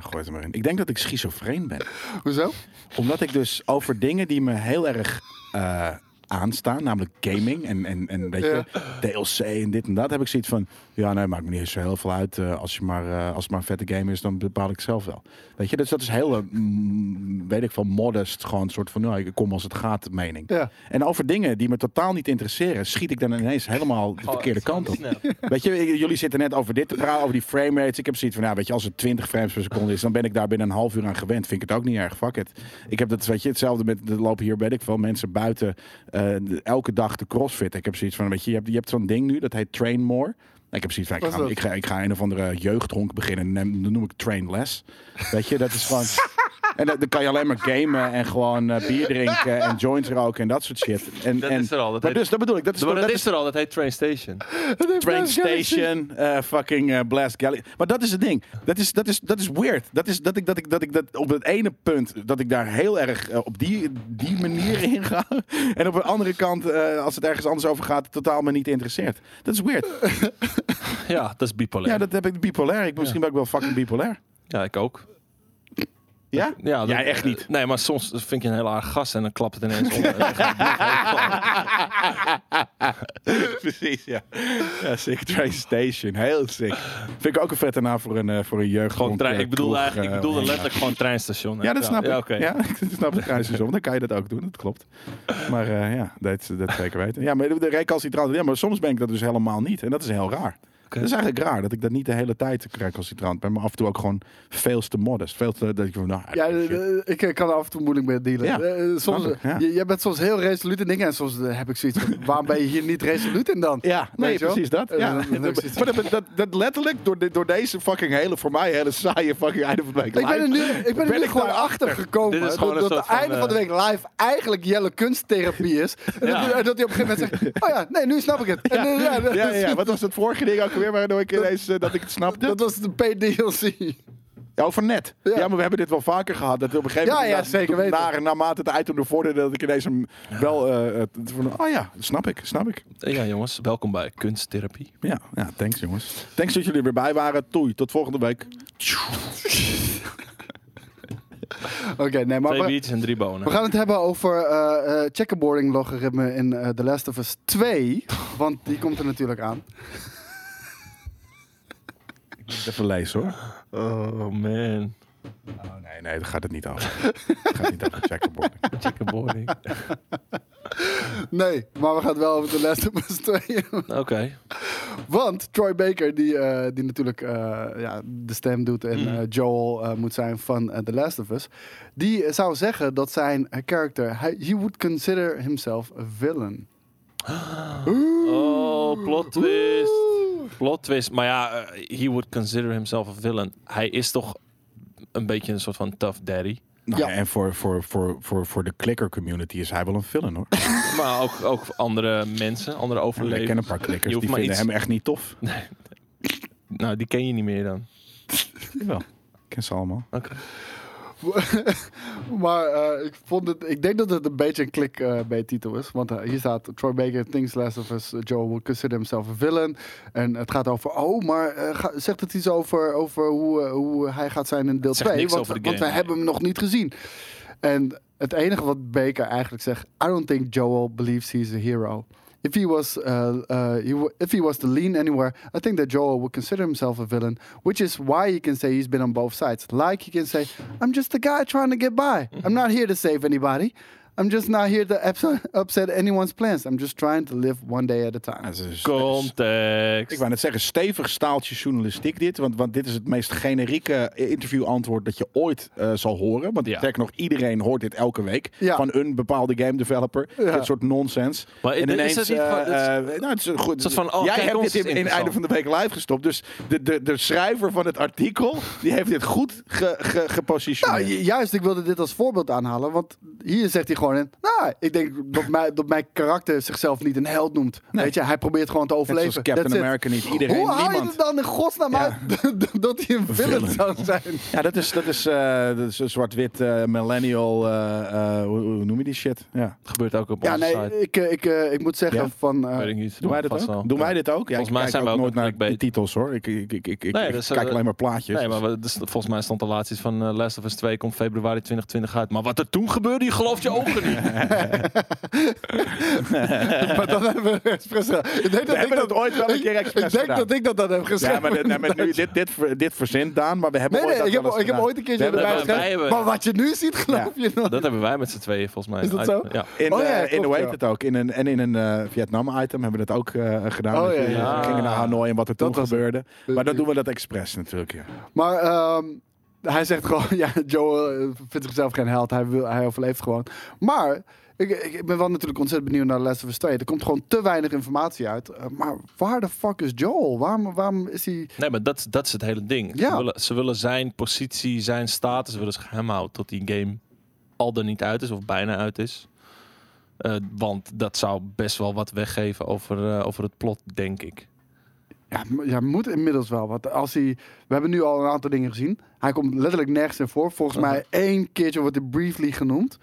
S2: gooi het er maar in. Ik denk dat ik schizofreen ben.
S1: Hoezo?
S2: Omdat ik dus over dingen die me heel erg eh, aanstaan, namelijk gaming en, en, en weet je, DLC en dit en dat, heb ik zoiets van, ja, nee, maakt me niet eens zo heel veel uit. eh, als, je maar, eh, als het maar een vette game is, dan bepaal ik het zelf wel. Weet je, dus dat is heel, eh, mm, weet ik veel, modest, gewoon een soort van, nou, ik kom als het gaat, mening.
S1: Ja.
S2: En over dingen die me totaal niet interesseren, schiet ik dan ineens helemaal
S3: Oh,
S2: de verkeerde kant op. Weet je, ik- jullie zitten net over dit te praten, over die frame rates. Ik heb zoiets van, ja, weet je, als het 20 frames per seconde is, dan ben ik daar binnen een half uur aan gewend. Vind ik het ook niet erg. Fuck it. Ik heb dat, weet je, hetzelfde met, er lopen hier, weet ik veel, mensen buiten eh, de- elke dag de crossfit. Ik heb zoiets van, weet je, je hebt, je hebt zo'n ding nu, dat heet Train More. Ik heb zoiets van, ik
S1: Wat is
S2: ga,
S1: dat?
S2: ik, ga, ik ga een of andere jeugdhonk beginnen. en neem- Dan noem ik Train Less. Weet je, dat is gewoon... En dan dan kan je alleen maar gamen en gewoon eh, bier drinken en joints roken en dat soort shit. En,
S3: Dat
S2: en,
S3: is er al, dat
S2: maar
S3: heet-
S2: dus, dat bedoel ik. Dat is,
S3: Maar
S2: dat
S3: dat
S2: is
S3: is er al, dat heet Train Station.
S2: Train Station, eh, fucking eh, Blast Galaxy. Maar dat is het ding. Dat is, dat is, dat is weird. Dat is dat ik dat ik dat ik dat op het ene punt dat ik daar heel erg eh, op die, die manier in ga. En op de andere kant, eh, als het ergens anders over gaat, totaal me niet interesseert. Dat is weird.
S3: Ja, dat is bipolair.
S2: Ja,
S3: Ja,
S2: dat heb ik bipolair. Ik, misschien ben ik wel fucking bipolair.
S3: ik ook.
S2: Ja?
S3: Ja, dat-
S2: Jij echt niet.
S3: Nee, maar soms vind je een heel aardig gast en dan klapt het ineens om.
S2: Precies, ja. ja. Sick Train Station. Heel sick. Vind ik ook een vette naam voor een, eh, voor een jeugd. eh,
S3: gewoon trein, ik bedoel eigenlijk, ik bedoelde letterlijk gewoon treinstation. hè?
S2: Ja, dat snap ik.
S3: Ja,
S2: Ja,
S3: oké.
S2: dat snap ik trouwens. Want dan kan je dat ook doen, dat klopt. Maar eh, ja, dat, dat zeker weten. Ja, maar de recalcitrant, ja, maar soms ben ik dat dus helemaal niet. En dat is heel raar.
S3: Oké.
S2: Dat is eigenlijk raar, dat ik dat niet de hele tijd recalcitrant ben. Maar af en toe ook gewoon veel te modest. Veel te, dat ik van, nou,
S1: Ja,
S2: shit.
S1: eh, ik eh, kan er af en toe moeilijk mee dealen.
S2: Ja,
S1: Eh, eh, soms,
S2: snap ik, ja.
S1: je- Jij bent soms heel resoluut in dingen en soms eh, heb ik zoiets van, waarom ben je hier niet resoluut in dan?
S2: Ja, nee,
S1: Weet je wel?
S2: precies dat.
S1: Eh,
S2: Ja.
S1: dan- dan heb ik zoiets van-
S2: Maar dat, dat, dat letterlijk, door, dit- door deze fucking hele, voor mij hele saaie fucking einde van de week.
S1: Ik ben er nu,
S2: live,
S1: ik ben er nu
S2: ik
S1: gewoon
S2: daar-
S1: achter gekomen
S3: Dit is
S1: dat,
S3: gewoon een
S1: dat
S3: soort
S1: het
S3: van,
S2: eh,
S1: einde van de week live eigenlijk Jelle kunsttherapie is. En
S3: Ja.
S1: dat, en dat hij op een gegeven moment zegt, oh ja, nee, nu snap ik het. En, eh, ja, dat,
S2: Ja, ja,
S1: is-
S2: ja, wat was dat vorige ding ook weer, waardoor ik ineens, eh, dat ik het snapte?
S1: dat was de PDLC.
S2: Ja, over net. Ja.
S1: Ja.
S2: maar we hebben dit wel vaker gehad. Dat op een gegeven
S1: Ja,
S2: moment...
S1: ja,
S2: dat-
S1: zeker weten.
S2: Naar, naarmate het item ervoor deed, dat ik ineens hem wel... eh, het- van, oh ja, snap ik, snap ik.
S3: Ja, jongens, welkom bij kunsttherapie.
S2: Ja, ja, thanks jongens. Thanks dat jullie er weer bij waren. Toei, tot volgende week.
S1: Oké, nee, maar...
S3: Twee
S1: we-
S3: biertjes en drie bonen.
S1: We gaan het hebben over eh eh checkerboarding logaritme in eh, The Last of Us 2. Want die komt er natuurlijk aan.
S2: Even lezen hoor.
S3: Oh man,
S2: Oh, nee, nee, daar gaat het niet over. Het gaat niet over checkerboarding.
S3: checkerboarding. Oké,
S1: Nee, maar we gaan het wel over The Last of Us 2 hebben. Want Troy Baker, die, eh, die natuurlijk eh, ja, de stem doet
S3: Mm.
S1: en eh, Joel eh, moet zijn van eh, The Last of Us. Die eh, zou zeggen dat zijn eh, character, hij- he would consider himself a villain.
S3: Oh, plot twist. Plot twist. Maar ja, eh, he would consider himself a villain. Hij is toch een beetje een soort van tough daddy.
S2: Nou,
S1: Ja.
S2: ja. En voor, voor, voor, voor, voor de klikker community is hij wel een villain hoor.
S3: Maar ook, ook andere mensen, andere
S2: Ik
S3: overlevers.
S2: ken een paar
S3: Je
S2: klikkers,
S3: hoeft
S2: die
S3: maar
S2: vinden
S3: iets-
S2: hem echt niet tof.
S3: Nou, die ken je niet meer dan.
S2: Jawel. Ik ken ze allemaal.
S1: Maar eh, ik, vond het, ik denk dat het een beetje een klik eh, bij de titel is. Want eh, hier staat Troy Baker thinks Last of Us eh, Joel would consider himself a villain. En het gaat over, oh, maar eh, ga- zegt het iets over, over hoe, eh, hoe hij gaat zijn in deel
S3: zegt
S1: 2?
S3: niks
S1: Want,
S3: over de
S1: want
S3: game,
S1: wij
S3: nee.
S1: hebben hem nog niet gezien. En het enige wat Baker eigenlijk zegt, I don't think Joel believes he's a hero. If he was, uh, uh, he wa- if he was to lean anywhere, I think that Joel would consider himself a villain, which is why he can say he's been on both sides. Like he can say, I'm just a guy trying to get by. I'm not here to save anybody. I'm just not here to ups- upset anyone's plans. I'm just trying to live one day at a
S2: Ja,
S1: time.
S2: ze is- Ik
S3: Context.
S2: wou net zeggen, stevig staaltje journalistiek dit. Want, want dit is het meest generieke eh, interviewantwoord dat je ooit eh, zal horen. Want
S3: Ja.
S2: sterker nog, iedereen hoort dit elke week.
S1: Ja.
S2: Van een bepaalde game developer.
S1: Ja.
S2: Dit soort nonsens.
S3: Maar
S2: en
S3: is- is
S2: ineens,
S3: het niet
S2: eh,
S3: gewoon- het is-
S2: eh, nou, het is een goed.
S3: soort van, oh,
S2: jij
S3: kijk,
S2: hebt
S3: ons
S2: dit
S3: is
S2: in- in, het einde van de week live gestopt. Dus de, de, de schrijver van het artikel, die heeft dit goed ge, ge-
S1: Nou,
S2: gepositioneerd.
S1: ju- juist, ik wilde dit als voorbeeld aanhalen. Want hier zegt hij gewoon in... Nou, ik denk dat, mij, dat mijn karakter zichzelf niet een held noemt. Weet je, hij probeert gewoon te
S2: Net
S1: overleven.
S2: zoals Captain
S1: That's it.
S2: America niet. Iedereen,
S1: Hoe haal je
S2: niemand.
S1: het dan in godsnaam uit dat hij een villain
S2: Villain.
S1: zou zijn?
S2: Ja, dat is, dat is, eh, dat is een zwart-wit eh, millennial, eh, eh, hoe, hoe noem je die shit? Ja.
S3: gebeurt ook op
S1: Ja,
S3: onze
S1: nee,
S3: site.
S1: ik, eh, ik, eh, ik moet zeggen
S2: Ja.
S1: van... eh,
S3: Weet ik niet.
S2: Doen wij
S3: Vast
S2: dat
S3: wel.
S2: ook? Doen wij dit ook? Ja,
S3: Volgens mij
S2: ik kijk
S3: zijn we ook
S2: nooit
S3: een
S2: naar de
S3: clickbait.
S2: titels hoor. Ik, ik, ik, ik, ik,
S3: Nee,
S2: ik
S3: dat is,
S2: kijk
S3: eh,
S2: alleen maar plaatjes.
S3: Nee, maar we- dus volgens mij stond de laatste iets van eh, Last of Us 2 komt februari 2020 uit. Maar wat er toen gebeurde, je gelooft je ook vroeger niet.
S1: maar dat hebben we expres gedaan. Ik denk dat
S2: We
S1: ik
S2: hebben
S1: dat,
S2: dat ooit wel een
S1: ik-
S2: keer expres
S1: Ik denk
S2: gedaan.
S1: dat ik dat dan heb
S2: Ja,
S1: geschreven.
S2: maar dit, nee, maar nu, dit, dit, ver- dit verzint Daan, maar we hebben
S1: Nee,
S2: ooit
S1: nee,
S2: dat
S1: ik heb,
S2: wel eens
S1: ik heb
S2: gedaan.
S1: ooit een
S2: We
S1: keertje
S2: hebben-
S1: erbij
S3: wij
S1: geschreven.
S3: hebben-
S1: Maar wat je nu ziet, geloof je nog.
S3: Dat hebben wij met z'n tweeën volgens mij.
S1: Is dat zo?
S3: Ja.
S2: In,
S1: Oh ja,
S2: eh,
S1: klopt,
S2: in hoe heet
S1: ja.
S2: het ook? In een, en in een eh, Vietnam-item hebben we dat ook eh, gedaan.
S1: Oh,
S2: Dat
S1: ja,
S2: we
S3: ja.
S2: gingen naar Hanoi en wat er toen
S1: Dat was het.
S2: gebeurde. Maar dat doen we dat expres natuurlijk. Ja.
S1: Maar ehm, hij zegt gewoon, ja, Joe eh, vindt zichzelf geen held. Hij, wil, hij overleeft gewoon. Maar ik, ik ben wel natuurlijk ontzettend benieuwd naar The Last of Us 2. Er komt gewoon te weinig informatie uit. Eh, maar waar de fuck is Joel? Waarom, waarom is hij...
S3: Nee, maar dat, dat is het hele ding.
S1: Ja.
S3: Ze, willen, ze willen zijn positie, zijn status willen ze geheim houden tot die game al dan niet uit is of bijna uit is. Eh, want dat zou best wel wat weggeven over, eh, over het plot, denk ik.
S2: Hm.
S1: Ja, m- ja, moet inmiddels wel. Want als hij... We hebben nu al een aantal dingen gezien. Hij komt letterlijk nergens in voor. Volgens
S3: Uh-huh.
S1: mij één keertje wordt hij briefly genoemd.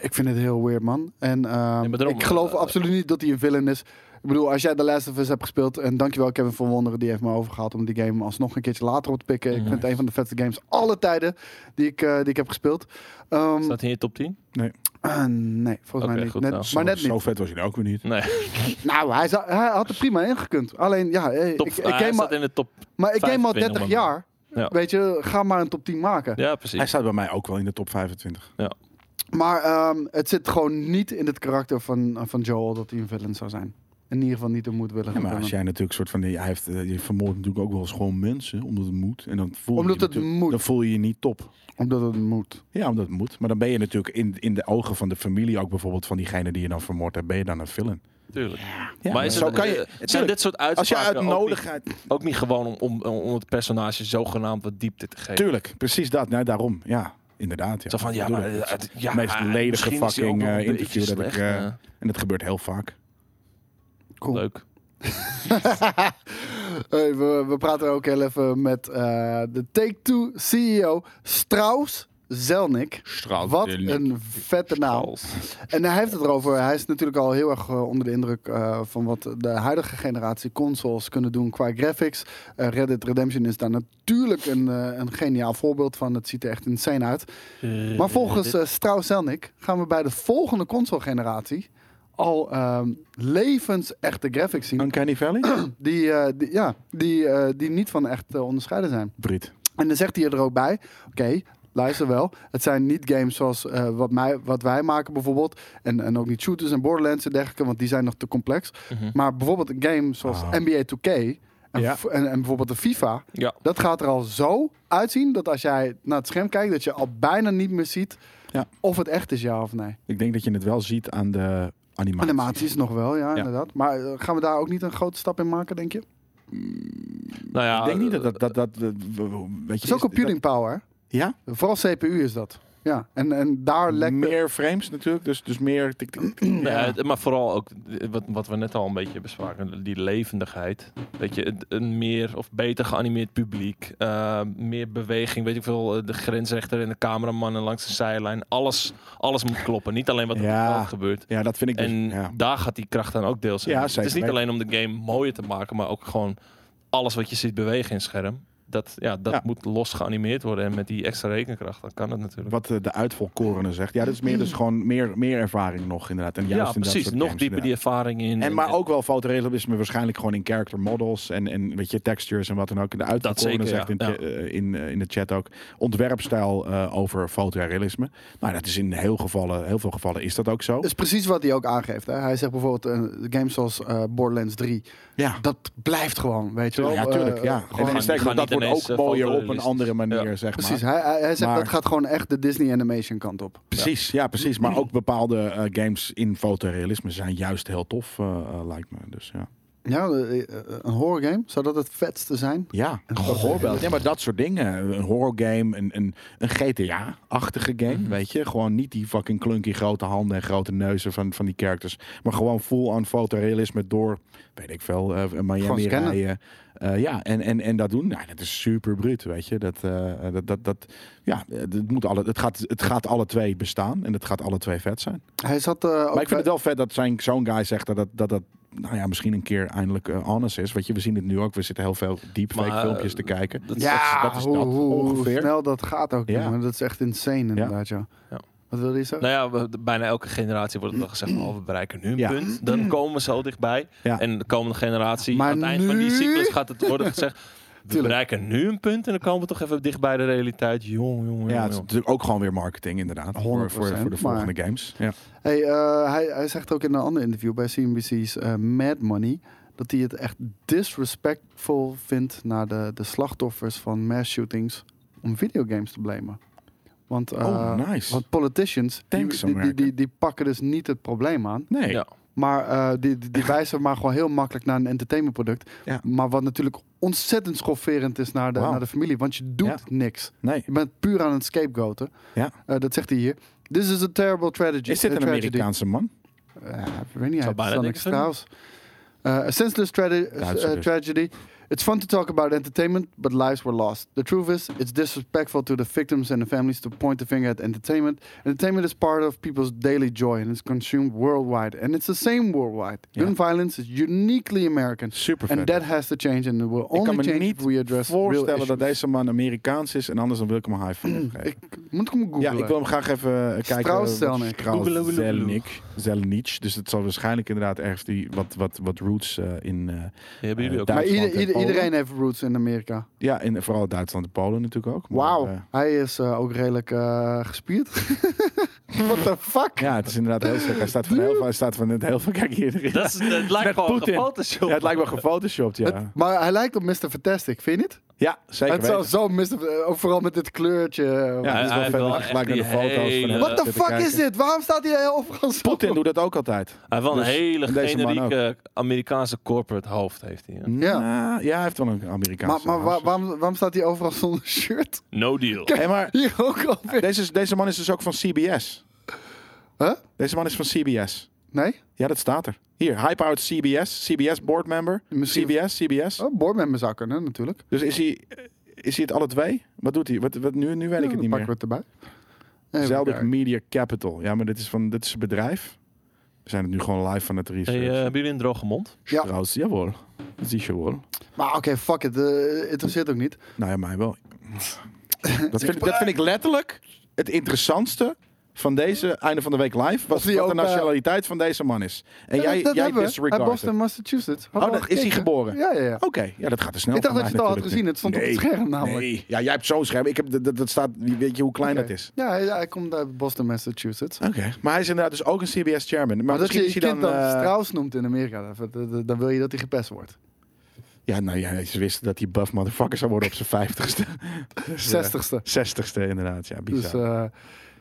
S1: Ik vind het heel weird, man. En ehm,
S3: Ja, maar daarom-
S1: ik geloof
S3: eh,
S1: absoluut niet dat hij een villain is. Ik bedoel, als jij The Last of Us hebt gespeeld... en dankjewel Kevin van Wonderen, die heeft me overgehaald... om die game alsnog een keertje later op te pikken. Ik
S3: Mhm.
S1: vind het een van de vetste games alle tijden die ik, eh, die ik heb gespeeld. Ehm,
S3: Staat hij in je top 10?
S1: eh, nee, volgens
S3: Oké,
S1: mij niet.
S3: goed,
S1: Net-
S3: nou.
S1: maar net
S2: zo
S1: niet.
S2: vet was hij nou ook weer niet.
S3: Nee,
S1: Nou, hij, zou- hij had er prima in gekund. Alleen, ja... eh,
S3: top,
S1: ik, ik,
S3: ah, hij
S1: game
S3: staat in de top.
S1: Maar ik game al
S3: 25
S1: 30
S3: man.
S1: jaar.
S3: Ja.
S1: Weet je, ga maar een top 10 maken.
S3: Ja,
S2: Hij
S3: precies.
S2: staat bij mij ook wel in de top 25.
S1: Maar ehm, het zit gewoon niet in het karakter van, eh, van Joel dat hij een villain zou zijn. In ieder geval niet een moedwillige
S2: Ja, maar als
S1: villain.
S2: jij natuurlijk soort van... Hij heeft, eh, je vermoordt natuurlijk ook wel eens gewoon mensen, omdat het moet. En dan voel je
S1: Omdat
S2: je
S1: het
S2: natuurlijk-
S1: moet.
S2: Dan voel je je niet top.
S1: Omdat het moet.
S2: Ja, omdat het moet. Maar dan ben je natuurlijk in, in de ogen van de familie ook bijvoorbeeld... van diegene die je dan vermoord hebt, ben je dan een villain.
S3: Tuurlijk.
S2: Ja,
S3: maar is
S2: zo
S3: het,
S2: kan je...
S3: eh, zijn
S2: tuurlijk,
S3: dit soort
S2: als je
S3: uitspraken
S2: uit
S3: ook, niet,
S2: nodigheid...
S3: ook niet gewoon om, om, om het personage zogenaamd wat diepte te geven?
S2: Tuurlijk, precies dat. Nou, daarom. Ja, inderdaad. Ja.
S3: Zo van, ja,
S2: Doe
S3: maar...
S2: dat.
S3: eh, het- ja,
S2: meest ledige
S3: misschien is hij
S2: fucking,
S3: ook wel een
S2: eh, interview
S3: beetje
S2: dat ik,
S3: slecht,
S2: eh,
S3: eh,
S2: En dat gebeurt heel vaak.
S1: Cool.
S3: Leuk.
S1: Hey, we, we praten ook heel even met eh, de Take-Two CEO E Strauss Zelnick.
S2: Straal.
S1: Wat een vette naam. En hij heeft het erover. Hij is natuurlijk al heel erg eh, onder de indruk eh, van wat de huidige generatie consoles kunnen doen qua graphics. Eh, Red Dead Redemption is daar natuurlijk een, eh, een geniaal voorbeeld van. Het ziet er echt insane uit. Maar volgens eh Strauss Zelnick gaan we bij de volgende console generatie al ehm, levensechte graphics zien.
S2: Uncanny Valley?
S1: Die, eh, die, ja, die, eh, die niet van echt te onderscheiden zijn.
S2: Brit.
S1: En dan zegt hij er ook bij: oké, luister wel. Het zijn niet games zoals eh, wat, mij, wat wij maken bijvoorbeeld. En, en ook niet shooters en Borderlands en dergelijke, want die zijn nog te complex.
S3: Mhm.
S1: Maar bijvoorbeeld een game zoals
S2: Ah.
S1: NBA 2K. En,
S2: Ja.
S1: f- en, en bijvoorbeeld de FIFA.
S3: Ja.
S1: Dat gaat er al zo uitzien dat als jij naar het scherm kijkt, dat je al bijna niet meer ziet
S2: Ja.
S1: of het echt is ja of nee.
S2: Ik denk dat je het wel ziet aan de animatie.
S1: Animaties nog wel, ja,
S2: Ja.
S1: inderdaad. Maar eh, gaan we daar ook niet een grote stap in maken, denk je?
S3: Nou ja,
S2: Ik denk niet dat dat... dat, dat eh, weet je,
S1: Het is ook
S2: dat-
S1: computing power.
S2: ja,
S1: Vooral CPU is dat. Ja, en, en daar lekt het-
S2: meer frames natuurlijk. Dus, dus meer... Tik, tik, tik.
S3: Nee,
S2: Ja.
S3: het- eh, maar vooral ook eh, wat, wat we net al een beetje bespraken, die levendigheid. Weet je, het- een meer of beter geanimeerd publiek, eh, meer beweging, weet ik veel, eh, de grensrechter en de cameramannen langs de zijlijn. Alles, alles moet kloppen, niet alleen wat er op
S2: Ja.
S3: het veld gebeurt.
S2: ja, dat vind ik dus...
S3: En
S2: ja.
S3: daar gaat die kracht dan ook deels in.
S2: Ja,
S3: het is
S2: zeker
S3: niet
S2: weten.
S3: alleen om de game mooier te maken, maar ook gewoon alles wat je ziet bewegen in het scherm. Dat, ja, dat
S2: Ja.
S3: moet los geanimeerd worden en met die extra rekenkracht, dan kan het natuurlijk.
S2: Wat eh, de uitvolkorene zegt. Ja, dat is meer dus gewoon meer, meer ervaring nog inderdaad. En juist
S3: Ja,
S2: in dat
S3: precies.
S2: soort
S3: Nog
S2: games,
S3: dieper die ervaring in.
S2: En
S3: en-
S2: maar
S3: en-
S2: ook wel fotorealisme, waarschijnlijk gewoon in character models en, en weet je, textures en wat dan ook. De uitvoerende
S3: zeker,
S2: zegt
S3: ja.
S2: in, het- eh, in, eh, in de chat ook ontwerpstijl eh, over fotorealisme. Nou, dat is in heel, gevallen, heel veel gevallen is dat ook zo.
S1: Dat is precies wat hij ook aangeeft. Hè? Hij zegt bijvoorbeeld eh, games zoals eh, Borderlands 3.
S2: ja.
S1: Dat blijft gewoon, weet je wel.
S2: Ja,
S1: Eh,
S2: tuurlijk. Ja.
S1: gewoon-
S2: en
S3: die
S2: sterker nog,
S3: gaan
S2: dat
S3: niet
S2: wordt
S3: ineens,
S2: ook
S3: eh,
S2: mooier op een
S3: fotorealistisch.
S2: andere manier,
S3: Ja.
S2: zeg maar.
S1: precies, hij, hij, hij zegt
S2: Maar-
S1: dat gaat gewoon echt de Disney Animation kant op.
S2: Precies, ja, precies. Maar ook bepaalde eh, games in fotorealisme zijn juist heel tof, eh, eh, lijkt me. Dus ja.
S1: Ja, eh, eh, een horror game, zou dat het vetste zijn?
S2: Ja,
S1: Een goed voorbeeld.
S2: Ja, maar dat soort dingen. Een horror game, een, een, een GTA-achtige game,
S1: Mhm.
S2: weet je. Gewoon niet die fucking klunky grote handen en grote neuzen van, van die characters. Maar gewoon full-on fotorealisme door, weet ik veel, eh,
S1: Gewoon
S2: Miami
S1: scannen.
S2: rijden. Eh, ja, en, en, en dat doen, nou, dat is super bruut, weet je. Dat, eh, dat, dat, dat, ja, het, moet alle, het, gaat, het gaat alle twee bestaan en het gaat alle twee vet zijn.
S1: Hij zat eh, ook
S2: Maar ik vind
S1: bij-
S2: het wel vet dat zijn, zo'n guy zegt dat dat, dat, dat nou ja, misschien een keer eindelijk eh, honest is. Weet je, we zien het nu ook. We zitten heel veel deepfake
S3: Maar,
S2: filmpjes
S3: eh,
S2: te kijken.
S3: dat-
S1: ja,
S2: dat is
S1: hoe,
S2: dat
S1: hoe- hoe
S2: ongeveer.
S1: snel dat gaat ook.
S2: Ja.
S1: jongen. Dat is echt insane inderdaad, ja.
S3: Ja.
S1: Wat wilde je zeggen?
S3: Nou ja, we- de- bijna elke generatie wordt het al gezegd: van, oh, we bereiken nu een
S2: Ja.
S3: punt. Dan komen we zo dichtbij.
S2: Ja.
S3: En de komende generatie,
S1: Maar
S3: aan het eind van die
S1: nu-
S3: cyclus, gaat het worden gezegd: we
S1: Tuurlijk.
S3: bereiken nu een punt. En dan komen we toch even dicht bij de realiteit. Jong, jong, jong.
S2: Ja, het is
S3: jong.
S2: natuurlijk ook gewoon weer marketing, inderdaad. Voor, voor,
S1: 100%,
S2: voor de volgende games. Ja.
S1: Hey, eh, hij, hij zegt ook in een ander interview bij CNBC's eh, Mad Money... dat hij het echt disrespectful vindt naar de, de slachtoffers van mass shootings... om videogames te blamen. Want, eh,
S2: Oh, nice.
S1: want politicians, die,
S2: Thanks,
S1: die, die,
S2: America.
S1: die, die pakken dus niet het probleem aan...
S2: Nee.
S3: Ja.
S1: Maar eh, die, die, die wijzen maar gewoon heel makkelijk naar een entertainmentproduct.
S2: Ja.
S1: Maar wat natuurlijk ontzettend schofferend is naar de,
S2: Wauw.
S1: naar de familie. Want je doet
S2: Ja.
S1: niks.
S2: Nee.
S1: Je bent puur aan het scapegoaten.
S2: Ja.
S1: Eh, dat zegt hij hier. This is a terrible tragedy.
S2: Is dit
S1: eh,
S2: een
S1: tragedy.
S2: Amerikaanse man?
S1: Eh, ik weet niet. Hij
S3: Zou
S1: heeft
S3: bijna
S1: het
S3: denken
S1: niks
S3: van-
S1: trouwens. Eh, a senseless trage-
S2: Duitser
S1: eh,
S2: dus.
S1: tragedy. It's fun to talk about entertainment, but lives were lost. The truth is, it's disrespectful to the victims and the families to point the finger at entertainment. Entertainment is part of people's daily joy and it's consumed worldwide. And it's the same worldwide.
S2: Ja.
S1: Gun violence is uniquely American.
S2: Super vet.
S1: And that has to change and it will
S2: Ik
S1: only
S2: kan me
S1: change
S2: niet
S1: if we address real
S2: voorstellen dat
S1: issues.
S2: deze man Amerikaans is en anders dan wil ik hem een high five geven.
S1: Moet ik hem googlen?
S2: Ja, ik wil hem graag even eh, kijken.
S1: Strauss
S2: wat
S1: Zelnick.
S2: Strauss
S3: Googelen, googelen,
S2: Zelnick. Zelnic. Dus het zal waarschijnlijk inderdaad ergens die, wat, wat, wat roots eh, in, eh,
S3: Die hebben jullie ook.
S2: Eh,
S1: Maar ieder-
S2: Duitsland en
S1: ieder-
S2: Polen.
S1: iedereen heeft roots in Amerika.
S2: ja, in vooral Duitsland en Polen natuurlijk ook. Maar,
S1: Wauw,
S2: eh,
S1: hij is eh, ook redelijk eh, gespierd. What the fuck?
S2: ja, het is inderdaad heel sterk. Hij staat van heel veel, hij staat van net heel veel. Kijk hier. erin.
S3: Dat is, het
S2: Met
S3: lijkt gewoon
S2: Poetin.
S3: gefotoshopt.
S2: Ja, het lijkt wel gefotoshopt, ja.
S1: Het- maar hij lijkt op Mr. Fantastic, vind je niet?
S2: Ja, zeker
S1: het is wel
S2: weten.
S1: zo Mr. eh, ook vooral met dit kleurtje. eh,
S2: Ja,
S3: Hij-
S2: het is wel vet
S3: hij wil
S2: dat je
S3: echt
S2: gelijk naar de
S3: die
S2: foto's van
S3: hele-
S2: hem
S3: Wat
S1: What
S2: zit
S1: the
S2: te
S1: fuck
S2: kijken.
S1: is dit? Waarom staat hij heel overal zo?
S2: Poetin doet dat ook altijd.
S3: Hij heeft wel een
S2: Dus
S3: hele
S2: deze man
S3: generieke Amerikaanse corporate hoofd. Heeft hij, hè.
S1: Ja.
S2: Nou, ja, hij heeft wel een
S1: Maar,
S2: Amerikaanse
S1: maar waar-
S2: hoofd.
S1: waarom, waarom staat hij overal zonder shirt?
S3: No deal.
S2: Hé, maar
S1: Hier ook alweer.
S2: deze, is- deze man is dus ook van CBS.
S1: Huh?
S2: Deze man is van CBS.
S1: Nee?
S2: Ja, dat staat er. Hier, high powered CBS, CBS board member,
S1: Misschien-
S2: CBS, CBS.
S1: Oh, boardmember zou kunnen natuurlijk.
S2: Dus is hij, is hij het alle twee? Wat doet hij? Wat, wat, nu, nu weet ik het
S1: pakken
S2: niet
S1: we
S2: meer.
S1: het erbij. Even
S2: Zeldig
S1: kijken.
S2: Media Capital. Ja, maar dit is, van, dit is een bedrijf. We zijn het nu gewoon live van het
S3: Hey, eh,
S2: research.
S3: hebben jullie een droge mond?
S1: Ja.
S2: Trouwens, jawel. Sicher wel.
S1: Maar oké, fuck it. eh, interesseert ook niet.
S2: Nou ja, mij wel. Dat vind, ik- dat vind ik letterlijk het interessantste van deze einde van de week live. Was
S1: Of die
S2: wat de
S1: ook, eh,
S2: nationaliteit van deze man is. En
S1: Ja,
S2: jij,
S1: dat- dat
S2: jij
S1: hebben we. Uit
S2: disregardt
S1: Boston,
S2: het.
S1: Massachusetts. Hadden
S2: Oh,
S1: we al
S2: dat- is hij
S1: gekeken.
S2: geboren?
S1: Ja, ja, ja.
S2: Oké, ja, dat gaat er snel.
S1: Ik dacht
S2: van
S1: dat je
S2: mij
S1: het al had
S2: natuurlijk
S1: gezien. Het stond op
S2: Nee.
S1: het scherm namelijk.
S2: Nee, ja, jij hebt zo'n scherm. Ik heb, dat, dat- dat staat, weet je hoe klein
S1: Oké.
S2: dat is?
S1: Ja, hij, hij komt uit Boston, Massachusetts.
S2: Oké, maar hij is inderdaad dus ook een CBS-chairman. Maar,
S1: Maar Oh, dat
S2: misschien
S1: je je
S2: is hij dan...
S1: kind dan
S2: eh,
S1: Strauss noemt in Amerika, dan- dan, dan- dan wil je dat hij gepest wordt.
S2: ja, nou ja, ze wisten dat hij buff motherfucker zou worden op zijn vijftigste.
S1: Zestigste.
S2: Zestigste inderdaad, ja, bizar.
S1: Dus eh,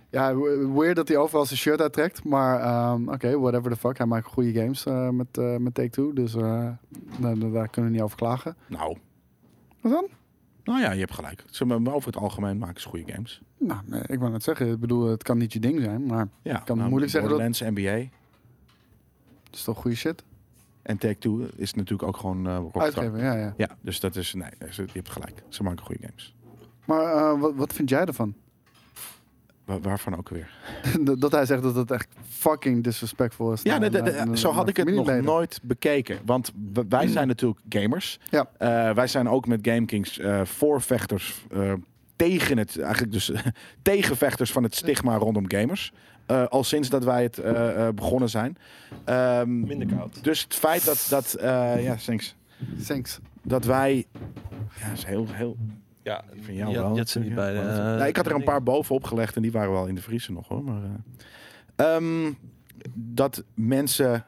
S1: ja, we- weird dat hij overal zijn shirt uittrekt. Maar ehm, oké, whatever the fuck. Hij maakt goede games eh, met, eh, met Take-Two. Dus eh, nou, nou, daar kunnen we niet over klagen.
S2: Nou,
S1: Wat dan?
S2: nou ja, je hebt gelijk. Ze, maar over het algemeen maken ze goede games.
S1: Nou, nee, ik wou net zeggen. Ik bedoel, het kan niet je ding zijn. Maar
S2: Ja, nou,
S1: kan moeilijk zeggen dat-
S2: Borderlands, NBA
S1: het is toch goede shit.
S2: en Take-Two is natuurlijk ook gewoon eh rockstar.
S1: Uitgeven, ja, ja.
S2: Ja, dus dat is... Nee, ze- je hebt gelijk. Ze maken goede games.
S1: Maar eh, wat, wat vind jij ervan?
S2: Wa- waarvan ook weer.
S1: dat dat hij zegt dat het echt fucking disrespectful is.
S2: Ja,
S1: naar-
S2: nee, de- de-
S1: naar- naar-
S2: zo had
S1: naar
S2: ik het nog
S1: familieleden.
S2: nooit bekeken. Want w- wij zijn natuurlijk gamers.
S1: Ja.
S2: Eh, wij zijn ook met GameKings eh voorvechters eh, tegen het, eigenlijk dus tegenvechters van het stigma rondom gamers. Eh, al sinds dat wij het eh, eh, begonnen zijn. Ehm,
S3: Minder koud.
S2: dus het feit dat, dat, eh, ja, thanks,
S1: Thanks.
S2: dat wij. Ja, is heel. heel
S3: Ja,
S2: van jou
S3: je,
S2: wel.
S3: je had ze niet bij de, eh,
S2: Ja, Nou, ik had er een paar bovenop gelegd en die waren wel in de vriezer nog hoor. Maar, eh. Ehm, dat mensen,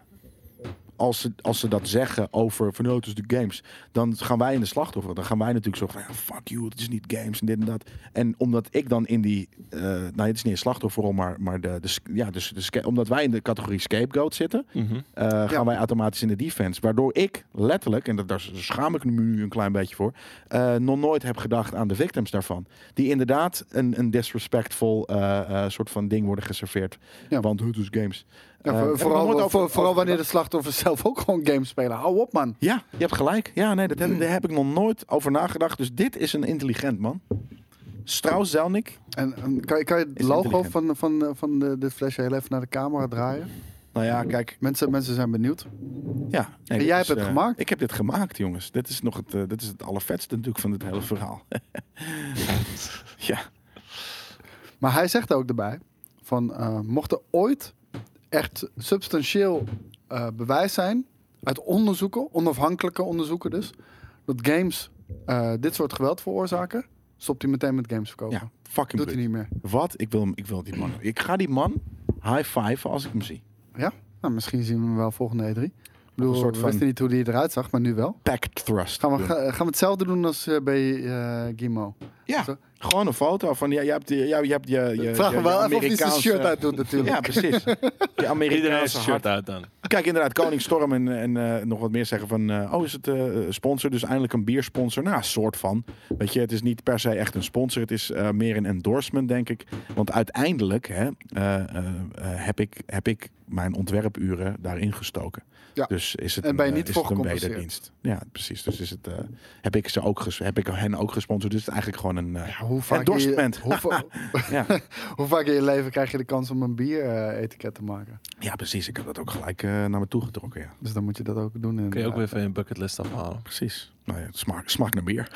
S2: als ze, als ze dat zeggen over van oh, het is de games, dan gaan wij in de slachtoffer. Dan gaan wij natuurlijk zo van ja, fuck you, het is niet games en dit en dat. En omdat ik dan in die, eh nou het is niet een slachtofferrol, maar, maar de, de, sc- ja, dus de, sca- omdat wij in de categorie scapegoat zitten,
S3: Mhm.
S2: eh, gaan wij automatisch in de defense. Waardoor ik letterlijk, en dat, daar schaam ik me nu een klein beetje voor, eh, nog nooit heb gedacht aan de victims daarvan. Die inderdaad een, een disrespectful eh, eh, soort van ding worden geserveerd.
S1: Ja.
S2: Want het is games.
S1: Ja,
S2: Eh,
S1: voor-
S2: heb ik nog
S1: vooral
S2: nooit
S1: voor-
S2: over-
S1: vooral
S2: over
S1: wanneer de
S2: gedacht.
S1: slachtoffers zelf ook gewoon games spelen. Hou op, man.
S2: Ja, je hebt gelijk. Ja, nee, dat heb,
S1: Mm.
S2: daar heb ik nog nooit over nagedacht. Dus dit is een intelligent man. Strauss Zelnick.
S1: En, en kan, je- kan je het
S2: Is
S1: logo
S2: intelligent.
S1: van, van, van de, dit flesje heel even naar de camera draaien?
S2: Nou ja, kijk.
S1: Mensen, mensen zijn benieuwd.
S2: Ja, nee, dit
S1: jij
S2: is,
S1: hebt het
S2: eh,
S1: gemaakt?
S2: Ik heb dit gemaakt, jongens. Dit is nog het, eh, dit is het allervetste natuurlijk van dit hele verhaal. ja.
S1: Maar hij zegt ook erbij: van eh, mocht er ooit echt substantieel eh, bewijs zijn uit onderzoeken, onafhankelijke onderzoeken dus, dat games eh, dit soort geweld veroorzaken, stopt hij meteen met games verkopen.
S2: Ja, fucking
S1: Doet hij
S2: brut.
S1: niet meer.
S2: Wat? Ik wil, hem- ik wil die man. Ik ga die man high five als ik hem zie.
S1: Ja? Nou, misschien zien we hem wel volgende E3. Ik bedoel,
S2: Een soort
S1: we
S2: van-
S1: wisten niet hoe die eruit zag, maar nu wel.
S2: Pack thrust.
S1: Gaan we,
S2: doen.
S1: ga- eh, gaan we hetzelfde doen als eh, bij eh Gimo?
S2: ja,
S1: Zo.
S2: gewoon een foto van ja, je hebt die- ja, je hebt je, je
S1: Vraag
S2: je-
S1: me wel
S2: je
S1: even of hij zijn
S2: Amerikaanse-
S1: shirt uit doet natuurlijk.
S2: Ja, precies. Die
S3: Iedereen heeft
S2: Amerikaanse
S3: zijn
S2: hart.
S3: shirt uit dan.
S2: Kijk, inderdaad, Koning Storm en, en eh, nog wat meer zeggen van... eh, oh, is het eh, sponsor? Dus eindelijk een biersponsor? Nou, soort van. Weet je, het is niet per se echt een sponsor. Het is eh, meer een endorsement, denk ik. Want uiteindelijk hè, eh, eh, eh, heb, ik, heb ik mijn ontwerpuren daarin gestoken.
S1: Ja.
S2: Dus is het
S1: En ben je
S2: eh,
S1: niet
S2: is
S1: voor
S2: het een
S1: gecompenseerd.
S2: wederdienst. Ja, precies. Dus is het, eh, heb, ik ze ook ges- heb ik hen ook gesponsord. Dus het is eigenlijk gewoon een... eh,
S1: Ja, hoe vaak
S2: Endorsement.
S1: Je, hoe, va-
S2: ja.
S1: hoe vaak in je leven krijg je de kans om een bier-etiket te maken?
S2: ja, precies. Ik heb dat ook gelijk eh, naar me toe getrokken, ja.
S1: Dus dan moet je dat ook doen. eh,
S3: Kun je ook weer van je bucketlist afhalen.
S2: Precies. Nou ja, smaak, smaak naar bier.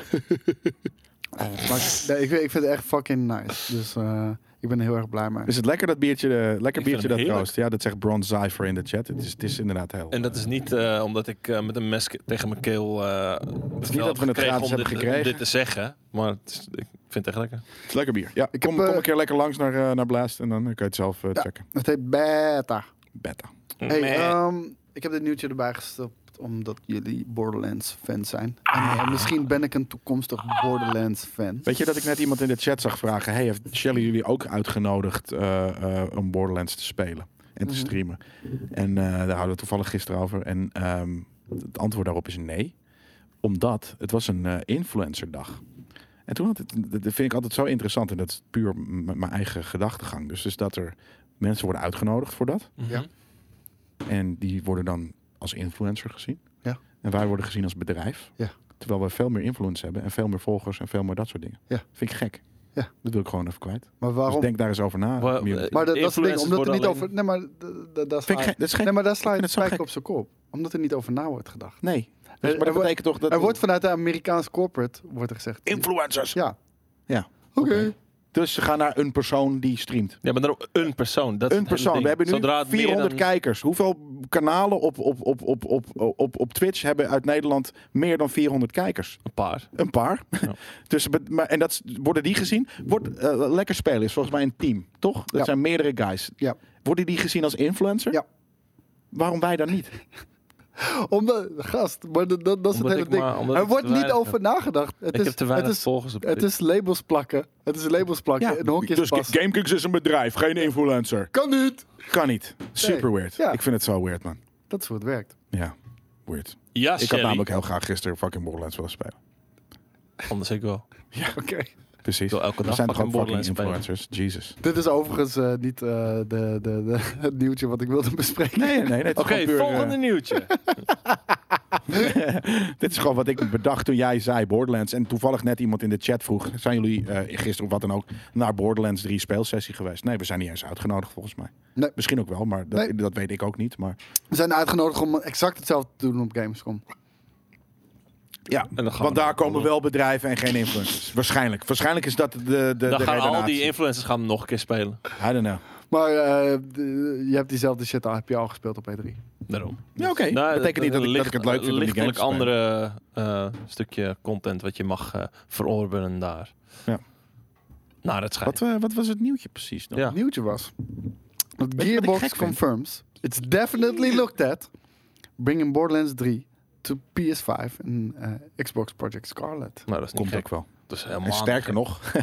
S1: eh, Maar, nee, ik, ik vind het echt fucking nice. Dus eh, ik ben er heel erg blij mee.
S2: Is het lekker dat biertje, eh, lekker
S3: Ik vind
S2: biertje
S3: hem
S2: dat
S3: heerlijk.
S2: troost? Ja, dat zegt Bron Zyfer in de chat. Het is, het is inderdaad heel.
S3: En dat is niet eh, omdat ik eh, met een mes ke- tegen mijn keel. eh het
S2: niet dat we het gratis
S3: om dit,
S2: hebben gekregen.
S3: om dit te zeggen. Maar het is- ik vind het echt lekker.
S2: Het is lekker bier. Ja,
S1: Ik
S2: kom,
S1: heb, eh,
S2: kom een keer lekker langs naar, eh, naar Blaast en dan eh, kan je het zelf eh,
S1: Ja.
S2: checken.
S1: Het heet Beta.
S2: Beta.
S1: Hey,
S3: Meh.
S1: ehm, ik heb dit nieuwtje erbij gestopt omdat jullie Borderlands fans zijn. En
S3: Ah.
S1: eh, misschien ben ik een toekomstig Borderlands fan.
S2: Weet je dat ik net iemand in de chat zag vragen: Hey, heeft Shelly jullie ook uitgenodigd eh, eh, om Borderlands te spelen en
S1: Mhm.
S2: te streamen? En eh, daar hadden we het toevallig gisteren over. En ehm, het antwoord daarop is nee, omdat het was een eh, influencerdag. En toen had het, dat vind ik altijd zo interessant en dat is puur m- m- mijn eigen gedachtegang. Dus, dus dat er mensen worden uitgenodigd voor dat.
S3: Mhm.
S1: ja.
S2: En die worden dan als influencer gezien.
S1: Ja.
S2: En wij worden gezien als bedrijf.
S1: Ja.
S2: Terwijl wij veel meer influence hebben en veel meer volgers en veel meer dat soort dingen.
S1: Ja.
S2: Vind ik gek.
S1: Ja.
S2: Dat wil ik gewoon even kwijt.
S1: Maar
S2: Dus
S1: waarom?
S2: denk daar eens over na.
S3: Wa-
S2: community.
S3: eh,
S1: maar dat, dat is het ding,
S3: Influencers
S1: omdat er
S3: worden
S1: niet
S3: alleen-
S1: over... Nee, maar, d- d- daar
S2: vind
S1: sla
S2: ik gek.
S1: je-
S2: Dat is geen...
S1: nee, maar daar sla je
S2: vind
S1: het
S2: het zo
S1: spijker
S2: gek.
S1: op zijn kop. Omdat er niet over na wordt gedacht.
S2: Nee. Dus-
S1: Er-
S2: maar
S1: er
S2: dat
S1: wordt-
S2: betekent toch dat...
S1: Er wordt vanuit de Amerikaanse corporate wordt er gezegd...
S2: Influencers.
S1: Ja.
S2: Ja.
S1: Oké.
S2: Oké. Dus ze gaan naar een persoon die streamt.
S3: Ja, maar dan ook een persoon. Dat is
S2: een
S3: het hele
S2: persoon.
S3: ding.
S2: We hebben nu
S3: Zodra het meer
S2: 400
S3: dan-
S2: kijkers. Hoeveel kanalen op, op, op, op, op, op, op Twitch hebben uit Nederland meer dan 400 kijkers?
S3: Een paar.
S2: Een paar.
S3: Ja.
S2: dus, be- maar, en dat, is- worden die gezien? Wordt, eh, lekker spelen is volgens mij een team, toch? Dat
S1: Ja.
S2: zijn meerdere guys.
S1: Ja.
S2: Worden die gezien als influencer?
S1: Ja.
S2: Waarom wij dan niet?
S1: Omdat, gast, maar dat, dat, dat is het
S3: Omdat
S1: hele
S3: ik
S1: ding.
S3: maar- omdat
S1: er
S3: ik
S1: wordt
S3: te
S1: niet
S3: weinig
S1: over
S3: heb.
S1: nagedacht. Het
S3: Ik
S1: is,
S3: heb te weinig
S1: het is,
S3: volgers op
S1: het
S3: dit.
S1: is labels plakken. Het is labels plakken in hokjes
S2: dus
S1: passen.
S2: GameKings is een bedrijf, geen influencer.
S1: Kan niet!
S2: Kan niet. Super
S1: Nee.
S2: weird.
S1: Ja.
S2: Ik vind het zo weird, man.
S1: Dat is hoe het werkt.
S2: Ja, weird.
S3: Ja,
S2: Ik had
S3: Shelly.
S2: namelijk heel graag gisteren fucking Borderlands willen spelen.
S3: Anders ik wel.
S1: Oké.
S2: Precies.
S3: wil elke
S2: We
S3: dag
S2: zijn toch
S3: fucking
S2: gewoon fucking
S3: Borderlands spelen.
S2: influencers? Jesus.
S1: Dit is overigens eh, niet eh, de, de, de, het nieuwtje wat ik wilde bespreken.
S2: Nee, nee, nee. dit
S3: Oké,
S2: is gewoon puur, eh,
S3: volgende nieuwtje.
S2: Dit is gewoon wat ik bedacht toen jij zei Borderlands. En toevallig net iemand in de chat vroeg: zijn jullie eh, gisteren of wat dan ook naar Borderlands 3 speelsessie geweest? Nee, we zijn niet eens uitgenodigd volgens mij.
S1: Nee.
S2: Misschien ook wel, maar dat,
S1: Nee.
S2: dat weet ik ook niet. Maar
S1: We zijn uitgenodigd om exact hetzelfde te doen op Gamescom.
S2: ja,
S3: dan gaan
S2: want
S3: we
S2: daar
S3: nog-
S2: komen wel bedrijven en geen influencers. Waarschijnlijk. Waarschijnlijk is dat de, de, de
S3: Dan gaan al die
S2: redenatie.
S3: influencers gaan nog een keer spelen.
S2: I don't know.
S1: Maar eh, de- je hebt diezelfde shit al, heb je al gespeeld op E E3.
S3: Daarom.
S2: Ja, oké.
S3: Nou,
S2: dat betekent niet dat, ik- dat ik het leuk vind om die game te spelen.
S3: Lichtelijk andere eh, stukje content wat je mag eh verorberen daar.
S2: Ja.
S3: Nou, dat schijnt.
S2: Wat, eh, wat was het nieuwtje precies dan?
S3: Ja.
S1: Het nieuwtje was dat
S2: ik
S1: Gearbox
S2: gek vind?
S1: confirms it's definitely looked at bringing Borderlands 3 to PS5 en eh, Xbox Project Scarlet.
S3: Nou, dat is niet
S2: Komt
S3: gek.
S2: ook wel.
S3: Dat is helemaal
S2: En sterker
S3: niet
S2: nog,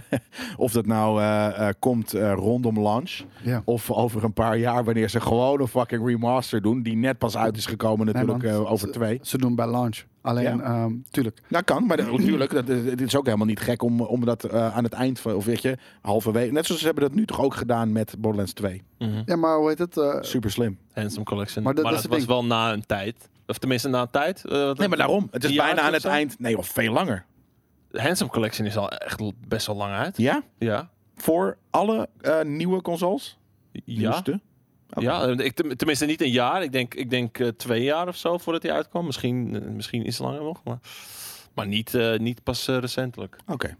S2: of dat nou eh, eh, komt eh, rondom launch...
S1: Ja.
S2: Of over een paar jaar, wanneer ze gewoon een fucking remaster doen. Die net pas uit is gekomen, natuurlijk,
S1: man.
S2: eh, over twee.
S1: Ze doen bij launch. Alleen,
S2: Ja.
S1: ehm, tuurlijk.
S2: Dat Nou, kan, maar dat- natuurlijk, dat, is- het is ook helemaal niet gek om, om dat eh, aan het eind van, of weet je, halverwege. Net zoals ze hebben dat nu toch ook gedaan met Borderlands 2.
S3: gek. Mhm.
S1: Ja, maar hoe heet het? eh,
S2: Super slim.
S3: Handsome Collection.
S1: Maar
S3: Maar
S1: dat-
S3: dat,
S1: dat is het
S3: was wel na een tijd. Of tenminste na een tijd. eh, wat-
S2: Nee, maar daarom. Het is
S3: een jaar
S2: bijna aan
S3: of
S2: het
S3: zo.
S2: eind. Nee, of veel langer.
S3: Handsome Collection is al echt l- best wel lang uit.
S2: Ja?
S3: Ja.
S2: Voor alle eh, nieuwe consoles?
S3: Ja.
S2: Nieuwste? Oké.
S3: Ja, eh, ik, tem- tenminste niet een jaar. Ik denk, ik denk eh, twee jaar of zo voordat hij uitkwam. Misschien, eh, misschien iets langer nog. Maar, maar niet, eh, niet pas eh, recentelijk.
S2: Oké.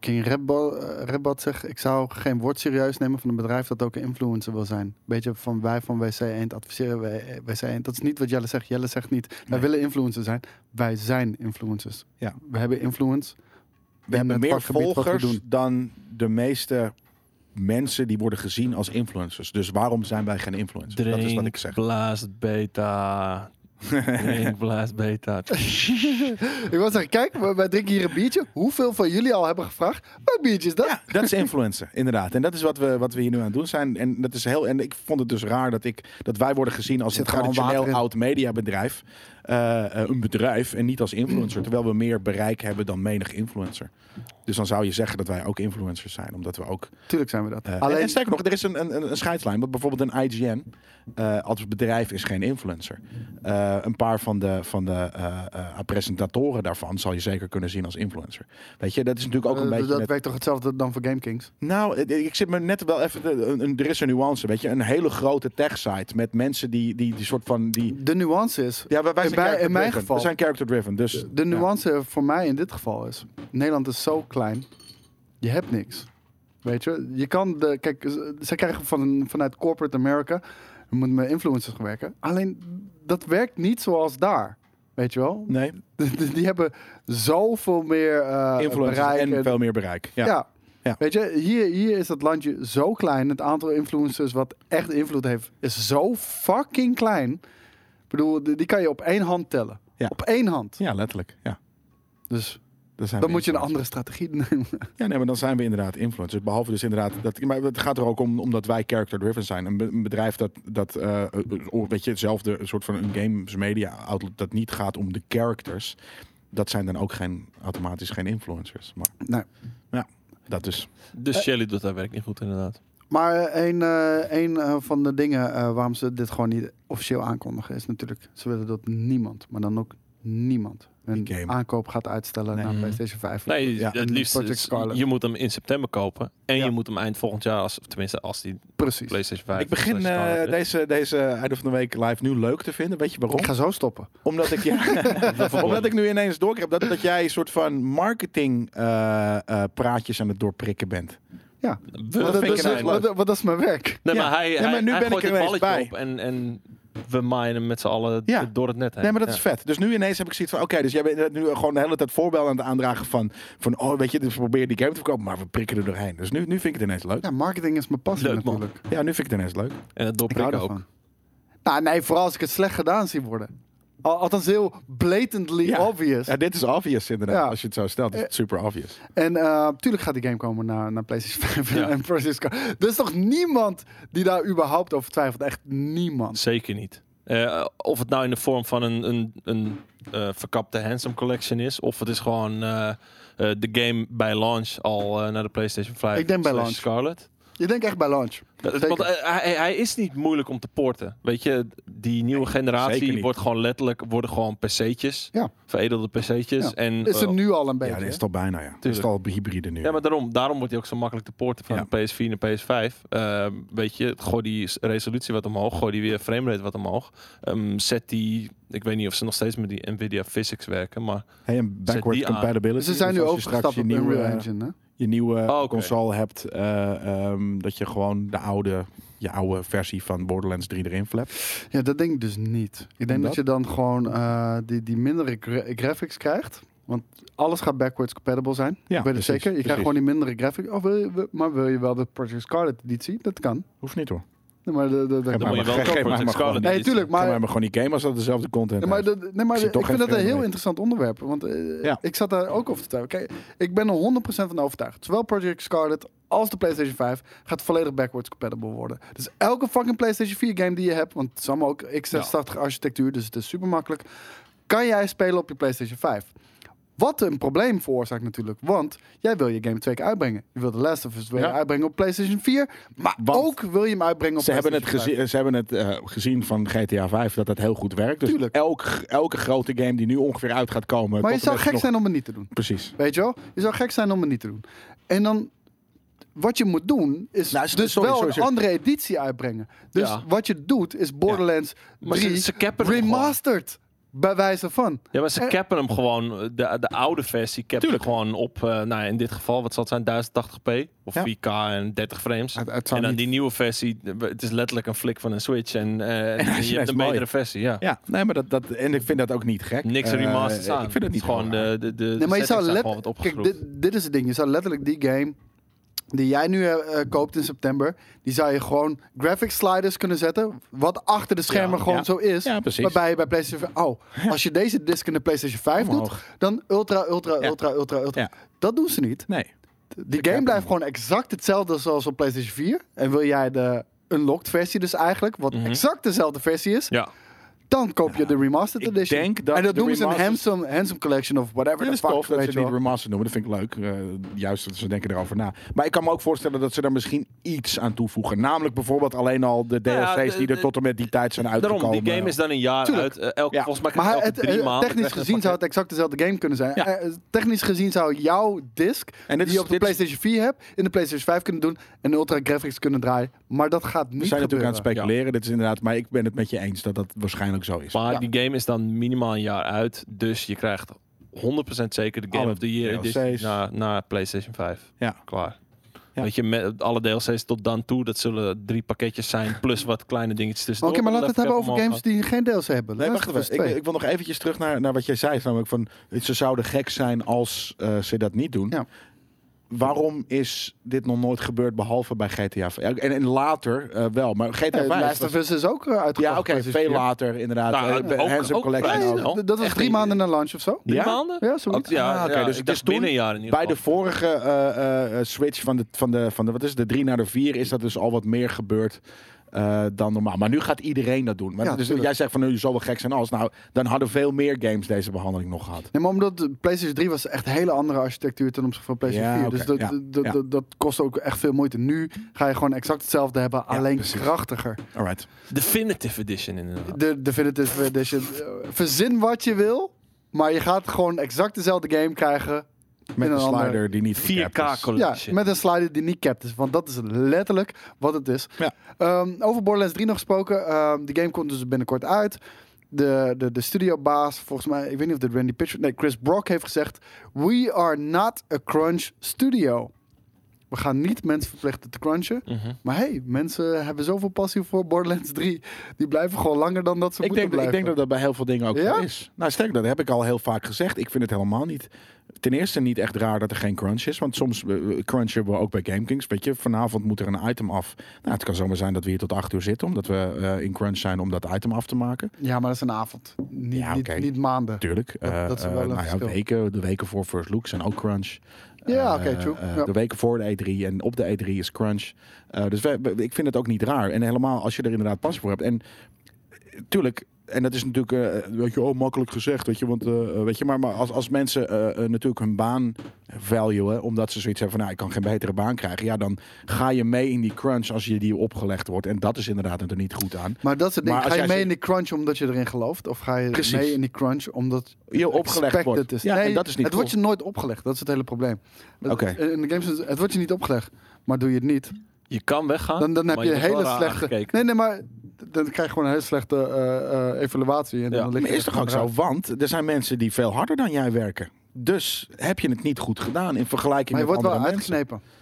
S1: King Rebbat, eh, Rebbat zegt... Ik zou geen woord serieus nemen van een bedrijf dat ook een influencer wil zijn. Beetje van wij van WC Eend adviseren wij- WC Eend. Dat is niet wat Jelle zegt. Jelle zegt niet, wij
S2: Nee.
S1: willen influencer zijn. Wij zijn influencers.
S2: Ja.
S1: We hebben influence.
S2: We hebben
S1: het
S2: meer
S1: vakgebied wat we
S2: volgers
S1: doen.
S2: dan de meeste mensen die worden gezien als influencers. Dus waarom zijn wij geen influencers? dat is wat ik zeg.
S3: blaast beta. Drink, blaast beta.
S1: Ik wil zeggen, kijk, wij wij drinken hier een biertje. Hoeveel van jullie al hebben gevraagd? Wat biertje is dat?
S2: Ja, dat is influencer, inderdaad. En dat is wat we, wat we hier nu aan het doen zijn. En, dat is heel, en ik vond het dus raar dat, ik, dat wij worden gezien als
S1: Zit
S2: een
S1: gewoon water
S2: traditioneel
S1: in.
S2: oud mediabedrijf. eh, eh, een bedrijf en niet als influencer. Terwijl we meer bereik hebben dan menig influencer. Dus dan zou je zeggen dat wij ook influencers zijn. Omdat we ook
S1: Tuurlijk zijn we dat.
S2: Eh, En,
S1: Alleen,
S2: en sterker nog, er is een, een, een- een scheidslijn. Want bijvoorbeeld een IGN eh, als bedrijf is geen influencer. Eh, een paar van de, van de eh, eh, presentatoren daarvan zal je zeker kunnen zien als influencer. Weet je, dat is natuurlijk ook een
S1: eh,
S2: beetje...
S1: dat
S2: net-
S1: werkt toch hetzelfde dan voor GameKings?
S2: Nou, eh, ik zit me net wel even... te- een, een- er is een nuance, weet je. Een hele grote tech-site met mensen die, die, die soort van... Die,
S1: De nuance is...
S2: ja, wij- wij
S1: In
S2: zijn
S1: mijn-
S2: character
S1: in mijn
S2: driven.
S1: geval.
S2: We zijn character-driven, dus...
S1: De nuance voor mij in dit geval is... Nederland is zo klein. Je hebt niks. Weet je? Je kan de... Kijk, ze- ze krijgen van, vanuit corporate America... Je moet met influencers gaan werken. Alleen, dat werkt niet zoals daar. Weet je wel?
S2: Nee,
S1: Die hebben zoveel meer eh
S2: influencers
S1: bereik
S2: en veel meer bereik. Ja.
S1: Ja.
S2: Ja.
S1: Weet je, hier, hier is dat landje zo klein. Het aantal influencers wat echt invloed heeft, is zo fucking klein. Ik bedoel, die die kan je op één hand tellen.
S2: Ja.
S1: Op één hand.
S2: Ja, letterlijk. Ja.
S1: Dus
S2: Daar zijn
S1: dan
S2: we
S1: moet je een
S2: influencers.
S1: andere strategie nemen.
S2: Ja, nee, maar dan zijn we inderdaad influencers. Behalve dus inderdaad dat. Maar het gaat er ook om omdat wij character-driven zijn. Een, be- een bedrijf dat. dat eh, eh, weet je, hetzelfde soort van een games media outlet. dat niet gaat om de characters. Dat zijn dan ook geen, automatisch geen influencers. Maar
S1: Nee.
S2: dat is.
S1: Eh.
S3: Dus Shelly doet haar werk niet goed, inderdaad.
S1: Maar eh, een, eh, een eh, van de dingen eh, waarom ze dit gewoon niet officieel aankondigen is natuurlijk... Ze willen dat niemand, maar dan ook niemand, hun
S2: Die game.
S1: aankoop gaat uitstellen
S2: Nee. Mm-hmm.
S1: naar
S3: Mhm.
S1: PlayStation 5.
S3: Nee,
S2: Ja,
S3: het liefst
S1: Project
S3: is-
S1: Scarlet.
S3: je moet hem in september kopen. En
S1: Ja.
S3: je moet hem eind volgend jaar, als, tenminste als die
S1: Precies.
S3: PlayStation 5...
S2: ik begin
S3: slash Scarlet
S2: eh,
S3: is.
S2: deze, deze einde van de week live nu leuk te vinden. Weet je waarom?
S1: Ik ga zo stoppen.
S2: Omdat ik, ja, omdat ik nu ineens doorkrijg dat, dat jij een soort van marketing eh, eh, praatjes aan het doorprikken bent.
S3: We-
S2: dat
S1: Want
S2: vind ik
S1: is-
S2: ineens leuk.
S1: want- want dat is mijn werk.
S3: Nee,
S2: Ja.
S3: maar hij,
S2: maar
S3: hij,
S2: nu
S3: hij
S2: ben
S3: gooit
S2: ik er
S3: het
S2: ineens
S3: balletje
S2: bij.
S3: op en, en we maaien hem met z'n allen
S2: Ja.
S3: door het net heen.
S2: Nee, maar dat
S3: Ja.
S2: is vet. Dus nu ineens heb ik zoiets van... Oké, dus jij bent inderdaad nu gewoon de hele tijd voorbeelden aan het aandragen van... van oh, weet je, dus we proberen die game te verkopen, maar we prikken er doorheen. Dus nu, nu vind ik het ineens leuk. Ja,
S1: Ja, marketing is mijn passie
S3: Leuk, man.
S1: natuurlijk.
S2: nu vind ik het ineens leuk.
S3: En dat
S1: Ik hou
S3: doorprikken ook.
S1: daarvan. Nou, nee, vooral als ik het slecht gedaan zie worden. Al- Althans, heel blatantly
S2: Ja.
S1: obvious.
S2: Ja, dit is obvious inderdaad,
S1: Ja. Eh,
S2: als je het zo stelt. Is het super obvious.
S1: En eh tuurlijk gaat die game komen naar, naar PlayStation 5
S3: Ja.
S1: en Francisco. Er is toch niemand die daar überhaupt over twijfelt? Echt niemand.
S3: Zeker niet. Eh, of het nou in de vorm van een, een, een eh, verkapte Handsome Collection is, of het is gewoon eh, eh, de game bij launch al eh, naar de PlayStation 5.
S1: Ik denk bij
S3: slash
S1: launch.
S3: Scarlet.
S1: Je denkt echt bij launch.
S3: Dat-
S1: Zeker.
S3: want eh, hij, hij is niet moeilijk om te porten. Weet je, die nieuwe
S2: zeker
S3: generatie
S2: niet.
S3: wordt gewoon letterlijk worden gewoon PC'tjes.
S1: Ja.
S3: Veredelde PC'tjes.
S1: Ja.
S3: En,
S1: Is er
S3: eh,
S1: nu al een
S2: Ja,
S1: beetje.
S2: dat is het al bijna, ja. Het is het al hybride nu.
S3: Ja, maar daarom, daarom wordt hij ook zo makkelijk te poorten van
S2: Ja.
S3: de PS4 naar PS5. Eh, weet je, gooi die s- resolutie wat omhoog, gooi die weer framerate wat omhoog. Ehm, zet die, ik weet niet of ze nog steeds met die Nvidia Physics werken, maar
S2: hey, en backward
S3: die aan.
S2: compatibility.
S1: Ze zijn
S2: Dus
S1: nu
S2: als je straks
S1: overgestapt op eh,
S2: je nieuwe, eh,
S1: Unreal Engine. Hè?
S2: Je nieuwe
S3: Oh, oké.
S2: console hebt, eh, ehm, dat je gewoon de oude, je oude versie van Borderlands 3 erin flapt.
S1: Ja, dat denk ik dus niet. Ik denk
S2: Omdat?
S1: dat je dan gewoon eh, die, die mindere gra- graphics krijgt. Want alles gaat backwards compatible zijn.
S2: Ja,
S1: ik weet het
S2: precies,
S1: zeker. Je
S2: precies.
S1: krijgt gewoon die mindere graphics. Oh, wil je, wil- maar wil je wel de Project Scarlet editie? Dat kan.
S2: Hoeft niet hoor.
S1: Nee, maar de, de, de,
S2: maar
S3: dan moet je
S2: maar-
S3: wel
S2: geef
S3: kopen
S2: maar
S3: met
S2: maar gewoon.
S3: Scarlet.
S1: nee,
S3: Edition.
S1: tuurlijk.
S2: Maar,
S1: Maar,
S2: maar gewoon die game als dat dezelfde content
S1: nee, maar,
S2: heeft.
S1: de- nee, maar
S2: Ik
S1: ik,
S2: zie toch geen
S1: vind het een
S2: film
S1: heel
S2: mee.
S1: interessant onderwerp. Want eh,
S2: Ja.
S1: ik zat daar ook over te tuigen. Kijk, ik ben er 100% van overtuigd. Zowel Project Scarlet als de PlayStation 5 gaat volledig backwards compatible worden. Dus elke fucking PlayStation 4 game die je hebt... want het is allemaal ook x86 architectuur, dus het is super makkelijk... kan jij spelen op je PlayStation 5. Wat een probleem veroorzaakt natuurlijk. Want jij wil je game twee keer uitbrengen. Je wil The Last of Us twee
S2: Ja.
S1: keer uitbrengen op PlayStation 4. Maar
S2: Want
S1: ook wil je hem uitbrengen op
S2: Ze hebben, het
S1: PlayStation 5.
S2: gezien, ze hebben het eh, gezien van GTA 5 dat dat heel goed werkt. Dus
S1: Tuurlijk.
S2: elk, elke grote game die nu ongeveer uit gaat komen.
S1: Maar je
S2: komt
S1: zou
S2: er
S1: gek
S2: nog-
S1: zijn om het niet te doen.
S2: Precies.
S1: Weet je wel? Je zou gek zijn om het niet te doen. En dan, wat je moet doen, is
S2: Nou,
S1: dus
S2: s- sorry,
S1: wel
S2: sorry,
S1: een
S2: sorry.
S1: andere editie uitbrengen. Dus
S3: Ja.
S1: wat je doet, is Borderlands
S3: Maar
S1: 3
S3: ze- ze cappen hem
S1: remastered. Bij wijze
S2: Dus
S1: van.
S3: Ja, maar ze
S1: Eh.
S3: cappen hem gewoon. De, de oude versie cappen
S2: Tuurlijk.
S3: gewoon op, eh, nou in dit geval, wat zal het zijn, 1080p of
S1: Ja.
S3: 4K en 30 frames.
S1: Het, het
S3: En
S1: zou
S3: dan
S1: niet-
S3: die nieuwe versie, eh, het is letterlijk een flik van een Switch en, eh,
S2: hij is
S3: je hebt een
S2: mooier.
S3: betere versie, ja.
S2: Ja, nee, maar dat, dat, en ik vind dat ook niet gek.
S3: Niks
S2: Eh,
S3: remasters aan.
S2: Ik vind het niet
S3: gewoon
S2: raar.
S3: de, de, de
S1: Nee, maar je zou
S3: settings zijn
S1: let-
S3: gewoon wat
S1: Kijk,
S3: opgeschroefd.
S1: dit, dit is het ding. Je zou letterlijk die game die jij nu eh, eh, koopt in september, die zou je gewoon graphic sliders kunnen zetten, wat achter de schermen
S2: Ja,
S1: gewoon
S2: ja.
S1: zo is.
S2: Ja, precies.
S1: Waarbij je bij PlayStation 5, oh, als je deze disc in de PlayStation 5
S2: Omhoog.
S1: doet, dan ultra, ultra,
S2: Ja.
S1: ultra, ultra, ultra.
S2: Ja.
S1: Dat doen ze niet.
S2: Nee.
S1: Die game blijft gewoon exact hetzelfde zoals op PlayStation 4. En wil jij de unlocked versie dus eigenlijk, wat
S3: Mhm.
S1: exact dezelfde versie is,
S3: Ja,
S1: dan koop je de remastered
S2: ik
S1: edition.
S2: denk dat
S1: en dat
S2: de
S1: doen ze een
S2: remasters-
S1: handsome, handsome collection of whatever
S2: Dat
S1: the
S2: is
S1: fuck.
S2: tof dat
S1: weet
S2: ze
S1: je wel.
S2: niet remaster noemen. Dat vind ik leuk. Eh, juist dat ze denken erover na. Maar ik kan me ook voorstellen dat ze daar misschien iets aan toevoegen. Namelijk bijvoorbeeld alleen al de
S3: Nou ja,
S2: DLC's die
S3: de-
S2: er tot en met die tijd zijn uitgekomen.
S3: daarom, die game is dan een jaar
S1: Tuurlijk.
S3: uit. eh, elke,
S2: Ja.
S3: Volgens mij kan
S1: Maar
S3: elke
S1: het,
S3: drie
S1: eh,
S3: maanden
S1: technisch
S3: krijg je een
S1: gezien zou
S3: pakket.
S1: het exact dezelfde game kunnen zijn.
S2: Ja.
S1: Eh, technisch gezien zou jouw disc,
S2: En dit
S1: die
S2: is-
S1: je op de
S2: dit is-
S1: PlayStation 4 hebt, in de PlayStation 5 kunnen doen en ultra graphics kunnen draaien. Maar dat gaat niet
S2: We zijn natuurlijk
S1: gebeuren.
S2: aan het speculeren. Dit is inderdaad, maar ik ben het met je eens dat dat waarschijnlijk zo is.
S3: Maar
S1: Ja.
S3: die game is dan minimaal een jaar uit. Dus je krijgt 100% zeker de Game
S2: Alle
S3: of the Year
S2: DLC's.
S3: edition naar, naar PlayStation 5.
S2: Ja.
S3: Klaar.
S2: Ja.
S3: Weet je, met alle DLC's tot dan toe, dat zullen drie pakketjes zijn, plus wat kleine dingetjes
S1: Oké,
S3: tussendoor.
S1: maar
S3: Dan
S1: laten we het
S3: heb
S1: hebben
S3: ik
S1: over
S3: hem
S1: games die geen DLC hebben.
S2: Nee,
S1: Last
S2: wacht
S1: of Us
S2: even. Ik,
S1: 2.
S2: ik wil nog eventjes terug naar, naar wat jij zei. Namelijk van, ze zouden gek zijn als eh, ze dat niet doen.
S1: Ja.
S2: Waarom is dit nog nooit gebeurd behalve bij GTA 5? En, en later eh, wel, maar GTA
S1: Eh,
S2: 5
S1: Last of
S2: was-
S1: Us is ook eh,
S2: Ja,
S1: uitgekomen.
S2: oké, veel later inderdaad.
S3: Nou,
S2: Eh,
S3: ook-
S2: Handsome
S3: ook
S2: Collection.
S3: vrij
S2: ook.
S3: snel.
S1: Dat was
S3: Echt
S1: drie
S3: niet.
S1: maanden na launch of zo.
S3: Drie
S2: Ja?
S3: maanden?
S1: Ja, zoiets.
S3: Oh, ja,
S2: Ah, oké,
S3: ja,
S2: dus het
S3: dus ik
S2: is
S3: dacht
S2: toen
S3: binnen een jaar in ieder
S2: Bij de
S3: geval.
S2: vorige eh, eh, switch van de, van, de, van de, wat is het, de 3 naar de 4 is dat dus al wat meer gebeurd eh, dan normaal. Maar nu gaat iedereen dat doen. Maar
S1: Ja,
S2: dus
S1: tuurlijk.
S2: jij zegt van nu zal wel gek zijn als. Nou, dan hadden veel meer games deze behandeling nog gehad.
S1: Nee, maar omdat de PlayStation 3 was echt hele andere architectuur ten opzichte van PlayStation
S2: Ja,
S1: 4.
S2: oké,
S1: Dus dat,
S2: ja,
S1: dat,
S2: ja.
S1: dat, dat kost ook echt veel moeite. Nu ga je gewoon exact hetzelfde hebben,
S2: Ja,
S1: alleen
S2: precies.
S1: krachtiger.
S2: Alright.
S3: Definitive Edition inderdaad.
S1: De Definitive Edition. Eh, Verzin wat je wil, maar je gaat gewoon exact dezelfde game krijgen.
S2: Met
S1: In
S2: een
S1: een ander-
S2: slider die niet
S3: 4K
S2: gecapt is.
S1: Ja,
S3: collection.
S1: met een slider die niet capped is. Want dat is letterlijk wat het is.
S2: Ja.
S1: Ehm, over Borderlands 3 nog gesproken. Ehm de game komt dus binnenkort uit. De, de, de studiobaas, volgens mij, ik weet niet of dit Randy Pitchford... Nee, Chris Brock heeft gezegd... We are not a crunch studio. We gaan niet mensen verplichten te crunchen.
S3: Mhm.
S1: Maar hey, mensen hebben zoveel passie voor Borderlands 3. Die blijven gewoon langer dan dat ze moeten
S2: Ik denk, dat- ik
S1: blijven.
S2: denk dat dat bij heel veel dingen ook
S1: Ja?
S2: zo is. Nou, sterk, dat heb ik al heel vaak gezegd. Ik vind het helemaal niet. Ten eerste niet echt raar dat er geen crunch is. Want soms eh, crunchen we ook bij GameKings. Weet je, vanavond moet er een item af. Nou, het kan zomaar zijn dat we hier tot acht uur zitten. Omdat we eh, in crunch zijn om dat item af te maken.
S1: Ja, maar dat is een avond. Niet,
S2: Ja,
S1: niet-
S2: oké.
S1: niet, maanden.
S2: Tuurlijk.
S1: Dat-
S2: Eh,
S1: dat is
S2: eh,
S1: wel een
S2: nou ja,
S1: verschil.
S2: weken, de weken voor First Look zijn ook crunch.
S1: Ja,
S2: Eh,
S1: oké, true.
S2: eh,
S1: Ja.
S2: De weken voor de E3 en op de E3 is crunch. Eh, dus wij- wij- ik vind het ook niet raar. En helemaal als je er inderdaad pas voor hebt. En eh, tuurlijk, en dat is natuurlijk, eh, weet je, oh, makkelijk gezegd, weet je, want, eh, eh, weet je, maar, maar als, als mensen eh, eh, natuurlijk hun baan valuen, omdat ze zoiets hebben van, nou, ik kan geen betere baan krijgen, ja, dan ga je mee in die crunch als je die opgelegd wordt. En dat is inderdaad er niet goed aan.
S1: Maar dat is het ding.
S2: Maar als
S1: Ga je
S2: jij
S1: mee
S2: ze-
S1: in die crunch omdat je erin gelooft? Of ga je
S2: Precies.
S1: mee in die crunch omdat
S2: Je opgelegd
S1: expected
S2: wordt.
S1: is?
S2: Ja,
S1: Nee,
S2: en dat is niet
S1: het wordt je nooit opgelegd. Dat is het hele probleem. Het- eh,
S2: Oké.
S1: In de games, is- het wordt je niet opgelegd. Maar doe je het niet,
S3: Je kan weggaan,
S1: dan, dan heb
S3: Ah, maar
S1: je een
S3: wordt wel
S1: hele
S3: raar
S1: slechte...
S3: aangekeken.
S1: Nee, nee, maar dan krijg je gewoon een hele slechte eh, eh, evaluatie. En
S3: Ja,
S1: dan lig je
S2: Maar is
S1: er
S2: toch
S1: gewoon
S2: ook zo?
S1: eruit.
S2: Want er zijn mensen die veel harder dan jij werken. Dus heb je het niet goed gedaan in vergelijking
S1: Maar je wordt
S2: met
S1: wel
S2: andere mensen.
S1: uitgeknepen.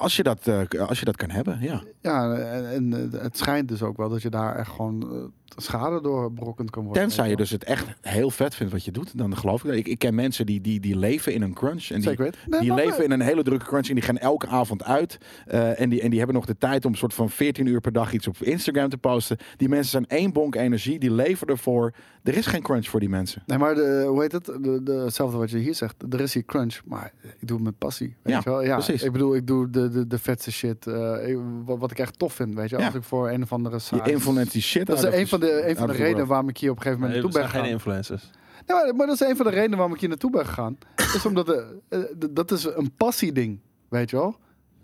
S2: Als je, dat, eh, als je dat kan hebben, ja.
S1: Ja, en, en, eh, het schijnt dus ook wel dat je daar echt gewoon eh, schade door berokkend kan worden.
S2: Tenzij je dus het echt heel vet vindt wat je doet, dan geloof ik dat. Ik, ik ken mensen die, die, die leven in een crunch. En die,
S1: Zeker weten. Nee,
S2: die
S1: maar-
S2: leven in een hele drukke crunch en die gaan elke avond uit. eh, en, die, en die hebben nog de tijd om een soort van 14 uur per dag iets op Instagram te posten. Die mensen zijn één bonk energie, die leven ervoor. Er is geen crunch voor die mensen.
S1: Nee, maar de, hoe heet het? De, de, hetzelfde wat je hier zegt. Er is hier crunch, maar ik doe het met passie. Weet
S2: Ja,
S1: je wel? ja
S2: precies.
S1: Ik bedoel, ik doe de, de, de vetste shit. eh, ik- wat, wat ik echt tof vind, weet je wel?
S2: Ja.
S1: Als ik voor een of andere
S2: Die
S1: saai...
S2: influencer shit.
S1: dat is
S2: uit
S1: een van de, een
S2: uit
S1: van de redenen waarom ik hier op een gegeven moment
S3: Nee, we
S1: naartoe ben
S3: zijn geen
S1: gegaan.
S3: influencers.
S1: Nee, maar, maar dat is een van de redenen waarom ik hier naartoe ben gegaan. is omdat de, eh, de- dat is een passieding, weet je wel?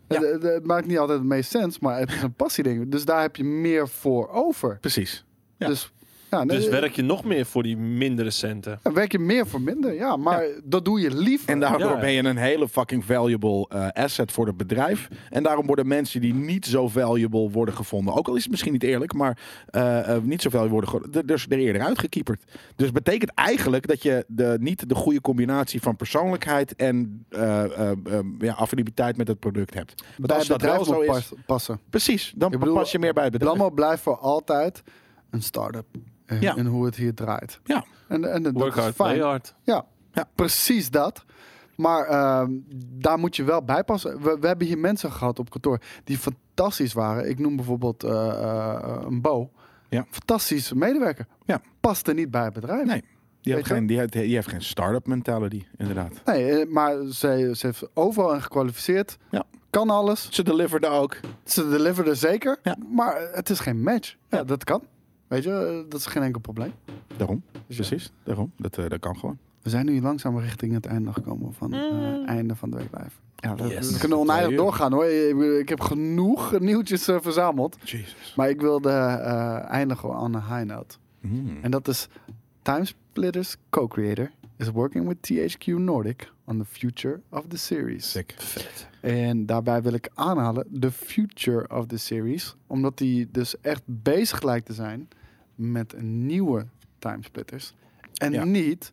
S2: Ja.
S1: Het, het- het maakt niet altijd het meest sens, maar het is een passieding. Dus daar heb je meer voor over.
S2: Precies. Ja.
S1: Dus Ja, nee,
S3: Dus
S1: eh,
S3: werk je nog meer voor die mindere centen.
S1: ja, werk je meer voor minder, ja. Maar dat doe je liever.
S2: En daardoor
S3: Ja.
S2: ben je een hele fucking valuable eh, asset voor het bedrijf. En daarom worden mensen die niet zo valuable worden gevonden. Ook al is het misschien niet eerlijk, maar eh, eh, niet zo valuable worden gevonden. Dus er eerder uitgekieperd. Dus betekent eigenlijk dat je de, niet de goede combinatie van persoonlijkheid en eh, eh, eh, ja, affiniteit met het product hebt. Want
S1: bij
S2: als
S1: het
S2: dat wel
S1: bedrijf
S2: zo
S1: moet
S2: is,
S1: pas- passen.
S2: precies, dan
S1: Ik bedoel,
S2: pas je meer bij het bedrijf.
S1: Blammo blijft voor altijd een start-up. En,
S2: Ja.
S1: en hoe het hier draait.
S2: Ja.
S1: En, en dat
S3: Work
S1: is
S3: hard, play
S1: fijn.
S3: hard.
S1: Ja,
S2: Ja.
S1: precies dat. Maar ehm, daar moet je wel bij passen. We, we hebben hier mensen gehad op kantoor die fantastisch waren. Ik noem bijvoorbeeld eh, eh, een Bo.
S2: Ja.
S1: Fantastische medewerker.
S2: Ja.
S1: Paste niet bij het bedrijf.
S2: Nee. Die
S1: Weet
S2: heeft,
S1: je?
S2: geen, die, heeft, die heeft geen start-up mentality, inderdaad.
S1: Nee, eh, maar ze, ze heeft overal en gekwalificeerd.
S2: Ja.
S1: Kan alles.
S2: Ze deliverde ook.
S1: Ze deliverde zeker.
S2: Ja.
S1: Maar het is geen match. Ja,
S2: Ja.
S1: dat kan. Weet je, eh, dat is geen enkel probleem.
S2: Daarom,
S1: Dus ja.
S2: precies. Daarom, dat, eh, dat kan gewoon.
S1: We zijn nu langzaam richting het einde gekomen van eh, einde van de week live. Ja, we,
S3: Yes.
S1: we kunnen oneindig
S2: Twee uur.
S1: doorgaan hoor. Ik, ik heb genoeg nieuwtjes eh, verzameld.
S2: Jesus.
S1: Maar ik wilde eh, eindigen aan een high note. En dat is Timesplitters co-creator is working with THQ Nordic on the future of the series.
S2: Sick.
S1: En daarbij wil ik aanhalen The Future of the Series. Omdat die dus echt bezig lijkt te zijn met nieuwe timesplitters. En
S2: Ja.
S1: niet,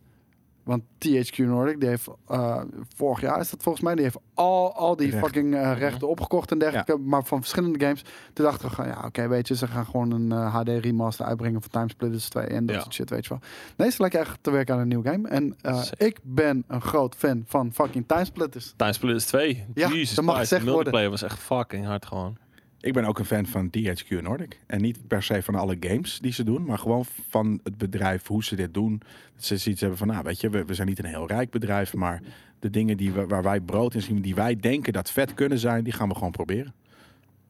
S1: want THQ Nordic, die heeft eh, vorig jaar is dat volgens mij, die heeft al, al die
S2: Recht.
S1: fucking eh, rechten opgekocht en dergelijke, maar van verschillende games. Toen dachten we, gewoon, ja oké, weet je, ze gaan gewoon een eh, HD remaster uitbrengen van Timesplitters 2 en dat
S3: Ja.
S1: soort shit, weet je wel. Nee, ze lijken echt te werken aan een nieuw game. En eh,
S3: Sick.
S1: ik ben een groot fan van fucking Timesplitters.
S3: Timesplitters 2.
S1: Ja,
S3: Jesus
S1: dat mag
S3: Christ,
S1: gezegd
S3: de multiplayer was echt fucking hard gewoon.
S2: Ik ben ook een fan van DHQ Nordic. En niet per se van alle games die ze doen, maar gewoon van het bedrijf, hoe ze dit doen. Dat ze iets hebben van, nou weet je, we, we zijn niet een heel rijk bedrijf, maar de dingen die we, waar wij brood in zien, die wij denken dat vet kunnen zijn, die gaan we gewoon proberen.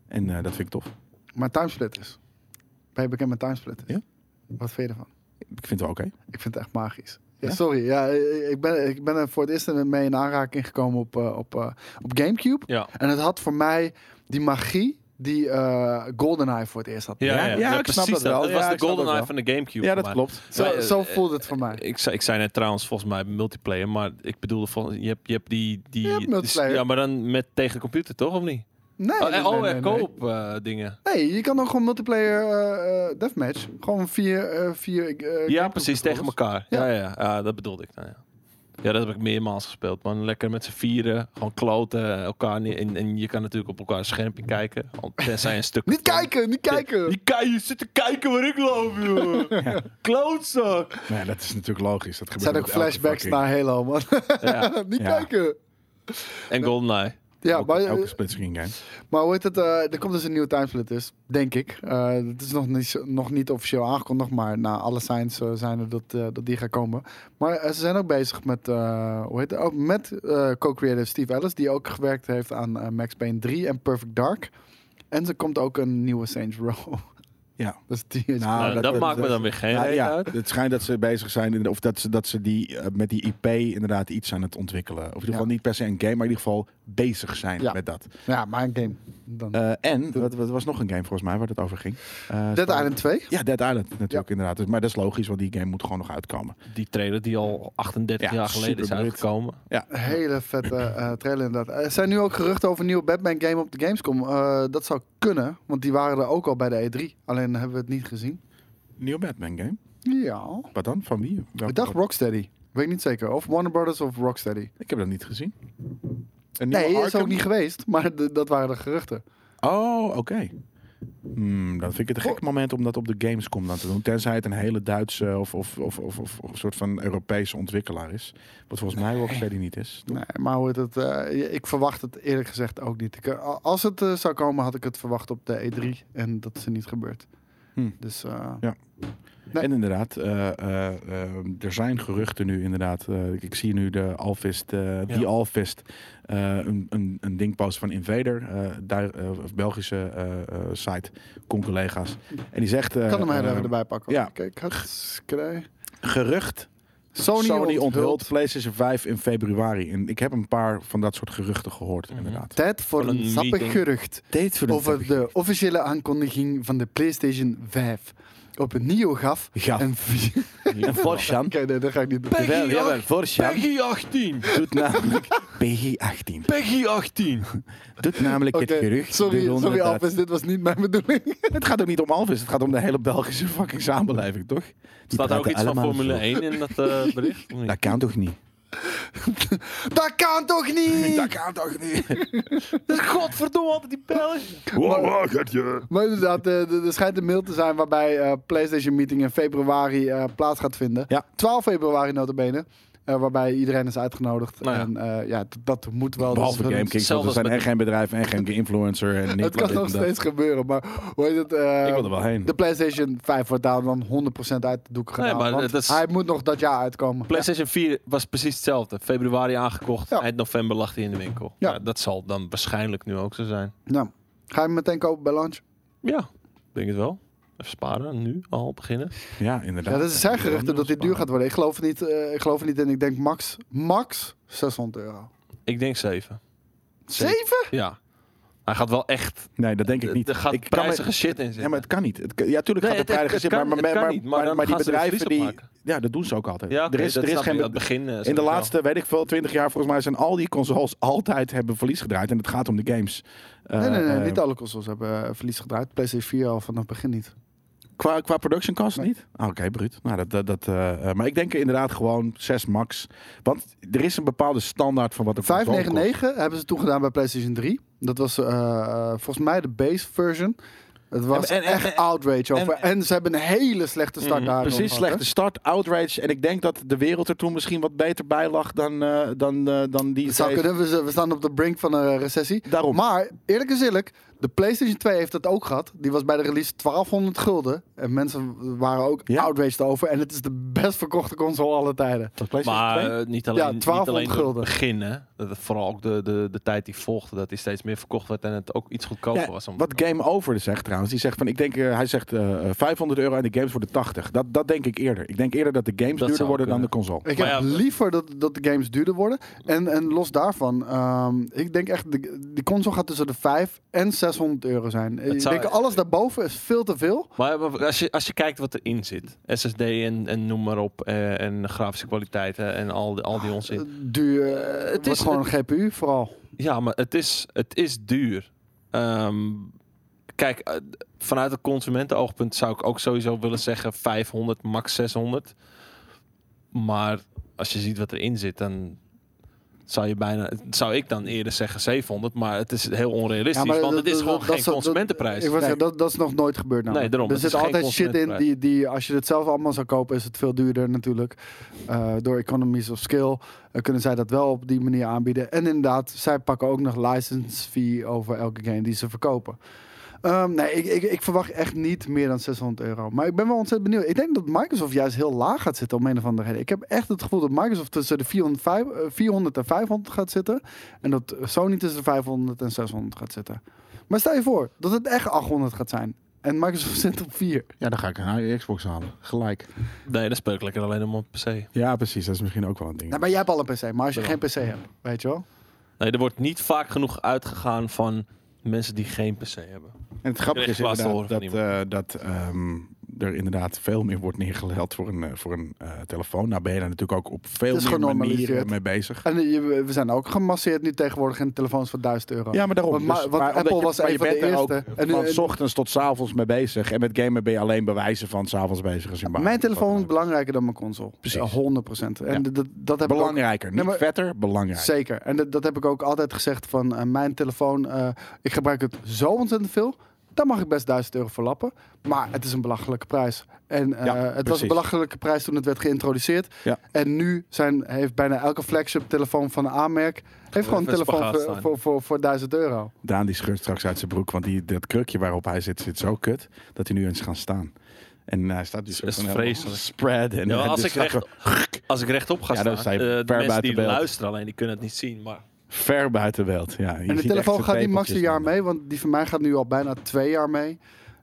S2: En eh, dat vind ik tof.
S1: Maar timesplitters. Ben je bekend met timesplitters?
S2: Ja.
S1: Wat vind je ervan?
S2: Ik vind het wel oké.
S1: Ik vind het echt magisch. Ja,
S2: Ja?
S1: Sorry, ja, eh, ik, ben, ik ben er voor het eerst mee in aanraking gekomen op, eh, op, eh, op Gamecube.
S3: Ja.
S1: En het had voor mij die magie die eh, GoldenEye voor het eerst had.
S3: Ja, ja,
S2: Ja,
S3: ja,
S2: ik
S3: precies
S2: snap dat wel.
S3: Het
S2: Ja,
S3: was
S2: ik
S3: de
S2: snap dat
S3: golden
S2: wel.
S3: eye van de Gamecube.
S2: Ja,
S3: voor
S2: dat
S3: mij.
S2: klopt.
S1: Zo,
S3: Ja, eh,
S1: zo voelde het voor mij.
S3: Ik zei, ik zei net trouwens volgens mij multiplayer, maar ik bedoelde volgens je hebt, je hebt die... die
S1: Je hebt
S3: die-
S1: multiplayer.
S3: ja, maar dan met tegen de computer toch, of niet?
S1: Nee,
S3: oh,
S1: nee,
S3: eh, oh,
S1: nee,
S3: eh,
S1: nee, nee.
S3: koop eh, dingen.
S1: Nee, je kan ook gewoon multiplayer eh, eh, deathmatch. Gewoon vier... eh, vier eh,
S3: ja,
S1: Gamecube
S3: precies, tegen
S1: controllers.
S3: elkaar. Ja, ja, ja, Ah, dat bedoelde ik. Nou, ja. ja, dat heb ik meermaals gespeeld. Man, lekker met z'n vieren, gewoon kloten, eh, elkaar niet. En, en je kan natuurlijk op elkaar schermpje kijken. al Tenzij je een stuk...
S1: Niet kijken, niet kijken!
S3: Je, kan, je zit te kijken waar ik loop, joh. Klootzak.
S2: Maar ja, dat is natuurlijk logisch. Dat
S1: Het
S2: gebeurt
S1: zijn ook
S2: met elke
S1: flashbacks
S2: fucking-
S1: naar Halo, man.
S3: Ja.
S1: niet
S2: Ja.
S1: kijken!
S3: En GoldenEye.
S1: Ja,
S2: elke,
S1: maar, eh,
S2: elke splitscreen game.
S1: Maar hoe heet het? eh, er komt dus een nieuwe timesplit, dus, denk ik. Eh, Het is nog niet, zo- nog niet officieel aangekondigd, maar na alle signs eh, zijn er dat, eh, dat die gaat komen. Maar eh, ze zijn ook bezig met, eh, hoe heet het? Ook met eh, co-creator Steve Ellis, die ook gewerkt heeft aan eh, Max Payne 3 en Perfect Dark. En er komt ook een nieuwe Saints Row.
S2: Ja.
S1: Dus die is
S2: Nou,
S3: Nou,
S2: dat-
S3: dat,
S2: dat-
S3: maakt me
S2: dat-
S3: dan weer geen
S2: Nou
S3: reet
S2: ja,
S3: uit.
S2: het schijnt dat ze bezig zijn, in- of dat ze, dat ze die, eh, met die IP inderdaad iets aan het ontwikkelen. Of in ieder
S1: Ja.
S2: geval niet per se een game, maar in ieder geval bezig zijn
S1: Ja.
S2: met dat.
S1: ja, maar een game. Dan.
S2: Eh, en, wat, wat was nog een game volgens mij waar het over ging? Eh,
S1: Dead Island 2?
S2: Ja, Dead Island natuurlijk inderdaad. Dus- Maar dat is logisch, want die game moet gewoon nog uitkomen.
S3: Die trailer die al 38
S2: Ja,
S3: jaar geleden is
S2: superbrit.
S3: uitgekomen.
S1: Een Hele vette eh, trailer inderdaad. Er zijn nu ook geruchten over een nieuwe Batman game op de Gamescom. Eh, dat zou kunnen, want die waren er ook al bij de E3. Alleen hebben we het niet gezien.
S2: Nieuw Batman game?
S1: Ja.
S2: Wat dan? Van wie? Welke-
S1: Ik dacht Rocksteady. Weet ik niet zeker. Of Warner Brothers of Rocksteady.
S2: Ik heb dat niet gezien. Een nieuwe
S1: Nee, is
S2: Arkham?
S1: ook niet geweest. Maar de- dat waren de geruchten.
S2: Oh, oké. Hmm, dan vind ik het een gek moment om dat op de Gamescom dan te doen. Tenzij het een hele Duitse of, of, of, of, of, of een soort van Europese ontwikkelaar is. Wat volgens mij Rocksteady niet is.
S1: Nee, maar hoe heet het, eh, ik verwacht het eerlijk gezegd ook niet. Ik, eh, als het eh, zou komen, had ik het verwacht op de E3. En dat is er niet gebeurd.
S2: Hm.
S1: Dus eh, Nee.
S2: En inderdaad, eh, eh, eh, er zijn geruchten nu inderdaad. Eh, ik- ik zie nu de Alfist, eh
S3: Ja.
S2: die Alfist, eh, een, een, een ding post van Invader, eh daar, eh, of Belgische eh, eh, site, con collega's. En die zegt, eh,
S1: ik kan hem heel
S2: eh,
S1: even erbij pakken.
S2: ja.
S1: Kijk, het krijg.
S2: gerucht,
S1: Sony,
S2: Sony,
S1: onthult.
S2: onthult PlayStation 5 in februari. En ik heb een paar van dat soort geruchten gehoord
S3: Mhm.
S2: inderdaad.
S1: Tijd voor
S3: Van
S1: een
S3: een
S1: sappig
S3: meeting.
S1: gerucht
S2: Tijd voor
S1: over de officiële aankondiging van de PlayStation 5. op een Nio gaf.
S4: Gaf.
S1: En vier...
S4: En Forchan.
S1: Oké, nee, dat ga ik niet doen.
S4: Jawel, jawel, Forchan
S3: 18!
S4: doet namelijk PG-18.
S3: Peggy 18!
S4: Doet namelijk
S1: Oké,
S4: het gerucht. de
S1: sorry,
S4: ronde
S1: sorry
S4: dat-
S1: Alves, dit was niet mijn bedoeling.
S2: Het gaat ook niet om Alvis. Het gaat om de hele Belgische fucking samenleving, toch?
S4: die
S3: Staat er ook
S4: praten
S3: iets van
S4: allemaal
S3: Formule
S4: zo.
S3: 1 in dat eh, bericht? Of niet?
S4: Dat kan toch niet?
S1: dat kan toch niet?
S2: kan toch niet?
S3: Godverdomme, altijd die Belgen!
S2: Wow, wow, je.
S1: Maar inderdaad, eh, er er schijnt een mail te zijn waarbij eh PlayStation Meeting in februari eh, plaats gaat vinden.
S2: Ja.
S1: 12 februari notabene. eh waarbij iedereen is uitgenodigd.
S3: Nou ja.
S1: En eh, ja, d- dat moet wel.
S2: Behalve
S1: dat is-
S2: GameKings, want
S3: Hetzelfde
S2: er
S3: als
S2: zijn
S3: met-
S2: echt geen bedrijf en geen influencer. En
S1: Het
S2: niet
S1: kan
S2: dit
S1: nog
S2: en dat.
S1: steeds gebeuren, maar hoe heet het? eh,
S2: Ik wil er wel heen.
S1: De PlayStation 5 wordt daar dan 100% uit de doek gedaan.
S3: Nee, maar
S1: want
S3: dat is-
S1: Hij moet nog dat jaar uitkomen.
S3: PlayStation 4 was precies hetzelfde. Februari aangekocht,
S1: Ja.
S3: eind november lag hij in de winkel.
S1: Ja.
S3: Nou, dat zal dan waarschijnlijk nu ook zo zijn.
S1: Nou, ga je hem meteen kopen bij launch?
S3: Ja, ik denk het wel. Even sparen, nu al beginnen.
S2: Ja, inderdaad.
S1: Ja, dat is zijn geruchten dat dit
S3: sparen.
S1: duur gaat worden. Ik geloof het niet, eh, ik geloof het niet en ik denk max, max 600 euro.
S3: Ik denk 7.
S1: Zeven?
S3: Ja. Hij gaat wel echt. eh,
S2: Nee, dat denk ik niet.
S3: Er gaat
S2: ik kan me-
S3: prijzige shit in zitten.
S2: Ja, maar het kan niet. Het kan- ja, tuurlijk
S3: Nee,
S2: gaat er
S3: het- het-
S2: prijzig
S3: het
S2: zitten,
S3: kan-
S2: maar,
S3: het
S2: maar,
S3: kan
S2: maar,
S3: niet, maar
S2: maar,
S3: dan
S2: maar die
S3: gaan ze er
S2: bedrijven
S3: verlies op
S2: die... Ja, dat doen ze ook altijd.
S3: ja, oké,
S2: er is,
S3: dat
S2: er is
S3: snap
S2: geen...
S3: ik, dat begin. eh,
S2: in de
S3: sowieso.
S2: laatste, weet ik veel, 20 jaar volgens mij zijn al die consoles altijd hebben verlies gedraaid. En het gaat om de games. Eh,
S1: Nee, nee, nee,
S2: eh,
S1: niet alle consoles hebben eh, verlies gedraaid. PlayStation 4 al vanaf het begin niet.
S2: Qua, qua production cost
S1: Nee.
S2: niet? Ah, Oké, bruut. Nou, dat, dat, dat, eh, eh, maar ik denk inderdaad gewoon 6 max. Want er is een bepaalde standaard van wat een console kost.
S1: 599 hebben ze toen gedaan bij PlayStation 3. Dat was eh, eh, volgens mij de base version. Het was
S3: En- en-
S1: echt
S3: en-
S1: outrage over. En, ze hebben een hele slechte start
S3: Mhm,
S1: daar.
S2: Precies, slechte start, outrage. En ik denk dat de wereld er toen misschien wat beter bij lag dan, eh, dan, eh, dan die...
S1: Zou
S2: tijd.
S1: kunnen, we, z- we staan op de brink van een eh, recessie.
S2: Daarom.
S1: Maar eerlijk is eerlijk, de PlayStation 2 heeft dat ook gehad. Die was bij de release 1200 gulden. En mensen waren ook
S2: Ja.
S1: outraged over. En het is de best verkochte console alle tijden.
S2: Dat PlayStation
S3: Maar
S2: 2?
S3: eh, niet alleen,
S1: Ja,
S3: niet
S1: 1200
S3: alleen door het
S1: gulden.
S3: begin, hè. Dat het vooral ook de, de, de tijd die volgde, dat hij steeds meer verkocht werd en het ook iets goedkoper
S2: Ja,
S3: eh, was. Om
S2: Wat Game Over dus zegt trouwens, die zegt van, ik denk, eh, hij zegt eh, 500 euro en de games worden 80. Dat, dat denk ik eerder. Ik denk eerder dat de games
S3: Dat
S2: duurder
S3: zou
S2: worden dan de
S3: kunnen.
S2: console.
S1: Ik
S3: Maar
S1: heb
S3: ja,
S1: liever dat, dat de games duurder worden. En, en los daarvan, ehm, ik denk echt, de, die console gaat tussen de 5 en 600 euro zijn. Ik
S3: zou-
S1: denk alles daarboven is veel te veel.
S3: Maar als je, als je kijkt wat erin zit, SSD en, en noem maar op, eh, en grafische kwaliteiten en al, die- al die
S1: Ah,
S3: onzin.
S1: eh, Duur,
S3: Eh,
S1: het
S3: het
S1: is
S3: is-
S1: gewoon een GPU vooral.
S3: Ja, maar het is, het is duur. Ehm, kijk, eh, vanuit het consumentenoogpunt zou ik ook sowieso willen zeggen 500, max 600. Maar als je ziet wat erin zit, dan zou, je bijna, zou ik dan eerder zeggen 700. Maar het is heel onrealistisch,
S1: Ja, maar
S3: want het
S1: dat-
S3: is gewoon
S1: dat- dat
S3: geen
S1: is- dat-
S3: consumentenprijs.
S1: Ik was zeggen, dat, dat is nog nooit gebeurd. namelijk.
S3: Nee, daarom,
S1: Er
S3: het
S1: zit
S3: is geen
S1: altijd shit in die,
S3: consumentenprijs.
S1: die, als je het zelf allemaal zou kopen, is het veel duurder natuurlijk. Eh, door economies of skill eh, kunnen zij dat wel op die manier aanbieden. En inderdaad, zij pakken ook nog license fee over elke game die ze verkopen. Ehm, nee, ik, ik, ik verwacht echt niet meer dan 600 euro. Maar ik ben wel ontzettend benieuwd. Ik denk dat Microsoft juist heel laag gaat zitten om een of andere reden. Ik heb echt het gevoel dat Microsoft tussen de 400, vijf- eh, 400 en 500 gaat zitten. En dat Sony tussen de 500 en 600 gaat zitten. Maar stel je voor dat het echt 800 gaat zijn. En Microsoft zit op 4.
S2: Ja, dan ga ik een Xbox halen. Gelijk.
S3: Nee, dat speel ik lekker alleen om op PC.
S2: Ja, precies. Dat is misschien ook wel een ding.
S1: Nou, maar jij hebt al een PC. Maar als je
S3: Ja.
S1: geen PC hebt, weet je wel.
S3: Nee, er wordt niet vaak genoeg uitgegaan van mensen die geen PC hebben.
S2: En het grappige is
S3: Krijg je laatst te
S2: inderdaad dat,
S3: horen
S2: eh, dat ehm, er inderdaad veel meer wordt neergelegd voor een, eh, voor een eh, telefoon. Nou ben je daar natuurlijk ook op veel
S1: Het is
S2: meer
S1: genormaliseerd.
S2: manieren mee bezig.
S1: En eh, je- we zijn ook gemasseerd nu tegenwoordig in telefoons voor 1000 euro.
S2: Ja, maar daarom.
S1: Want ma-
S2: Dus-
S1: want
S2: maar omdat
S1: Apple
S2: je-
S1: was
S2: maar je
S1: een van
S2: bent
S1: de
S2: daar
S1: eerste.
S2: Ook
S1: En nu-
S2: van
S1: en-
S2: s ochtends tot s avonds mee bezig. En met gamen ben je alleen bij wijze van s avonds bezig. Als je baan
S1: Mijn
S2: hebt.
S1: telefoon is belangrijker dan mijn console.
S2: Precies.
S1: Ja, 100%. En
S2: Ja.
S1: dat, dat- dat heb ik ook
S2: belangrijker. Niet
S1: Nee, maar-
S2: vetter, belangrijker.
S1: Zeker. En dat, dat heb ik ook altijd gezegd van eh, mijn telefoon. eh, ik gebruik het zo ontzettend veel. Daar mag ik best 1000 euro voor lappen. Maar het is een belachelijke prijs. En eh,
S2: Ja,
S1: het was
S2: precies.
S1: een belachelijke prijs toen het werd geïntroduceerd.
S2: Ja.
S1: En nu zijn, heeft bijna elke flagship telefoon van een aanmerk... heeft gewoon een
S3: even
S1: telefoon
S3: spagaat
S1: voor,
S3: staan.
S1: voor, voor, voor 1000 euro.
S2: Daan die scheurt straks uit zijn broek, want die, dat krukje waarop hij zit zit zo kut dat hij nu eens gaan staan. En hij staat dus
S3: Dat is
S2: van helemaal
S3: vreselijk.
S2: spread en
S3: Ja, maar
S2: en
S3: als
S2: dus
S3: ik
S2: staat
S3: recht-
S2: zo
S3: Als ik rechtop ga
S2: Ja, dan
S3: staan,
S2: sta je
S3: eh, de
S2: ver
S3: mensen
S2: buiten
S3: die
S2: beeld.
S3: luisteren alleen, die kunnen het niet zien. Maar
S2: ver buiten beeld. Ja, je ziet
S1: en de
S2: echt
S1: telefoon
S2: zijn
S1: gaat niet max een
S2: tepeltjes
S1: jaar
S2: dan.
S1: mee. Want die van mij gaat nu al bijna twee jaar mee.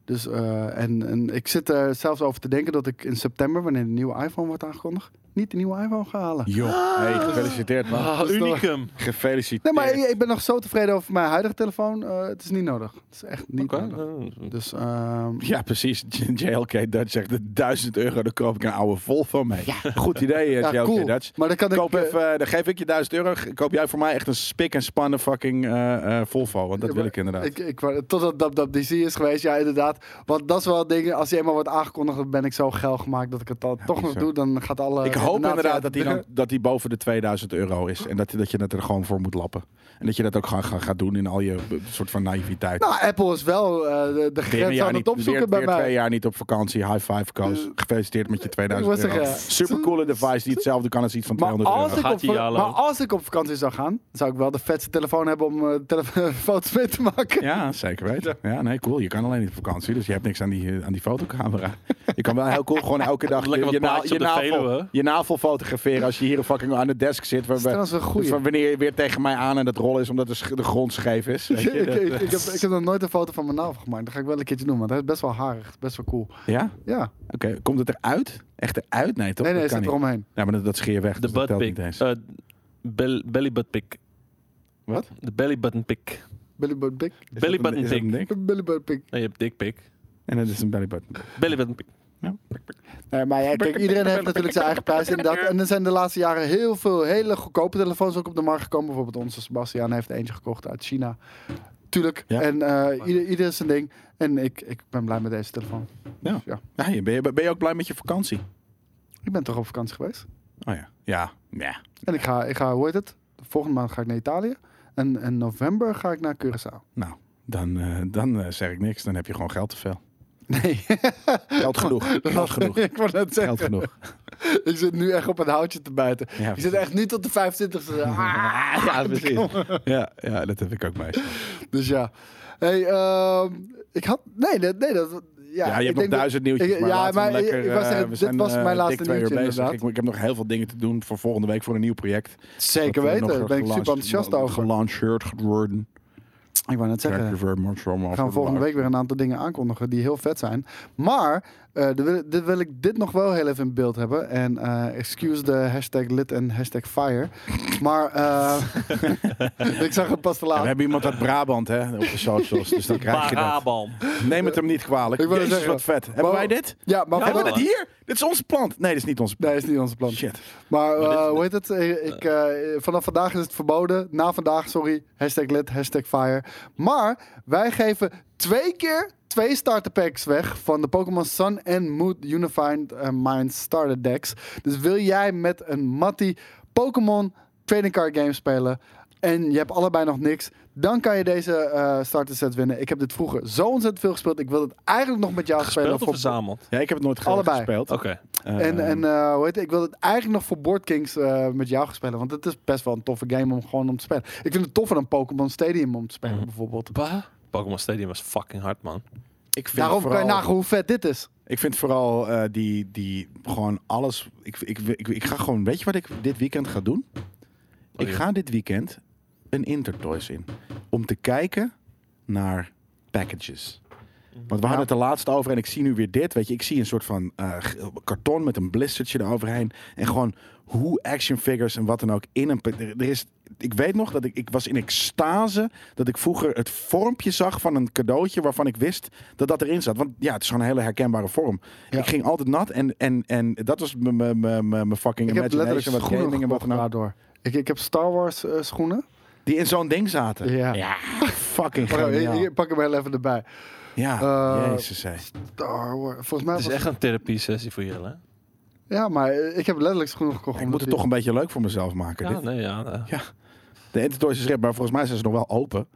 S1: Dus, eh, en, en ik zit er zelfs over te denken dat ik in september... wanneer de nieuwe iPhone wordt aangekondigd... niet de nieuwe iPhone gaan halen.
S2: Joh, hey, gefeliciteerd man.
S3: Ah, unicum.
S2: Gefeliciteerd.
S1: Nee, maar ik, ik ben nog zo tevreden over mijn huidige telefoon. Eh, het is niet nodig. Het is echt niet
S3: Oké.
S1: nodig. Dus ehm,
S2: Ja, precies. JLK Dutch zegt 1000 euro, dan koop ik een oude Volvo mee. Goed idee, eh,
S1: ja,
S2: JLK
S1: cool.
S2: Dutch.
S1: Maar dan kan
S2: Koop
S1: ik... eh,
S2: even, dan geef ik je 1000 euro. G- Koop jij voor mij echt een spik en spannen fucking eh, eh, Volvo. Want dat
S1: Ja,
S2: wil
S1: maar
S2: ik inderdaad.
S1: Ik, ik, wou- totdat Dab Dab DC is geweest, ja inderdaad. Want dat is wel dingen, als hij eenmaal wordt aangekondigd, dan ben ik zo geil gemaakt dat ik het dan toch nog
S2: bizar.
S1: doe. Dan gaat alle...
S2: Ik hoop
S1: redenatie
S2: inderdaad
S1: uit de
S2: dat die, dan,
S1: deur.
S2: dat die boven de 2000 euro is. En dat, dat je het er gewoon voor moet lappen. En dat je dat ook gewoon gaat, gaat doen in al je eh, soort van naïviteit.
S1: Nou, Apple is wel eh, de, de
S2: Weer een
S1: grens
S2: jaar
S1: aan het
S2: niet-
S1: opzoeken
S2: weer-
S1: bij
S2: weer
S1: mij. Eh,
S2: twee jaar niet op vakantie. High five, Koos. Gefeliciteerd met je 2000
S1: Ik wou
S2: euro.
S1: zeggen, ja.
S2: Supercoole device die hetzelfde kan als iets van
S1: Maar
S2: 200
S1: als,
S2: euro.
S1: ik
S3: Gaat
S1: op,
S3: die
S1: va-
S3: jalo?
S1: maar als ik op vakantie zou gaan, zou ik wel de vetste telefoon hebben om eh, tele- foto's mee te maken.
S2: Ja, zeker weten. Ja, nee, cool. Je kan alleen niet op vakantie, dus je hebt niks aan die, eh, aan die fotocamera. Je kan wel heel cool gewoon elke dag
S3: Lekker
S2: je,
S3: wat
S2: je,
S3: plaatjes
S2: je,
S3: op de
S2: navel,
S3: Veluwe.
S2: je navel fotograferen als je hier fucking aan de desk zit.
S1: Dat is
S2: Waarbij,
S1: trouwens een goeie.
S2: van wanneer je weer tegen mij aan en dat rollen is omdat de, sch- de grond scheef is. Weet
S1: Ik,
S2: je? Dat,
S1: ik- ik heb, ik heb nog nooit een foto van mijn navel gemaakt. Dat ga ik wel een keertje doen, want dat is best wel harig. Best wel cool.
S2: ja?
S1: Ja,
S2: Oké, komt het eruit? Echt eruit? Nee, toch?
S1: nee, nee,
S2: dat kan
S1: zit
S2: niet.
S1: eromheen.
S2: Ja, maar dat, dat scheer je weg.
S3: De
S2: dus dat
S3: butt
S2: telt
S3: pic.
S2: niet eens.
S3: Eh, bel- belly butt pic.
S2: Wat?
S3: De belly button pic.
S1: Billy Bird Big.
S2: Is
S3: belly
S2: dat een-
S3: button
S2: is dat
S3: pic.
S2: een ding?
S1: Billy Bird Big.
S3: Nee, je hebt dick pic.
S2: En dat is een belly button.
S3: Belly button pic.
S1: Nee, maar ja, kijk, iedereen heeft natuurlijk zijn eigen prijs inderdaad. En er zijn de laatste jaren heel veel hele goedkope telefoons ook op de markt gekomen. Bijvoorbeeld onze Sebastian heeft eentje gekocht uit China. Tuurlijk.
S2: Ja.
S1: En eh, ieder, ieder zijn ding. En ik, ik ben blij met deze telefoon. Dus
S2: Ja.
S1: Ja.
S2: Ja, Nou, je- ben, je, ben je ook blij met je vakantie?
S1: Ik ben toch op vakantie geweest.
S2: Oh ja. Ja. Ja.
S1: En ik ga, ik ga hoe heet het? Volgende maand ga ik naar Italië. En in november ga ik naar Curaçao.
S2: Nou, dan, eh, dan eh, zeg ik niks. Dan heb je gewoon geld te veel.
S1: Nee,
S2: Geld genoeg. Geld genoeg.
S1: ik wou net zeggen.
S2: Geld genoeg.
S1: Ik zit nu echt op een houtje te bijten.
S2: Ja,
S1: ik zit echt nu tot de 25e. Ah.
S2: ja, precies. Ja, ja, dat heb ik ook mee.
S1: Dus ja. Hey, ehm, ik had. Nee, dat- nee, dat. Ja,
S2: Ja, je
S1: ik
S2: hebt nog
S1: denk dat-
S2: duizend nieuwtjes.
S1: ik-
S2: maar
S1: ja,
S2: laten we
S1: maar
S2: hem
S1: ik-
S2: lekker,
S1: ik wou
S2: eh,
S1: zeggen,
S2: we
S1: dit
S2: zijn,
S1: was
S2: eh,
S1: mijn
S2: dik
S1: laatste
S2: twee uur
S1: nieuwtje,
S2: bezig.
S1: inderdaad.
S2: Ik, ik heb nog heel veel dingen te doen voor volgende week voor een nieuw project.
S1: Zeker
S2: Dat, eh,
S1: weten.
S2: nog
S1: Daar ben ik
S2: gelanceerd-
S1: super enthousiast over.
S2: Gelanceerd geworden.
S1: Ik wou net zeggen.
S2: Thank you very much, allemaal
S1: We
S2: voor
S1: gaan
S2: de
S1: volgende
S2: laag.
S1: week weer een aantal dingen aankondigen die heel vet zijn. Maar eh dan wil, dit wil ik dit nog wel heel even in beeld hebben. En eh, excuse de hashtag lit en hashtag fire. Maar eh, ik zag het pas te
S2: Ja, we
S1: laat.
S2: hebben iemand uit Brabant hè, op de socials, dus dan krijg je dat.
S3: Parabam.
S2: Neem het hem niet kwalijk.
S1: Ik wou
S2: Jezus,
S1: zeggen,
S2: wat vet. Hebben
S1: maar-
S2: wij dit?
S1: Ja, maar
S3: Ja,
S1: voor
S2: Hebben
S3: maar
S2: we
S1: dat
S2: dit hier? Dit is ons plant. Nee, dit is niet ons plant.
S1: Nee, is niet onze plan.
S2: Shit.
S1: Maar
S3: dit-
S1: eh, hoe heet het? Eh, Ik, eh, vanaf vandaag is het verboden. Na vandaag, sorry. Hashtag lid, hashtag fire. Maar wij geven twee keer twee starter packs weg van de Pokémon Sun en Moon Unified eh, Mind starter decks. Dus wil jij met een mattie Pokémon trading card game spelen en je hebt allebei nog niks, dan kan je deze eh, starter set winnen. Ik heb dit vroeger zo ontzettend veel gespeeld. Ik wil het eigenlijk nog met jou
S3: Gespeeld of
S1: spelen. voor-
S3: verzameld?
S2: Ja, ik heb het nooit ge-
S1: Allebei.
S2: gespeeld.
S3: Oké.
S2: Eh,
S1: en en eh, hoe heet het? Ik wil het eigenlijk nog voor Board Kings eh, met jou gaan spelen. Want het is best wel een toffe game om gewoon om te spelen. Ik vind het toffer dan Pokémon Stadium om te spelen,
S2: Mm.
S1: bijvoorbeeld.
S3: Pokémon Stadium was fucking hard, man.
S2: ik vind
S1: Daarom
S2: vooral-
S1: kan je nagaan hoe vet dit is.
S2: Ik vind vooral eh, die, die gewoon alles. Ik, ik, ik, ik ga gewoon. Weet je wat ik dit weekend ga doen? ik
S3: ja.
S2: ga dit weekend een Intertoys in. Om te kijken naar packages.
S1: Mhm.
S2: Want we hadden het de laatste over en ik zie nu weer dit. Weet je, ik zie een soort van eh, g- karton met een blistertje eroverheen. En gewoon hoe action figures en wat dan ook in een. pa- Er, er is, ik weet nog dat ik, ik was in extase dat ik vroeger het vormpje zag van een cadeautje waarvan ik wist dat dat erin zat. Want ja, het is gewoon een hele herkenbare vorm.
S1: Ja.
S2: Ik ging altijd nat en, en, en dat was m- m- m- m- mijn fucking
S1: Ik heb letterlijk
S2: imagination. Wat gaming en wat
S1: schoenen
S2: dan ook.
S1: daardoor. Ik, ik heb Star Wars eh, schoenen.
S2: Die in zo'n ding zaten.
S1: Ja. Oh,
S2: Fucking
S1: Wacht, ik,
S2: geniaal.
S1: ik pak hem heel even erbij.
S2: Ja,
S1: Eh,
S2: jezus hé.
S1: Star Wars. Volgens mij
S3: Het is
S1: was-
S3: echt een therapie-sessie voor jullie, hè?
S1: Ja, maar eh, ik heb letterlijk schoenen gekocht.
S2: Ik
S1: omdat
S2: moet het
S1: die-
S2: toch een beetje leuk voor mezelf maken.
S3: Ja,
S2: Dit-
S3: nee, ja. eh.
S2: De Intertoys is red, maar volgens mij zijn ze nog wel open.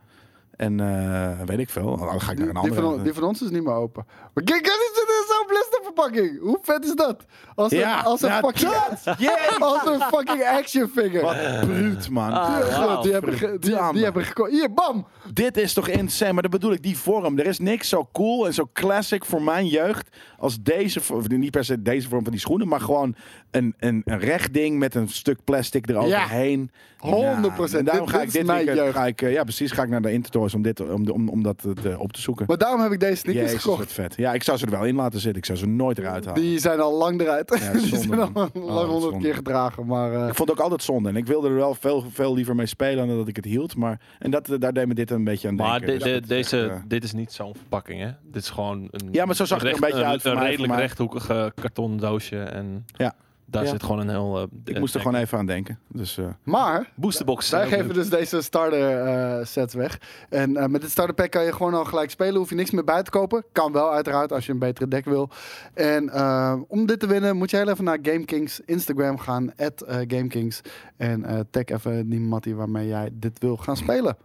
S2: En eh, weet ik veel. Dan ga ik naar een
S1: Die, die
S2: andere.
S1: van, on- die van ons is niet meer open. Maar kijk, kijk, dit is zo'n blisterverpakking. Hoe vet is dat? Als een,
S2: Ja,
S1: als een
S2: ja,
S1: fucking, als een fucking action figure.
S2: Wat bruut, man.
S3: Ah.
S1: Ja,
S3: Wauw,
S1: goed, die hebben, ge- die,
S2: verdamme.
S1: die hebben gekocht. Hier, bam!
S2: Dit is toch insane? Maar dat bedoel ik, die vorm. Er is niks zo cool en zo classic voor mijn jeugd als deze. vo- of Niet per se deze vorm van die schoenen, maar gewoon een, een, een recht ding met een stuk plastic eroverheen.
S1: 100%.
S2: Ja, En daarom
S1: Dit-
S2: ga
S1: dit
S2: ik
S1: is
S2: dit
S1: mijn
S2: weekend,
S1: jeugd.
S2: ga ik, eh, ja, precies, ga ik naar de Intertoys om, dit, om, de- om, om dat eh, te- op te zoeken.
S1: Maar daarom heb ik deze sneakers
S2: Jezus,
S1: gekocht.
S2: wat vet. Ja, ik zou ze er wel in laten zitten. Ik zou ze nooit nooit eruit halen.
S1: Die zijn al lang eruit.
S2: Ja,
S1: die
S2: zonde,
S1: zijn al lang
S2: Oh,
S1: honderd
S2: zonde.
S1: keer gedragen. Maar eh,
S2: Ik vond het ook altijd zonde. En ik wilde er wel veel, veel liever mee spelen dan dat ik het hield. Maar, en dat, eh, daar deed me dit een beetje aan
S3: Maar
S2: denken.
S3: de-
S2: Dus
S3: de-
S2: dat is
S3: deze,
S2: echt, eh,
S3: dit is niet zo'n verpakking, hè? Dit is gewoon een.
S2: Ja, maar zo zag het er een beetje uit voor
S3: Een,
S2: mij,
S3: redelijk
S2: voor mij.
S3: rechthoekige karton doosje. En
S2: Ja.
S3: daar
S2: Ja.
S3: zit gewoon een heel. eh,
S2: ik
S3: eh,
S2: moest er gewoon even aan denken. Dus, eh,
S1: maar
S3: Boosterbox.
S1: Zij
S3: eh,
S1: geven dus deze starter eh, sets weg. En eh, met dit starter pack kan je gewoon al gelijk spelen. Hoef je niks meer bij te kopen. Kan wel uiteraard als je een betere deck wil. En eh, om dit te winnen moet je heel even naar GameKings Instagram gaan. At eh, GameKings. En eh, tag even die mattie waarmee jij dit wil gaan spelen.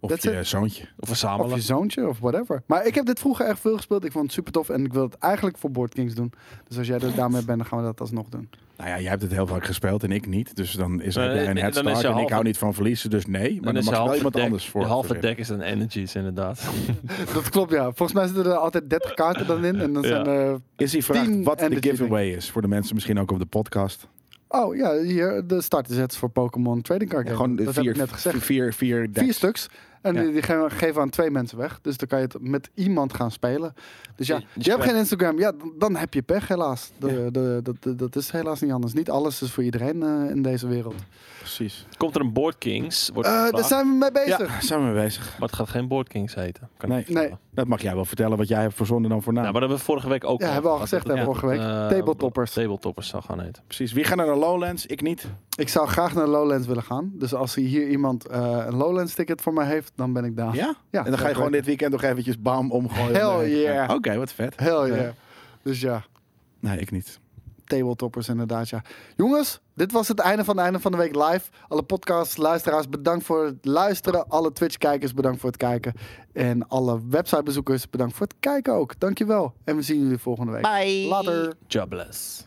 S2: of
S1: That's
S2: je
S1: it.
S2: zoontje.
S3: Of
S1: Of
S3: verzamelen.
S1: je zoontje of whatever. Maar ik heb dit vroeger echt veel gespeeld. Ik vond het super tof. En ik wil het eigenlijk voor Board Kings doen. Dus als jij er daarmee bent, dan gaan we dat alsnog doen.
S2: Nou ja, jij hebt het heel vaak gespeeld en ik niet. Dus dan is hij
S3: Nee,
S2: een
S3: nee,
S2: headstart.
S3: Eh, dan is je
S2: en ik
S3: halve-
S2: hou niet van verliezen, dus nee. Maar dan, mag
S3: is je
S2: er wel
S3: halve
S2: iemand
S3: deck-
S2: anders voor.
S3: De halve
S2: voor
S3: deck is een energies, inderdaad.
S1: Dat klopt, ja. Volgens mij zitten er altijd 30 kaarten dan in. En dan
S3: Ja.
S1: zijn er
S2: Is hij vraagt
S1: Tien
S2: wat de
S1: energy drink.
S2: giveaway is. Voor de mensen misschien ook op de podcast.
S1: Oh ja, hier de startersets voor Pokémon Trading Card Game.
S2: Gewoon de
S1: dat
S2: vier,
S1: heb ik net gezegd.
S2: Vier, vier decks.
S1: Vier stuks. En
S2: Ja.
S1: die, die ge- geven aan twee mensen weg. Dus dan kan je het met iemand gaan spelen. Dus ja,
S3: Je- je
S1: je hebt
S3: speelt-
S1: geen Instagram. Ja, dan- dan heb je pech helaas. De, de, dat- dat- dat is helaas niet anders. Niet alles is voor iedereen eh, in deze wereld.
S2: Precies.
S3: Komt er een Board Kings? Wordt
S1: Eh, daar
S3: gevraagd,
S1: zijn we mee bezig.
S2: Ja, zijn we mee bezig.
S3: Maar het gaat geen Board Kings heten. Kan ik
S2: Nee.
S3: je vertellen.
S1: Nee.
S2: Dat mag jij wel vertellen wat jij hebt verzonnen dan voor naam.
S3: Nou, maar dat hebben we vorige week ook
S1: Ja, hebben we al gezegd,
S3: dat
S1: hè,
S3: het-
S1: vorige week.
S3: eh,
S1: Tabletoppers.
S3: Tabletoppers zou gaan heten.
S2: Precies. Wie gaat naar de Lowlands? Ik niet.
S1: Ik zou graag naar Lowlands willen gaan. Dus als hier iemand eh, een Lowlands ticket voor mij heeft, dan ben ik daar.
S2: Ja?
S1: Ah. Ja,
S2: En dan ga je
S1: zeker.
S2: gewoon dit weekend nog eventjes bam omgooien.
S1: Hell
S2: Nee.
S1: yeah.
S2: Oké, wat vet.
S1: Hell
S2: Ja.
S1: yeah. Dus ja.
S2: Nee, ik niet.
S1: tabletoppers inderdaad, ja. Jongens, dit was het einde van het einde van de week live. Alle podcasts, luisteraars, bedankt voor het luisteren. Alle Twitch-kijkers, bedankt voor het kijken. En alle websitebezoekers, bedankt voor het kijken ook. Dankjewel. En we zien jullie volgende week. Bye. Later.
S3: Jobless.